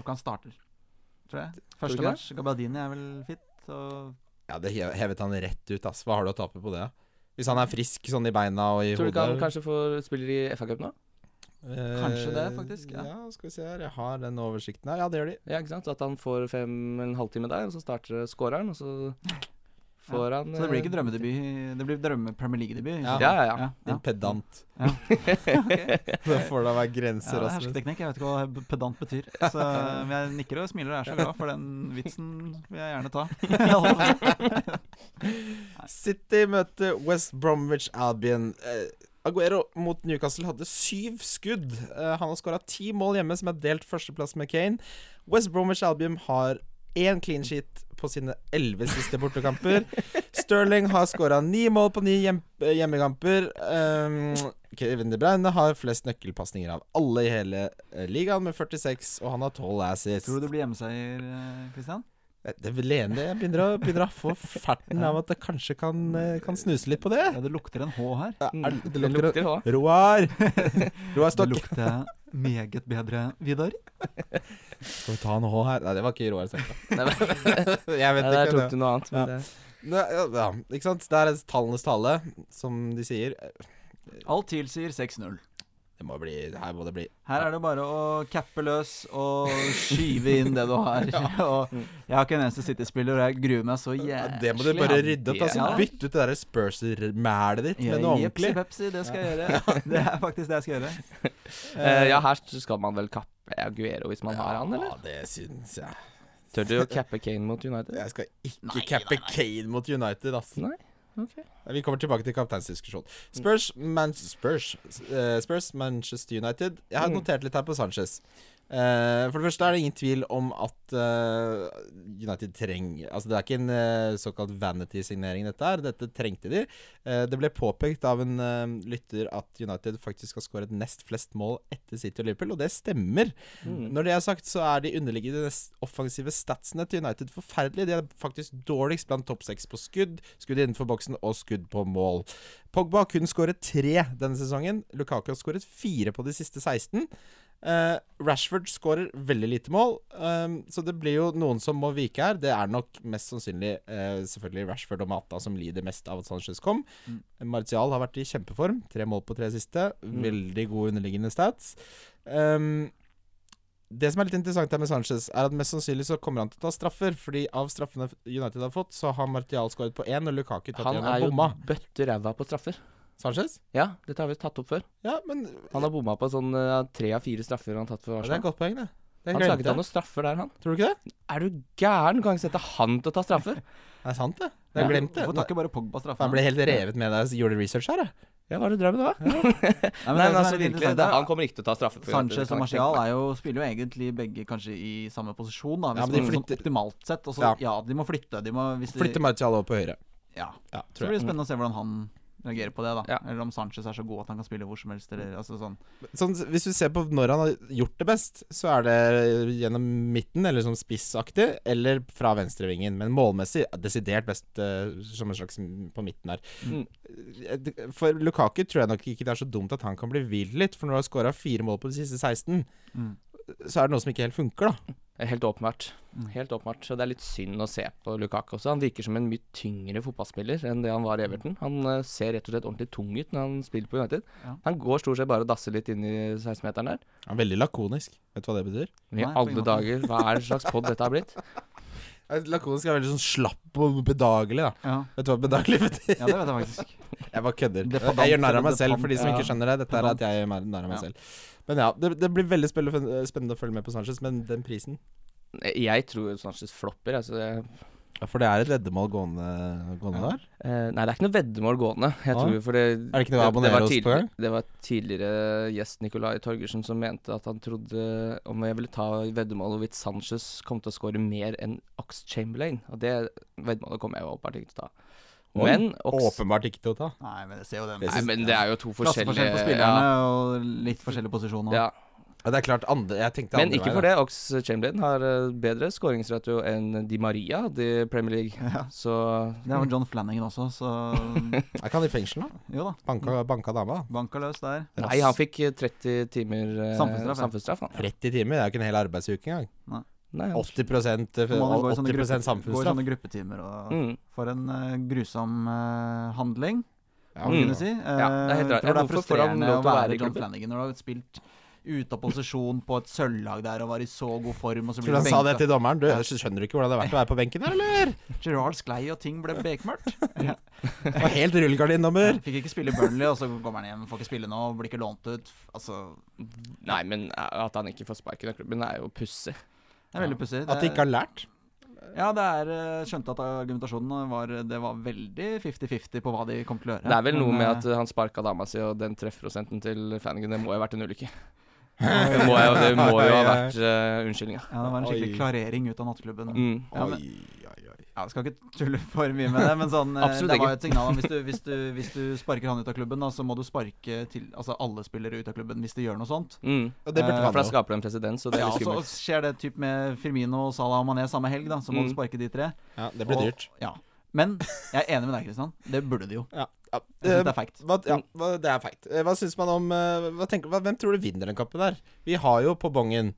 [SPEAKER 4] Luka starter, tror jeg.
[SPEAKER 2] du
[SPEAKER 4] Første
[SPEAKER 2] ikke det?
[SPEAKER 4] match. Gabadini er vel fit. Og
[SPEAKER 3] Ja, det hev- hevet han rett ut, ass. Hva har du å tape på det? da? Hvis han er frisk sånn i beina og i
[SPEAKER 2] Tror du ikke han
[SPEAKER 3] hodet
[SPEAKER 2] kanskje får spiller i FA-cup nå?
[SPEAKER 3] Eh,
[SPEAKER 4] Kanskje det, faktisk, ja.
[SPEAKER 3] skal vi se her. Jeg har den oversikten her. Ja, det gjør de.
[SPEAKER 2] Ja, ikke sant? Så At han får fem en halvtime der, og så starter skåreren, og så får han
[SPEAKER 4] Så det blir ikke
[SPEAKER 2] eh,
[SPEAKER 4] drømmedebut. Det blir drømme-Premier League-debut.
[SPEAKER 3] Ja.
[SPEAKER 2] Ja, ja, ja.
[SPEAKER 3] Din pedant. [LAUGHS]
[SPEAKER 4] Ja.
[SPEAKER 3] det får da være
[SPEAKER 4] Ja,
[SPEAKER 3] grenser,
[SPEAKER 4] det er
[SPEAKER 3] Rasmus.
[SPEAKER 4] hersketeknikk. Jeg vet ikke hva b- pedant [LAUGHS] betyr. Så eh, men jeg nikker og smiler og er så glad, for den vitsen vil jeg [LAUGHS] gjerne ta.
[SPEAKER 3] [LAUGHS] City møter West Bromwich Albion. Eh, Aguero mot Newcastle hadde syv skudd. Eh, han har skåra ti mål hjemme, som er delt førsteplass med Kane. West Bromwich Albion har én clean sheet på sine elleve siste bortekamper. Sterling har skåra ni mål på ni hjem eh, hjemmekamper. Um, Kevin De Bruyne har flest nøkkelpasninger av alle i hele eh, ligaen, med 46, og han har 12 assists.
[SPEAKER 4] Tror du det blir hjemmeseier, eh, Christian?
[SPEAKER 3] Eh, Det Lene jeg begynner å, begynner å få ferten av at det kanskje kan, eh, kan snuse litt på det.
[SPEAKER 4] Ja, det lukter en H her.
[SPEAKER 3] Ja, er
[SPEAKER 2] Mm,
[SPEAKER 3] det, det
[SPEAKER 2] Det
[SPEAKER 3] lukter
[SPEAKER 2] lukter
[SPEAKER 4] [LAUGHS]
[SPEAKER 2] òg.
[SPEAKER 3] [LAUGHS] Roar!
[SPEAKER 4] Det
[SPEAKER 3] Roar Stokk.
[SPEAKER 4] lukter meget bedre, Vidar.
[SPEAKER 3] Skal vi ta en H her? Nei, det var ikke Roar Stokk.
[SPEAKER 2] Nei, men-
[SPEAKER 3] [LAUGHS] Jeg vet
[SPEAKER 2] Nei,
[SPEAKER 3] ikke.
[SPEAKER 2] der tok du noe annet. Eh, Men
[SPEAKER 3] Ja.
[SPEAKER 2] det.
[SPEAKER 3] Det. Nei, Ja, ja, ikke sant? Det er tallenes tale, som de sier.
[SPEAKER 4] Alt tilsier 6-0.
[SPEAKER 3] Det må bli, her må det bli
[SPEAKER 4] Her er det bare å cappe løs og skyve inn det du [LAUGHS] har. og jeg har ikke en eneste City-spiller, og jeg gruer meg så jævlig.
[SPEAKER 3] ja,
[SPEAKER 2] Eh,
[SPEAKER 3] Det må du bare rydde opp. Altså,
[SPEAKER 4] Ja.
[SPEAKER 3] bytt ut det der Spurs-mælet ditt med noe ordentlig.
[SPEAKER 4] Jepsi pepsi, det skal jeg [LAUGHS] gjøre. Det er faktisk det jeg skal gjøre.
[SPEAKER 2] Eh, ja, her skal man vel kappe Aguero hvis man har han, eller?
[SPEAKER 3] Ja, det syns jeg.
[SPEAKER 2] Tør du å cappe Kane mot United?
[SPEAKER 3] Jeg skal ikke cappe Kane mot United, ass.
[SPEAKER 2] Nei, ok.
[SPEAKER 3] Eh, Vi kommer tilbake til kapteinsdiskusjon. Spurs, Man Spurs, eh, Spurs, Manchester United. Jeg har
[SPEAKER 2] Mm.
[SPEAKER 3] notert litt her på Sanchez. Eh, for det første er det ingen tvil om at eh, United trenger Altså, det er ikke en eh, såkalt vanity-signering, dette her. Dette trengte de. Eh, det ble påpekt av en eh, lytter at United faktisk har skåret nest flest mål etter City og Liverpool, og det stemmer.
[SPEAKER 2] Mm.
[SPEAKER 3] Når det er sagt, så er de underliggende s- offensive statsene til United forferdelige. De er faktisk dårligst blant topp seks på skudd, skudd innenfor boksen og skudd på mål. Pogba har kun skåret tre denne sesongen. Lukaku har skåret fire på de siste 16. Eh, Rashford skårer veldig lite mål, ehm, så det blir jo noen som må vike her. Det er nok mest sannsynlig eh, selvfølgelig Rashford og Mata som lider mest av at Sanchez kom.
[SPEAKER 4] Mm.
[SPEAKER 3] Martial har vært i kjempeform. Tre mål på tre siste.
[SPEAKER 2] Mm.
[SPEAKER 3] Veldig gode underliggende stats. Ehm, det som er litt interessant her med Sanchez, er at mest sannsynlig så kommer han til å ta straffer. Fordi av straffene United har fått, så har Martial skåret på én, og Lukaku tatt
[SPEAKER 2] Han
[SPEAKER 3] igjen
[SPEAKER 2] er
[SPEAKER 3] og
[SPEAKER 2] jo
[SPEAKER 3] bomma.
[SPEAKER 2] bøtte ræva på straffer.
[SPEAKER 3] Sanchez?
[SPEAKER 2] Ja, dette har vi tatt opp før.
[SPEAKER 3] Ja, men
[SPEAKER 2] Han har bomma på sånn eh, tre av fire straffer han har tatt for
[SPEAKER 3] Det er et
[SPEAKER 2] Arsenal.
[SPEAKER 3] godt poeng, det. det
[SPEAKER 2] Han
[SPEAKER 3] glemte
[SPEAKER 2] skal ikke ta
[SPEAKER 3] jeg.
[SPEAKER 2] noen straffer der, han.
[SPEAKER 3] Tror du ikke det?
[SPEAKER 2] Er du gæren? Du kan ikke sette han til å ta straffer.
[SPEAKER 3] Det er sant, det. Det er glemt,
[SPEAKER 4] Hvorfor tar
[SPEAKER 3] det.
[SPEAKER 4] ikke bare Pogba
[SPEAKER 3] Han
[SPEAKER 4] straffen?
[SPEAKER 3] ble helt revet med da jeg gjorde research her, jeg.
[SPEAKER 2] Ja, hva er det drømmen var?
[SPEAKER 4] Nei, men
[SPEAKER 2] Nei,
[SPEAKER 4] det som
[SPEAKER 2] men altså,
[SPEAKER 4] er litt
[SPEAKER 2] virkelig,
[SPEAKER 4] interessant,
[SPEAKER 2] det,
[SPEAKER 4] er-
[SPEAKER 2] han kommer ikke til å ta straffer. for United, det
[SPEAKER 4] Sanchez
[SPEAKER 2] kan
[SPEAKER 4] og
[SPEAKER 2] jeg ikke tenke
[SPEAKER 4] Martial
[SPEAKER 2] meg.
[SPEAKER 4] er jo, spiller jo egentlig begge kanskje i samme posisjon, da, hvis
[SPEAKER 3] Ja, men de
[SPEAKER 4] man-
[SPEAKER 3] flytter-
[SPEAKER 4] sånn optimalt sett. Og så,
[SPEAKER 3] Ja.
[SPEAKER 4] ja. de må flytte. De må, hvis de,
[SPEAKER 3] Flytte Martial over på høyre.
[SPEAKER 4] ja.
[SPEAKER 3] Ja,
[SPEAKER 4] Så
[SPEAKER 3] tror
[SPEAKER 4] blir
[SPEAKER 3] jeg.
[SPEAKER 4] det spennende å se hvordan han reagerer på det. da
[SPEAKER 2] Ja.
[SPEAKER 4] Eller om Sanchez er så god at han kan spille hvor som helst. Eller, altså, sånn.
[SPEAKER 3] Sånn, hvis du ser på når han har gjort det best, så er det gjennom midten, eller som spissaktig, eller fra venstrevingen. Men målmessig er desidert best eh, som en slags m- på midten her.
[SPEAKER 2] Mm.
[SPEAKER 3] Eh, For Lukaku tror jeg nok ikke det er så dumt at han kan bli hvilt litt, for når du har skåra fire mål på de siste 16,
[SPEAKER 4] Mm.
[SPEAKER 3] så er det noe som ikke helt funker, da.
[SPEAKER 2] Eh, Helt åpenbart.
[SPEAKER 4] Mm.
[SPEAKER 2] Helt åpenbart. Så det er litt synd å se på Lukaku også. Han virker som en mye tyngre fotballspiller enn det
[SPEAKER 4] Mm.
[SPEAKER 2] han var i Everton. Han eh, ser rett og slett ordentlig tung ut når han spiller på United.
[SPEAKER 4] Ja.
[SPEAKER 2] Han går stort sett bare og dasser litt inn i 16-meteren der.
[SPEAKER 3] Han er veldig lakonisk. Vet du hva det betyr?
[SPEAKER 2] Men i
[SPEAKER 4] Nei, på
[SPEAKER 2] alle
[SPEAKER 4] ingen måte.
[SPEAKER 2] dager, hva er det slags
[SPEAKER 4] [LAUGHS]
[SPEAKER 2] pod dette har blitt?
[SPEAKER 3] Lakonisk er veldig sånn slapp og bedagelig, da.
[SPEAKER 4] Ja.
[SPEAKER 3] Vet du hva bedagelig [LAUGHS] betyr?
[SPEAKER 4] ja, det vet jeg faktisk.
[SPEAKER 3] Jeg bare kødder.
[SPEAKER 4] Det er pedant,
[SPEAKER 3] Jeg gjør narr av meg
[SPEAKER 4] det er
[SPEAKER 3] selv,
[SPEAKER 4] pedant,
[SPEAKER 3] for de som
[SPEAKER 4] ja.
[SPEAKER 3] ikke skjønner det. Dette er
[SPEAKER 4] Pedant.
[SPEAKER 3] at jeg gjør narr av meg
[SPEAKER 4] Ja.
[SPEAKER 3] selv. Men ja, det, det blir veldig spennende spennende å følge med på Sanchez, men den prisen
[SPEAKER 2] Jeg tror Sanchez flopper. Altså jeg,
[SPEAKER 3] Ja, For det er et veddemål gående, gående der?
[SPEAKER 2] eh, nei, det er ikke noe veddemål gående. Jeg
[SPEAKER 3] Ah.
[SPEAKER 2] tror for det,
[SPEAKER 3] Er det ikke noe å abonnere oss på
[SPEAKER 2] tidligere-
[SPEAKER 3] gang?
[SPEAKER 2] Det var tidligere gjest Nicolai Torgersen som mente at han trodde om jeg ville ta veddemål hvorvidt Sanchez kom til å skåre mer enn Ox Chamberlain. Og det veddemålet kommer jeg jo åpenbart ikke til å ta.
[SPEAKER 3] Oi,
[SPEAKER 2] Men Ox
[SPEAKER 3] Åpenbart ikke til å ta.
[SPEAKER 4] Nei, men jeg ser jo den.
[SPEAKER 2] Nei, men det er jo to forskjellige
[SPEAKER 4] Klasseforskjell på spillerne og litt forskjellige posisjoner.
[SPEAKER 2] Ja, ja.
[SPEAKER 3] Ja, det er klart andre, Jeg tenkte
[SPEAKER 2] Men
[SPEAKER 3] andre
[SPEAKER 2] ikke
[SPEAKER 3] veien,
[SPEAKER 2] for
[SPEAKER 3] da.
[SPEAKER 2] det. Ox Chamberlain har eh, bedre skåringsratio enn Di Maria hadde i Premier League. Så
[SPEAKER 4] Det var John Flanagan også, så
[SPEAKER 3] Er ikke han i fengsel, da?
[SPEAKER 4] jo da.
[SPEAKER 3] Banka, banka dama. da.
[SPEAKER 4] Banka løs der.
[SPEAKER 3] [LAUGHS]
[SPEAKER 2] Nei, han fikk eh, 30 timer eh,
[SPEAKER 4] Samfunnsstraff, ja.
[SPEAKER 2] samfunnsstraff han.
[SPEAKER 3] 30 timer, det er jo ikke en hel arbeidsuke engang.
[SPEAKER 2] Nei, han-
[SPEAKER 3] 80, 80
[SPEAKER 4] Så må han gå i sånne, gruppe, gå i
[SPEAKER 3] samfunnsstraff.
[SPEAKER 4] sånne gruppetimer og
[SPEAKER 2] Mm.
[SPEAKER 4] For en eh, grusom eh, handling,
[SPEAKER 3] Ja,
[SPEAKER 4] kan
[SPEAKER 2] Mm.
[SPEAKER 4] du si. Eh,
[SPEAKER 2] Ja, det er helt rart.
[SPEAKER 4] jeg tror det er
[SPEAKER 2] Hvorfor får han
[SPEAKER 4] frustrerende å
[SPEAKER 2] lov til å være
[SPEAKER 4] være
[SPEAKER 2] i
[SPEAKER 4] John
[SPEAKER 2] klubben?
[SPEAKER 4] Flanagan når du har spilt ute av posisjon på et sølvlag der og var i så god form, og så
[SPEAKER 3] Tror
[SPEAKER 4] blir du
[SPEAKER 3] du han sa det
[SPEAKER 4] benka.
[SPEAKER 3] til dommeren? Du, skjønner du ikke hvordan det har vært å være på benken her, eller?
[SPEAKER 4] Gerard sklei, og ting ble bekmørkt. ja.
[SPEAKER 3] Det var helt rullegardindommer.
[SPEAKER 4] Fikk ikke spille i Burnley, og så kommer han hjem, får ikke spille nå, blir ikke lånt ut. Altså,
[SPEAKER 2] Nei, men eh, at han ikke får sparken av klubben, er jo pussig.
[SPEAKER 4] det er veldig pussig.
[SPEAKER 3] At de ikke har lært.
[SPEAKER 4] Ja, det er eh, skjønte at argumentasjonen var Det var veldig 50-50 på hva de kom til å gjøre.
[SPEAKER 2] Det er vel noe
[SPEAKER 4] Men,
[SPEAKER 2] med
[SPEAKER 4] eh,
[SPEAKER 2] at eh, han sparka dama si, og den treffprosenten til Fanningen, det må jo ha vært en ulykke. Det må jo, det må jo ha vært uh, unnskyldninga.
[SPEAKER 4] eh, Ja, det var en skikkelig
[SPEAKER 3] Oi.
[SPEAKER 4] klarering ut av nattklubben.
[SPEAKER 2] Mm.
[SPEAKER 4] Ja, men,
[SPEAKER 3] oi, oi.
[SPEAKER 4] ja, jeg skal ikke tulle for mye med det, men sånn, eh,
[SPEAKER 2] Absolutt
[SPEAKER 4] det
[SPEAKER 2] ikke.
[SPEAKER 4] var jo et signal om hvis du,
[SPEAKER 2] [LAUGHS]
[SPEAKER 4] hvis, du, hvis du sparker han ut av klubben, da, så må du sparke til, altså, alle spillere ut av klubben hvis de gjør noe sånt.
[SPEAKER 2] Mm.
[SPEAKER 3] Og det burde
[SPEAKER 4] Eh,
[SPEAKER 2] For da
[SPEAKER 3] man jo.
[SPEAKER 2] skaper det en presedens, og det
[SPEAKER 4] Ja, altså,
[SPEAKER 2] er
[SPEAKER 4] og
[SPEAKER 2] litt
[SPEAKER 4] så
[SPEAKER 2] skummelt.
[SPEAKER 4] skjer det typ med Firmino, Salah og Mané samme helg, da, så må du
[SPEAKER 2] Mm.
[SPEAKER 4] sparke de tre.
[SPEAKER 3] Ja, det ble
[SPEAKER 4] Og-
[SPEAKER 3] dyrt.
[SPEAKER 4] Ja. Men jeg er enig med deg, Kristian. Det burde de jo.
[SPEAKER 3] Ja. ja.
[SPEAKER 4] Jeg
[SPEAKER 2] Eh,
[SPEAKER 4] synes det er feigt.
[SPEAKER 3] Hva, ja, hva, det er feigt. Eh, Hva syns man om eh, hva tenker, hva, Hvem tror du vinner den kampen der? Vi har jo på bongen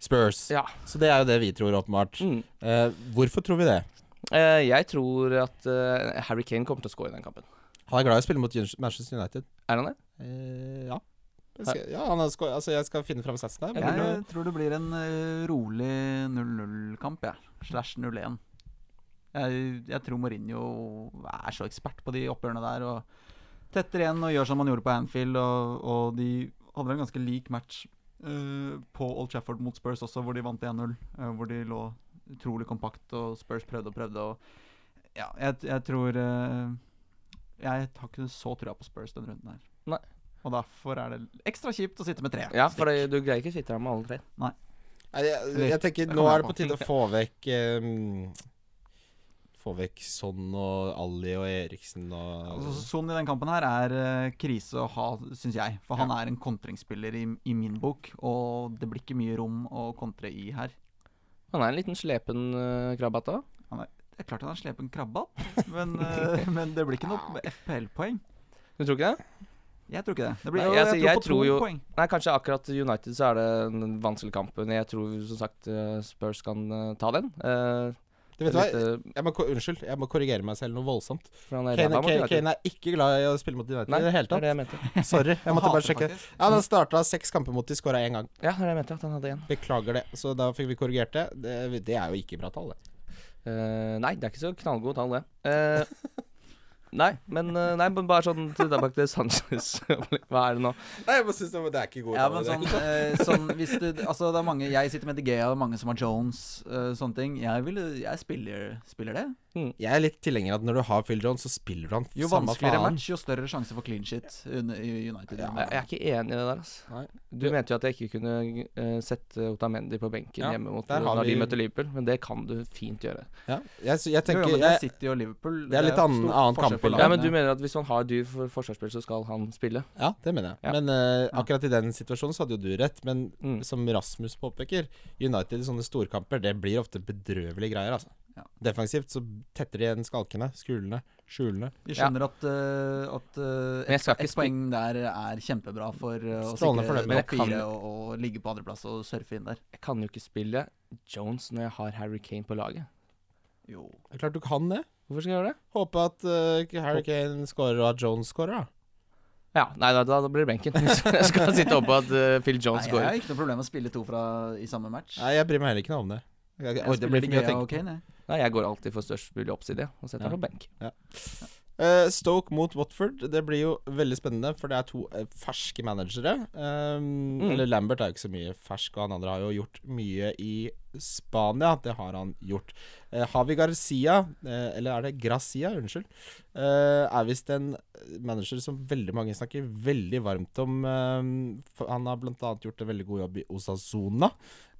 [SPEAKER 3] Spurs,
[SPEAKER 2] Ja.
[SPEAKER 3] så det er jo det vi tror, åpenbart.
[SPEAKER 2] Mm.
[SPEAKER 3] Eh, hvorfor tror vi det?
[SPEAKER 2] Eh, jeg tror at eh, Harry Kane kommer til å score i den kampen.
[SPEAKER 3] Han er glad i å spille mot Jun- Manchester United.
[SPEAKER 2] Er han det?
[SPEAKER 3] Eh, ja. Jeg skal, ja han har sko altså, jeg skal finne fram satsen her. men, eh,
[SPEAKER 4] Jeg tror det blir en eh, rolig 0-0-kamp, jeg. Slash 0-1. Jeg, jeg tror Mourinho er så ekspert på de oppgjørene der. Og tetter igjen og gjør som han gjorde på Anfield. Og, og de hadde en ganske lik match eh, på Old Trafford mot Spurs også, hvor de vant 1-0. eh, hvor de lå utrolig kompakt, og Spurs prøvde og prøvde. Og ja, jeg, jeg tror eh, Jeg har ikke så trua på Spurs denne runden her.
[SPEAKER 2] Nei.
[SPEAKER 4] Og derfor er det ekstra kjipt å sitte med tre.
[SPEAKER 2] Ja, for det, du greier ikke å sitte her med alle tre.
[SPEAKER 3] Nei, jeg, jeg tenker
[SPEAKER 4] Det
[SPEAKER 3] Nå
[SPEAKER 4] kommer
[SPEAKER 3] er det
[SPEAKER 4] jeg
[SPEAKER 3] på tide å få vekk eh, Få vekk Son og Ali og Eriksen og
[SPEAKER 4] Altså, Son i den kampen her er eh, krise å ha, syns jeg. For han er en kontringsspiller i, i min bok, og det blir ikke mye rom å kontre i her.
[SPEAKER 2] Han er en liten slepen uh, krabat òg.
[SPEAKER 4] Det er klart han er slepen krabba, [LAUGHS] men, eh, men det blir ikke noe FPL-poeng.
[SPEAKER 2] Du tror ikke det?
[SPEAKER 4] Jeg tror ikke det. det blir,
[SPEAKER 2] Nei,
[SPEAKER 4] og
[SPEAKER 2] altså,
[SPEAKER 4] jeg, tror
[SPEAKER 2] jeg
[SPEAKER 4] på
[SPEAKER 2] tror
[SPEAKER 4] to
[SPEAKER 2] jo-
[SPEAKER 4] poeng.
[SPEAKER 2] Nei, kanskje akkurat United så er det den vanskelige kampen. Jeg tror som sagt eh, Spurs kan eh, ta den. Eh,
[SPEAKER 3] Du vet hva,
[SPEAKER 2] litt, eh,
[SPEAKER 3] jeg må, ko- unnskyld, jeg må korrigere meg selv noe voldsomt.
[SPEAKER 2] for han er
[SPEAKER 3] Kane,
[SPEAKER 2] ræva mot
[SPEAKER 3] Kane,
[SPEAKER 2] United.
[SPEAKER 3] Kane er ikke glad i å spille mot United
[SPEAKER 2] Nei,
[SPEAKER 3] i det hele
[SPEAKER 2] det er
[SPEAKER 3] tatt.
[SPEAKER 2] det jeg mente.
[SPEAKER 3] Sorry.
[SPEAKER 4] [LAUGHS]
[SPEAKER 3] Jeg måtte bare
[SPEAKER 4] Hater
[SPEAKER 3] sjekke.
[SPEAKER 4] faktisk.
[SPEAKER 3] Ja, Han starta seks kamper mot de skåra én gang.
[SPEAKER 2] Ja, det er det jeg mente, at han hadde en.
[SPEAKER 3] Beklager det. Så da fikk vi korrigert det. Det, det er jo ikke bra tall, det.
[SPEAKER 2] Eh, nei, det er ikke så knallgode tall, det. Eh, nei, men eh, nei, men bare sånn til tilbake til Sanchez. [LAUGHS] Hva er det nå?
[SPEAKER 3] Nei, jeg bare synes det, var- det er ikke gode
[SPEAKER 4] Ja,
[SPEAKER 3] tall.
[SPEAKER 4] men
[SPEAKER 3] det.
[SPEAKER 4] sånn, eh, sånn hvis du Altså, det er mange Jeg sitter med Digea, det er mange som har Jones, eh, sånne ting. Jeg, vil, jeg spiller, spiller det.
[SPEAKER 3] Jeg er litt tilhenger av at når du har Phil Jones, så spiller du han
[SPEAKER 4] Jo
[SPEAKER 3] samme
[SPEAKER 4] vanskeligere
[SPEAKER 3] faen.
[SPEAKER 4] match, jo større sjanse for clean shit under- i United.
[SPEAKER 2] Jeg, jeg er ikke enig i det der, altså.
[SPEAKER 3] Nei.
[SPEAKER 2] Du mente jo at jeg ikke kunne eh, sette Otamendi på benken
[SPEAKER 3] Ja,
[SPEAKER 2] hjemme mot
[SPEAKER 3] der har
[SPEAKER 2] når
[SPEAKER 3] vi-
[SPEAKER 2] de møter Liverpool, men det kan du fint gjøre.
[SPEAKER 3] Ja. Jeg, s- jeg tenker
[SPEAKER 4] jo, jo, men det er
[SPEAKER 3] jeg,
[SPEAKER 4] City og Liverpool.
[SPEAKER 3] det er litt
[SPEAKER 4] jo
[SPEAKER 3] annen-
[SPEAKER 4] stor
[SPEAKER 3] annen
[SPEAKER 4] forskjell på
[SPEAKER 3] kampbilde.
[SPEAKER 2] Ja,
[SPEAKER 4] lagene.
[SPEAKER 2] men du mener at hvis han har dyr for forsvarsspill, så skal han spille?
[SPEAKER 3] Ja, det mener jeg.
[SPEAKER 2] Ja.
[SPEAKER 3] Men eh, akkurat i den situasjonen så hadde jo du rett. Men
[SPEAKER 2] Mm.
[SPEAKER 3] som Rasmus påpeker, United i sånne storkamper, det blir ofte bedrøvelige greier, altså.
[SPEAKER 4] Ja.
[SPEAKER 3] Defensivt så tetter de igjen skalkene, skulene, skjulene.
[SPEAKER 4] Vi skjønner at, eh, at eh,
[SPEAKER 2] Men jeg skal
[SPEAKER 4] et,
[SPEAKER 2] ikke
[SPEAKER 4] et poeng der er kjempebra for eh, å
[SPEAKER 3] Strålende for
[SPEAKER 4] sikre
[SPEAKER 3] dem,
[SPEAKER 2] men jeg
[SPEAKER 4] topp fire
[SPEAKER 2] kan-
[SPEAKER 4] og, og ligge på andreplass og surfe inn der.
[SPEAKER 2] Jeg kan jo ikke spille Jones når jeg har Harry Kane på laget.
[SPEAKER 4] Jo.
[SPEAKER 3] Det er klart du kan det.
[SPEAKER 2] Hvorfor skal jeg gjøre det?
[SPEAKER 3] Håpe at eh, Harry Kane scorer og at Jones scorer, da.
[SPEAKER 2] Ja, nei, da, da blir det benken. [LAUGHS] Hvis jeg skal sitte oppe på at eh, Phil
[SPEAKER 4] Nei,
[SPEAKER 2] Jones
[SPEAKER 4] jeg har
[SPEAKER 2] går.
[SPEAKER 4] ikke noe problem med å spille to fra i samme match.
[SPEAKER 3] Nei, jeg bryr meg heller ikke noe om det. Jeg,
[SPEAKER 4] Jeg
[SPEAKER 3] oi, det blir for mye å
[SPEAKER 4] Gea
[SPEAKER 3] tenke
[SPEAKER 4] og Kane, jeg.
[SPEAKER 2] Nei, jeg går alltid for størst mulig oppside og setter
[SPEAKER 3] Ja.
[SPEAKER 2] han på benk.
[SPEAKER 3] Eh, Stoke mot Watford, det blir jo veldig spennende, for det er to eh, ferske Ehm, managere. Eh, Eller Lambert er jo ikke så mye fersk, og han andre har jo gjort mye i Spania. Det har han gjort. Eh, Javi Garcia, eh, eller er det Gracia, unnskyld, eh, er visst en manager som veldig mange snakker veldig varmt om. eh, for han har blant annet gjort en veldig god jobb i Osasuna.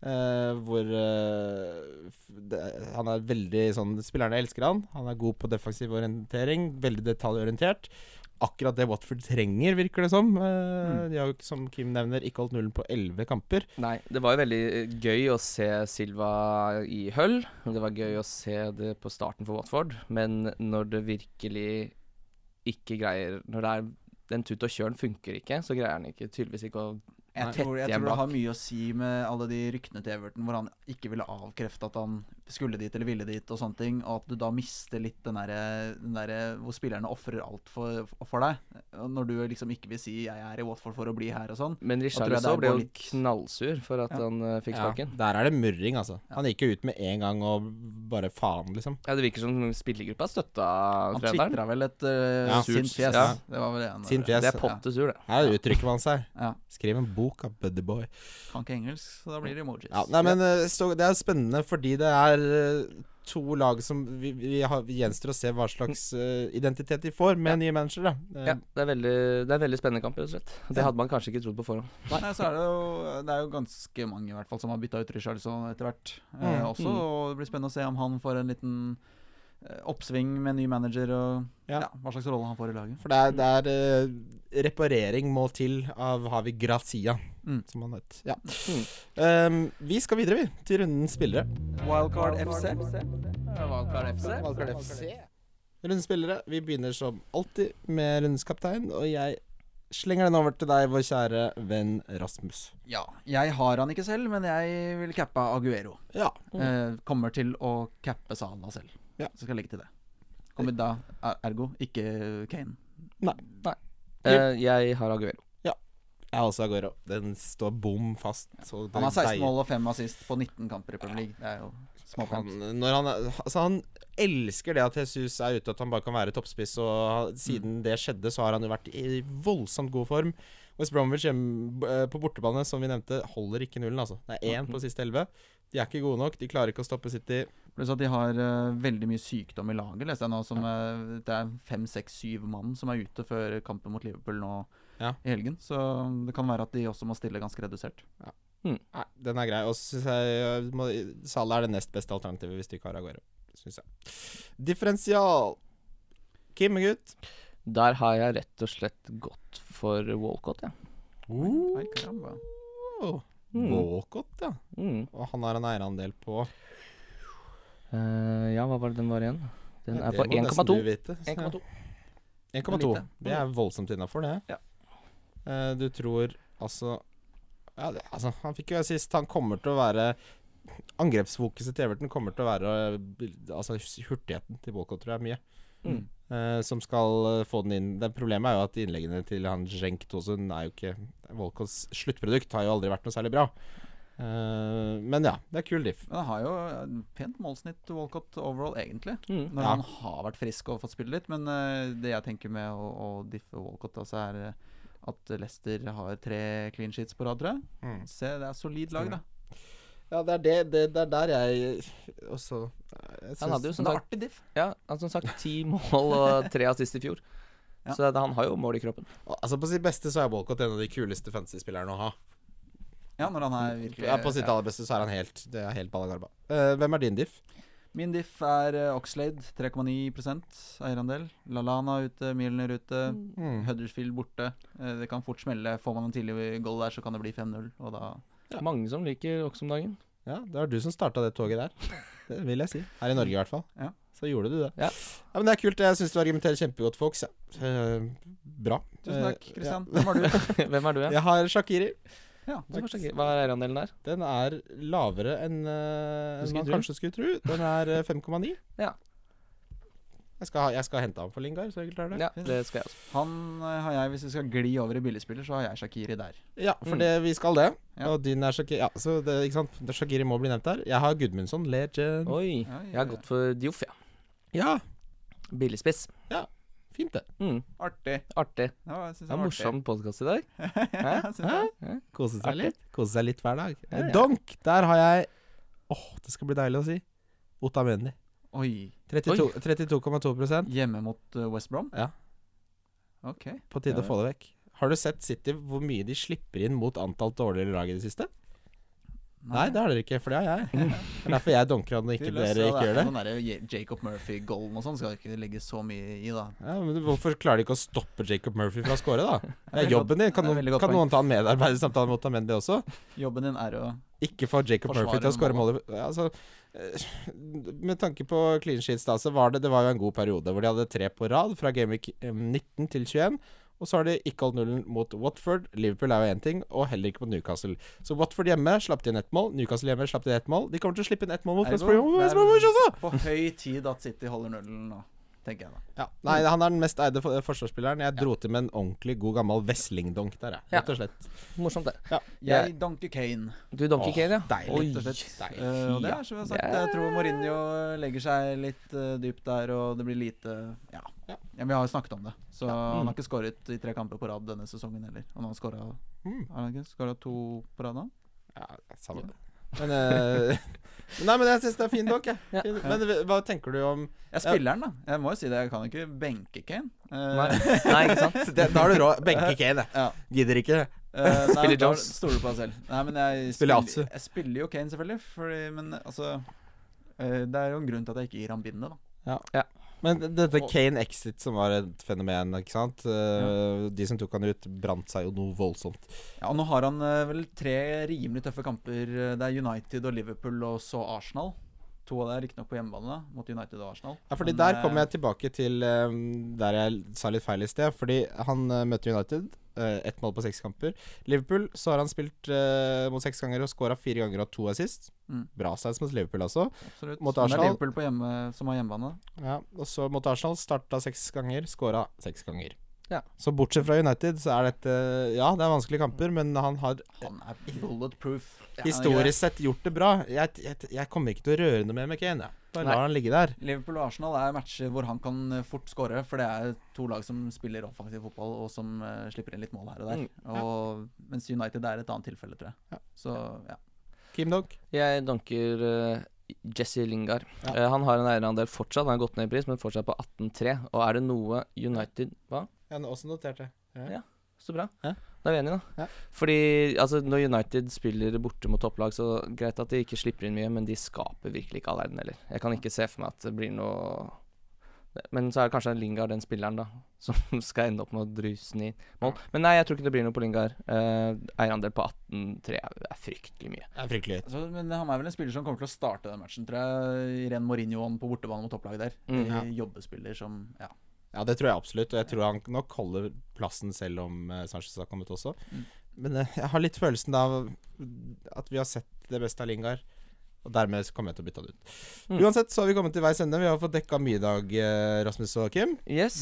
[SPEAKER 3] eh, hvor eh, f- det, han er veldig sånn Spillerne elsker han. Han er god på defensiv orientering, veldig detaljorientert. Akkurat det Watford trenger, virker det som.
[SPEAKER 2] Mm.
[SPEAKER 3] Eh, De har jo, ikke, som Kim nevner, ikke holdt nullen på elleve kamper.
[SPEAKER 2] Nei, det var jo veldig eh, gøy å se Silva i høll. Det var gøy å se det på starten for Watford. Men når det virkelig ikke greier Når det er den tut og kjøren funker ikke, så greier han ikke tydeligvis ikke å
[SPEAKER 4] Jeg
[SPEAKER 2] Nei.
[SPEAKER 4] tror, jeg
[SPEAKER 2] Tett igjen
[SPEAKER 4] tror det har
[SPEAKER 2] bak.
[SPEAKER 4] mye å si med alle de ryktene til Everton hvor han ikke ville avkrefte at han skulle dit eller ville dit, og sånne ting, og at du da mister litt den derre der, hvor spillerne ofrer alt for, for deg. Når du liksom ikke vil si 'jeg er i Watford for å bli her' og sånn.
[SPEAKER 2] Men
[SPEAKER 4] tror jeg det
[SPEAKER 2] Richarlison
[SPEAKER 4] er bare
[SPEAKER 2] ble jo
[SPEAKER 4] litt-
[SPEAKER 2] knallsur for at
[SPEAKER 4] Ja.
[SPEAKER 2] han eh, fikk
[SPEAKER 3] Ja,
[SPEAKER 2] sparken. Ja.
[SPEAKER 3] der er det murring, altså. Han gikk jo ut med en gang og bare faen, liksom.
[SPEAKER 2] Det virker som spillergruppa støtta
[SPEAKER 4] Han
[SPEAKER 2] treneren.
[SPEAKER 4] tvitra vel et eh,
[SPEAKER 3] Ja.
[SPEAKER 4] sint
[SPEAKER 2] Surt,
[SPEAKER 4] fjes.
[SPEAKER 2] ja.
[SPEAKER 4] Det var vel eh, det han
[SPEAKER 3] Sint fjes.
[SPEAKER 2] Det er pottesur, det.
[SPEAKER 3] Her uttrykker man seg.
[SPEAKER 4] Ja.
[SPEAKER 3] Skriv en bok av Buddyboy.
[SPEAKER 4] Kan ikke engelsk, så da blir det emojis.
[SPEAKER 3] Ja, nei, men eh, så Det er spennende fordi det er eh, to lag som vi, vi, har, vi gjenstår å se hva slags eh, identitet de får med nye managere. da. Eh,
[SPEAKER 2] Ja, det er veldig, det er veldig spennende kamp, rett og slett. Det hadde man kanskje ikke trodd på forhånd.
[SPEAKER 4] Nei, så er det jo Det er jo ganske mange i hvert fall som har bytta ut Richarlison etter hvert eh,
[SPEAKER 3] Mm.
[SPEAKER 4] også. Og det blir spennende å se om han får en liten eh, oppsving med ny manager og
[SPEAKER 3] Ja.
[SPEAKER 4] ja. hva slags rolle han får i laget.
[SPEAKER 3] For det er, det er eh, reparering må til av Havi Grazia,
[SPEAKER 4] Mm.
[SPEAKER 3] som han het. Ja. Eh, vi skal videre, vi, til rundens spillere.
[SPEAKER 1] Wildcard FC.
[SPEAKER 3] Rundens spillere, vi begynner som alltid med rundens kaptein, og jeg slenger den over til deg, vår kjære venn Rasmus.
[SPEAKER 4] Ja, jeg har han ikke selv, men jeg vil cappe Aguero.
[SPEAKER 3] Ja.
[SPEAKER 4] Eh, kommer til å cappe Sala selv.
[SPEAKER 3] Ja.
[SPEAKER 4] Så skal jeg legge til det. Kommer da er- ergo ikke Kane.
[SPEAKER 2] Eh, jeg har Aguero.
[SPEAKER 3] Jeg er også Aguero. Den står bom fast. så det
[SPEAKER 4] Han har 16
[SPEAKER 3] deilig.
[SPEAKER 4] mål og 5 assist på 19 kamper i Premier League. Det er jo
[SPEAKER 3] Han,
[SPEAKER 4] småkant.
[SPEAKER 3] når han, er- altså han elsker det at Jesus er ute, at han bare kan være toppspiss. Og ha-
[SPEAKER 4] Mm.
[SPEAKER 3] siden det skjedde, så har han jo vært i voldsomt god form. West Bromwich hjemme, eh, på bortebane, som vi nevnte, holder ikke nullen, altså. Det er
[SPEAKER 4] Mm.
[SPEAKER 3] én på siste elleve. De er ikke gode nok. De klarer ikke å stoppe City.
[SPEAKER 4] Pluss at de har eh, veldig mye sykdom i laget, leste jeg nå. Som, eh, det er fem, seks, syv mann som er ute før kampen mot Liverpool nå
[SPEAKER 3] Ja.
[SPEAKER 4] i helgen. Så det kan være at de også må stille ganske redusert.
[SPEAKER 3] Nei, den er grei. Og så syns jeg eh, må, Salah er det nest beste alternativet hvis du ikke har Aguero. Syns jeg. Differensial. Kim, gutt.
[SPEAKER 2] Der har jeg rett og slett gått for Walcott, jeg.
[SPEAKER 4] Oi, karamba.
[SPEAKER 2] Mm.
[SPEAKER 3] Walcott, ja.
[SPEAKER 2] Mm.
[SPEAKER 3] Og han har en eierandel på
[SPEAKER 2] Eh, ja, hva var det den var igjen? Den
[SPEAKER 3] Ja,
[SPEAKER 2] er
[SPEAKER 3] det
[SPEAKER 2] på
[SPEAKER 3] må nesten
[SPEAKER 2] 1,2.
[SPEAKER 3] du vite, så-
[SPEAKER 2] 1,2.
[SPEAKER 3] 1,2.
[SPEAKER 4] Lite.
[SPEAKER 3] Det er voldsomt innafor, det.
[SPEAKER 2] Ja.
[SPEAKER 3] Eh, du tror altså ja, det, altså, Han fikk jo sist. Han kommer til å være Angrepsfokuset til Everton kommer til å være eh, Altså hurtigheten til Walcott, tror jeg, er mye.
[SPEAKER 2] Mm.
[SPEAKER 3] Eh, som skal eh, få den inn. Det Problemet er jo at innleggene til han Jenk Tosun er jo ikke Walcotts sluttprodukt har jo aldri vært noe særlig bra. Eh, men ja, det er kul diff.
[SPEAKER 4] Men han har jo eh, pent målsnitt Walcott overall, egentlig.
[SPEAKER 2] Mm.
[SPEAKER 4] Når
[SPEAKER 3] Ja.
[SPEAKER 4] han har vært frisk og fått spille litt. Men eh, det jeg tenker med å, å diffe Walcott, altså, er eh, at Leicester har tre clean sheets på rad, tror jeg.
[SPEAKER 3] Mm.
[SPEAKER 4] Se, det er solid lag, da.
[SPEAKER 3] Ja, det er det, det, det er der jeg også jeg
[SPEAKER 2] Han hadde jo som
[SPEAKER 4] Det er
[SPEAKER 2] sagt,
[SPEAKER 4] artig diff.
[SPEAKER 2] ja, han som sagt ti mål og tre assist i fjor.
[SPEAKER 4] Ja.
[SPEAKER 2] Så det, han har jo mål i kroppen.
[SPEAKER 3] Altså På sitt beste så er Walcott en av de kuleste fantasy-spillerne å ha.
[SPEAKER 4] Ja, når han er virkelig
[SPEAKER 3] Ja, på sitt
[SPEAKER 4] ja.
[SPEAKER 3] aller beste så er han helt Det er helt ballagarba. Eh, hvem er din diff?
[SPEAKER 4] Min diff er eh, Oxlade, 3,9 eierandel. Lalana ute, Milner ute.
[SPEAKER 3] Mm.
[SPEAKER 4] Huddersfield borte. Eh, Det kan fort smelle. Får man en tidlig goal der, så kan det bli 5-0. Og da
[SPEAKER 3] Ja.
[SPEAKER 2] Mange som liker Ox om [LAUGHS] dagen.
[SPEAKER 3] Ja, det var du som starta det toget der. Det vil jeg si. Her i Norge, i hvert fall.
[SPEAKER 4] Ja.
[SPEAKER 3] Så gjorde du det.
[SPEAKER 2] Ja.
[SPEAKER 3] Ja, men det er kult. Jeg syns du argumenterer kjempegodt, folks. Ja. Eh, bra.
[SPEAKER 4] Tusen takk,
[SPEAKER 3] Eh,
[SPEAKER 4] Christian. Hvem har du?
[SPEAKER 2] Hvem er du,
[SPEAKER 3] Ja.
[SPEAKER 2] ja?
[SPEAKER 3] Jeg har Shakiri.
[SPEAKER 4] Ja.
[SPEAKER 2] Du var så gøy. Hva er eierandelen der?
[SPEAKER 3] Den er lavere enn eh,
[SPEAKER 2] Du
[SPEAKER 3] enn
[SPEAKER 2] skulle
[SPEAKER 3] man
[SPEAKER 2] tro.
[SPEAKER 3] kanskje skulle tro. Den er eh, 5,9.
[SPEAKER 2] Ja.
[SPEAKER 3] Jeg skal, ha- jeg skal hente ham for Lingard, så enkelt er det.
[SPEAKER 2] Ja, det skal jeg altså. også.
[SPEAKER 4] Han eh, har jeg, hvis vi skal gli over i billigspiller, så har jeg Shakiri der.
[SPEAKER 3] Ja, for
[SPEAKER 2] Mm.
[SPEAKER 3] det, vi skal det.
[SPEAKER 4] Ja.
[SPEAKER 3] Og din er Shakiri. Ja, så det, ikke sant? Det- Shakiri må bli nevnt her. Jeg har Gudmundsson, legend.
[SPEAKER 2] Oi.
[SPEAKER 4] Ja, ja,
[SPEAKER 2] Jeg har
[SPEAKER 4] ja.
[SPEAKER 2] gått for Dioff, ja.
[SPEAKER 3] Ja,
[SPEAKER 2] Billigspiss.
[SPEAKER 3] fint det.
[SPEAKER 2] Mm.
[SPEAKER 4] Artig.
[SPEAKER 2] Artig.
[SPEAKER 4] Ja, jeg synes
[SPEAKER 2] Det er
[SPEAKER 4] var [LAUGHS]
[SPEAKER 2] morsom podkast i dag.
[SPEAKER 4] artig. Jeg synes det.
[SPEAKER 3] Kose seg litt. Kose seg litt hver dag.
[SPEAKER 2] Ja, ja.
[SPEAKER 3] Donk, der har jeg Åh, det skal bli deilig å si. Otamendi.
[SPEAKER 4] Oi.
[SPEAKER 3] 32 32,2
[SPEAKER 4] Hjemme mot eh, West Brom?
[SPEAKER 3] Ja.
[SPEAKER 4] Ok.
[SPEAKER 3] På tide
[SPEAKER 4] Ja.
[SPEAKER 3] å få det vekk. Har du sett City hvor mye de slipper inn mot antall dårligere lag i det siste? Nei, det har dere ikke, for det har jeg. Det er derfor jeg dunker han og ikke dere ikke gjør det.
[SPEAKER 4] Sånn der Ja- Jacob Murphy-golden og sånn skal ikke legge så mye i, da.
[SPEAKER 3] Ja, men Hvorfor klarer de ikke å stoppe Jacob Murphy fra å score, da? Det
[SPEAKER 4] veldig
[SPEAKER 3] er jobben din.
[SPEAKER 4] det er
[SPEAKER 3] Kan, noen-
[SPEAKER 4] veldig godt
[SPEAKER 3] kan
[SPEAKER 4] poeng.
[SPEAKER 3] noen ta en medarbeidersamtale mot Amendi også?
[SPEAKER 4] Jobben din er å
[SPEAKER 3] Ikke få Jacob
[SPEAKER 4] Forsvarer
[SPEAKER 3] Murphy til å skåre
[SPEAKER 4] målet.
[SPEAKER 3] målet Ja, altså, eh, Med tanke på clean sheets, da, så var det, det var jo en god periode hvor de hadde tre på rad fra Gameweek eh, 19 til 21. Og så har de ikke holdt nullen mot Watford. Liverpool er jo én ting, og heller ikke mot Newcastle. Så Watford hjemme slapp de inn ett mål. Newcastle hjemme slapp de inn ett mål. De kommer til å slippe inn ett mål mot West Brom- West Bromwich også!
[SPEAKER 2] altså.
[SPEAKER 4] på høy tid at City holder nullen nå, tenker jeg da.
[SPEAKER 3] Ja, nei,
[SPEAKER 2] Mm.
[SPEAKER 3] han er den mest eide for- forsvarsspilleren. Jeg dro til med en ordentlig god gammel Wesling-donk der, jeg.
[SPEAKER 2] Ja.
[SPEAKER 3] Rett og slett.
[SPEAKER 2] Morsomt, det.
[SPEAKER 4] Jeg donker Kane.
[SPEAKER 2] Du, Donkey
[SPEAKER 3] Åh,
[SPEAKER 2] Kane, ja.
[SPEAKER 3] Deilig.
[SPEAKER 2] Oi.
[SPEAKER 4] rett og slett.
[SPEAKER 3] deilig.
[SPEAKER 4] Eh, og det er som jeg har sagt,
[SPEAKER 2] Det er-
[SPEAKER 4] jeg tror Mourinho legger seg litt eh, dypt der, og det blir lite Ja.
[SPEAKER 3] Ja.
[SPEAKER 4] Ja, vi har jo snakket om det. Så
[SPEAKER 2] Mm.
[SPEAKER 4] han har ikke skåret i tre kamper på rad denne sesongen heller. Og nå har han skåra
[SPEAKER 3] Mm.
[SPEAKER 4] Har han ikke skåra to på rad nå?
[SPEAKER 3] Ja, samme det. Men eh, [LAUGHS] Nei, men jeg syns det er fin donk, jeg.
[SPEAKER 2] Ja.
[SPEAKER 3] Fin- Men hva tenker du om [LAUGHS]
[SPEAKER 4] Jeg spiller den, da. Jeg må jo si det. Jeg kan jo ikke benke Kane. Eh,
[SPEAKER 2] Nei. Nei, ikke sant?
[SPEAKER 3] det, Da har du råd. Benke Kane,
[SPEAKER 4] Ja.
[SPEAKER 3] Gidder ikke.
[SPEAKER 4] Eh,
[SPEAKER 3] [LAUGHS]
[SPEAKER 4] nei,
[SPEAKER 2] Spiller
[SPEAKER 4] da
[SPEAKER 2] Jones.
[SPEAKER 4] Stoler du på deg selv. Nei, men jeg
[SPEAKER 3] Spiller
[SPEAKER 4] spiller,
[SPEAKER 3] Atsu.
[SPEAKER 4] jeg spiller jo Kane, selvfølgelig. Fordi, men altså eh, Det er jo en grunn til at jeg ikke gir ham bindet, da.
[SPEAKER 3] Men dette Kane Exit, som var et fenomen, ikke sant. Eh, De som tok han ut, brant seg jo noe voldsomt.
[SPEAKER 4] Ja, og Nå har han eh, vel tre rimelig tøffe kamper. Eh, Det er United og Liverpool og så Arsenal. To av det er riktignok på hjemmebane, da, mot United og Arsenal.
[SPEAKER 3] Ja, fordi
[SPEAKER 4] Men,
[SPEAKER 3] Der
[SPEAKER 4] eh,
[SPEAKER 3] kommer jeg tilbake til eh, der jeg sa litt feil i sted. Fordi han eh, møtte United. eh, Ett mål på seks kamper. Liverpool så har han spilt eh, mot seks ganger og scora fire ganger og hatt to assist.
[SPEAKER 4] Mm.
[SPEAKER 3] Bra stats mot Liverpool, altså.
[SPEAKER 4] eh, absolutt.
[SPEAKER 3] mot
[SPEAKER 4] Men Det
[SPEAKER 3] Arsenal.
[SPEAKER 4] er Liverpool på hjemme, som har hjemmebane.
[SPEAKER 3] Ja, og så mot Arsenal starta seks ganger, skåra seks ganger.
[SPEAKER 2] Ja.
[SPEAKER 3] Så bortsett fra United, så er dette Ja, det er vanskelige kamper, men han har
[SPEAKER 4] Han er bulletproof. Ja,
[SPEAKER 3] historisk sett gjort det bra. Jeg, jeg, jeg kommer ikke til å røre noe mer med Kane. jeg. Bare
[SPEAKER 2] Nei.
[SPEAKER 3] lar han ligge der.
[SPEAKER 4] Liverpool og Arsenal er matcher hvor han kan eh, fort skåre, for det er to lag som spiller offensiv fotball og som eh, slipper inn litt mål her og der.
[SPEAKER 2] Mm.
[SPEAKER 4] Og, mens United er et annet tilfelle, tror jeg.
[SPEAKER 3] Ja.
[SPEAKER 4] Så ja.
[SPEAKER 3] Kim Dog.
[SPEAKER 2] Jeg danker eh, Jesse Lingard.
[SPEAKER 3] Ja.
[SPEAKER 2] Eh, han har en eierandel fortsatt. Han har gått ned i pris, men fortsatt på 18,3. Og er det noe United Hva?
[SPEAKER 3] Jeg har også notert det.
[SPEAKER 2] Så bra.
[SPEAKER 3] Ja.
[SPEAKER 2] Da er vi enige, da.
[SPEAKER 3] Ja.
[SPEAKER 2] Fordi altså, når United spiller borte mot topplag, så greit at de ikke slipper inn mye, men de skaper virkelig ikke all verden heller. Jeg kan ikke se for meg at det blir noe Men så er det kanskje Lingard, den spilleren, da, [LAUGHS] som skal ende opp med å dryse den i mål. Men nei, jeg tror ikke det blir noe på Lingard. Eh, eierandel på 18,3 er fryktelig mye.
[SPEAKER 3] Det er fryktelig høyt.
[SPEAKER 4] Altså, men han er vel en spiller som kommer til å starte den matchen, tror jeg. Irene Mourinhoen på bortebane mot topplaget der.
[SPEAKER 2] Mm.
[SPEAKER 4] Eh,
[SPEAKER 3] Ja.
[SPEAKER 4] Jobbespiller som Ja.
[SPEAKER 3] Ja, det tror jeg absolutt, og jeg tror han nok holder plassen selv om eh, Sanchez har kommet også.
[SPEAKER 4] Mm.
[SPEAKER 3] Men eh, jeg har litt følelsen av at vi har sett det beste av Lingard, og dermed så kommer jeg til å bytte han ut.
[SPEAKER 2] Mm.
[SPEAKER 3] Uansett så har vi kommet til veis ende. Vi har fått dekka mye i dag, eh, Rasmus og Kim.
[SPEAKER 2] Yes.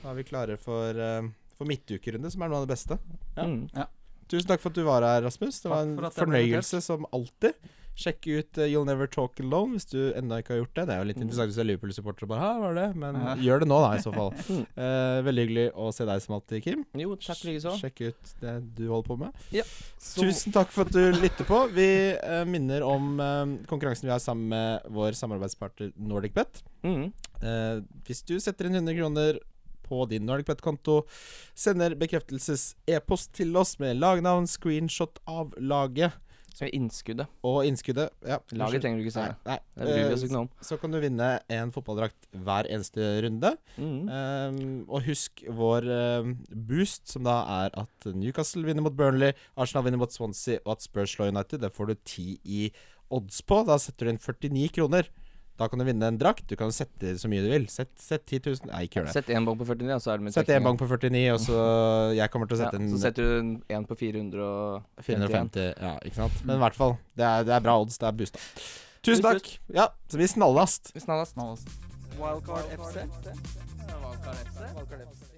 [SPEAKER 3] Da er vi klare for, eh, for midtukerunde, som er noe av det beste. Ja.
[SPEAKER 2] Mm.
[SPEAKER 3] Tusen takk for at du var her, Rasmus. Det
[SPEAKER 4] Takk
[SPEAKER 3] var en
[SPEAKER 4] for at jeg ble
[SPEAKER 3] fornøyelse som alltid. Sjekk ut eh, You'll Never Talk Alone hvis du ennå ikke har gjort det. Det er jo litt
[SPEAKER 2] Mm.
[SPEAKER 3] interessant hvis du er Liverpool-supporter og bare Hæ, hva er det? Men
[SPEAKER 4] Ja.
[SPEAKER 3] gjør det nå, da, i så
[SPEAKER 4] [LAUGHS]
[SPEAKER 3] fall.
[SPEAKER 2] Mm.
[SPEAKER 3] Eh, veldig hyggelig å se deg som alltid, Kim.
[SPEAKER 2] Jo, takk likeså.
[SPEAKER 3] Sjekk ut det du holder på med.
[SPEAKER 2] Så-
[SPEAKER 3] Tusen takk for at du lytter på. Vi eh, minner om eh, konkurransen vi har sammen med vår samarbeidspartner NordicBet.
[SPEAKER 2] Mm.
[SPEAKER 3] Eh, hvis du setter inn 100 kroner på din NordicBet-konto, sender bekreftelses-e-post til oss med lagnavn, screenshot av laget
[SPEAKER 2] Så Innskuddet.
[SPEAKER 3] og innskuddet. Ja,
[SPEAKER 2] Laget
[SPEAKER 3] unnskyld.
[SPEAKER 2] trenger du ikke sende.
[SPEAKER 3] Nei,
[SPEAKER 2] Det bryr vi
[SPEAKER 3] eh,
[SPEAKER 2] oss ikke noe om.
[SPEAKER 3] Så kan du vinne en fotballdrakt hver eneste runde.
[SPEAKER 2] Mm.
[SPEAKER 3] Eh, og husk vår eh, boost, som da er at Newcastle vinner mot Burnley, Arsenal vinner mot Swansea, og at Spurs slår United. Det får du 10 i odds på. Da setter du inn 49 kroner. Da kan du vinne en drakt. Du kan sette så mye du vil. Sett, sett 10 000. Nei, ikke gjør det.
[SPEAKER 2] Sett én bong på 49, og så er det med
[SPEAKER 3] Sett én bank på 49,
[SPEAKER 2] [LAUGHS]
[SPEAKER 3] og så Jeg kommer til å
[SPEAKER 2] Ja,
[SPEAKER 3] sette en
[SPEAKER 2] så setter du en- en på 400 og 51.
[SPEAKER 3] 450. Ja, ikke sant? Men i hvert fall. Det er, det er bra odds. Det er boosta. Tusen
[SPEAKER 2] Boost,
[SPEAKER 3] takk. Ja, så vi snallast.
[SPEAKER 2] Vi snallast.
[SPEAKER 4] Snallest.
[SPEAKER 1] Wildcard FC.
[SPEAKER 4] Wildcard FC.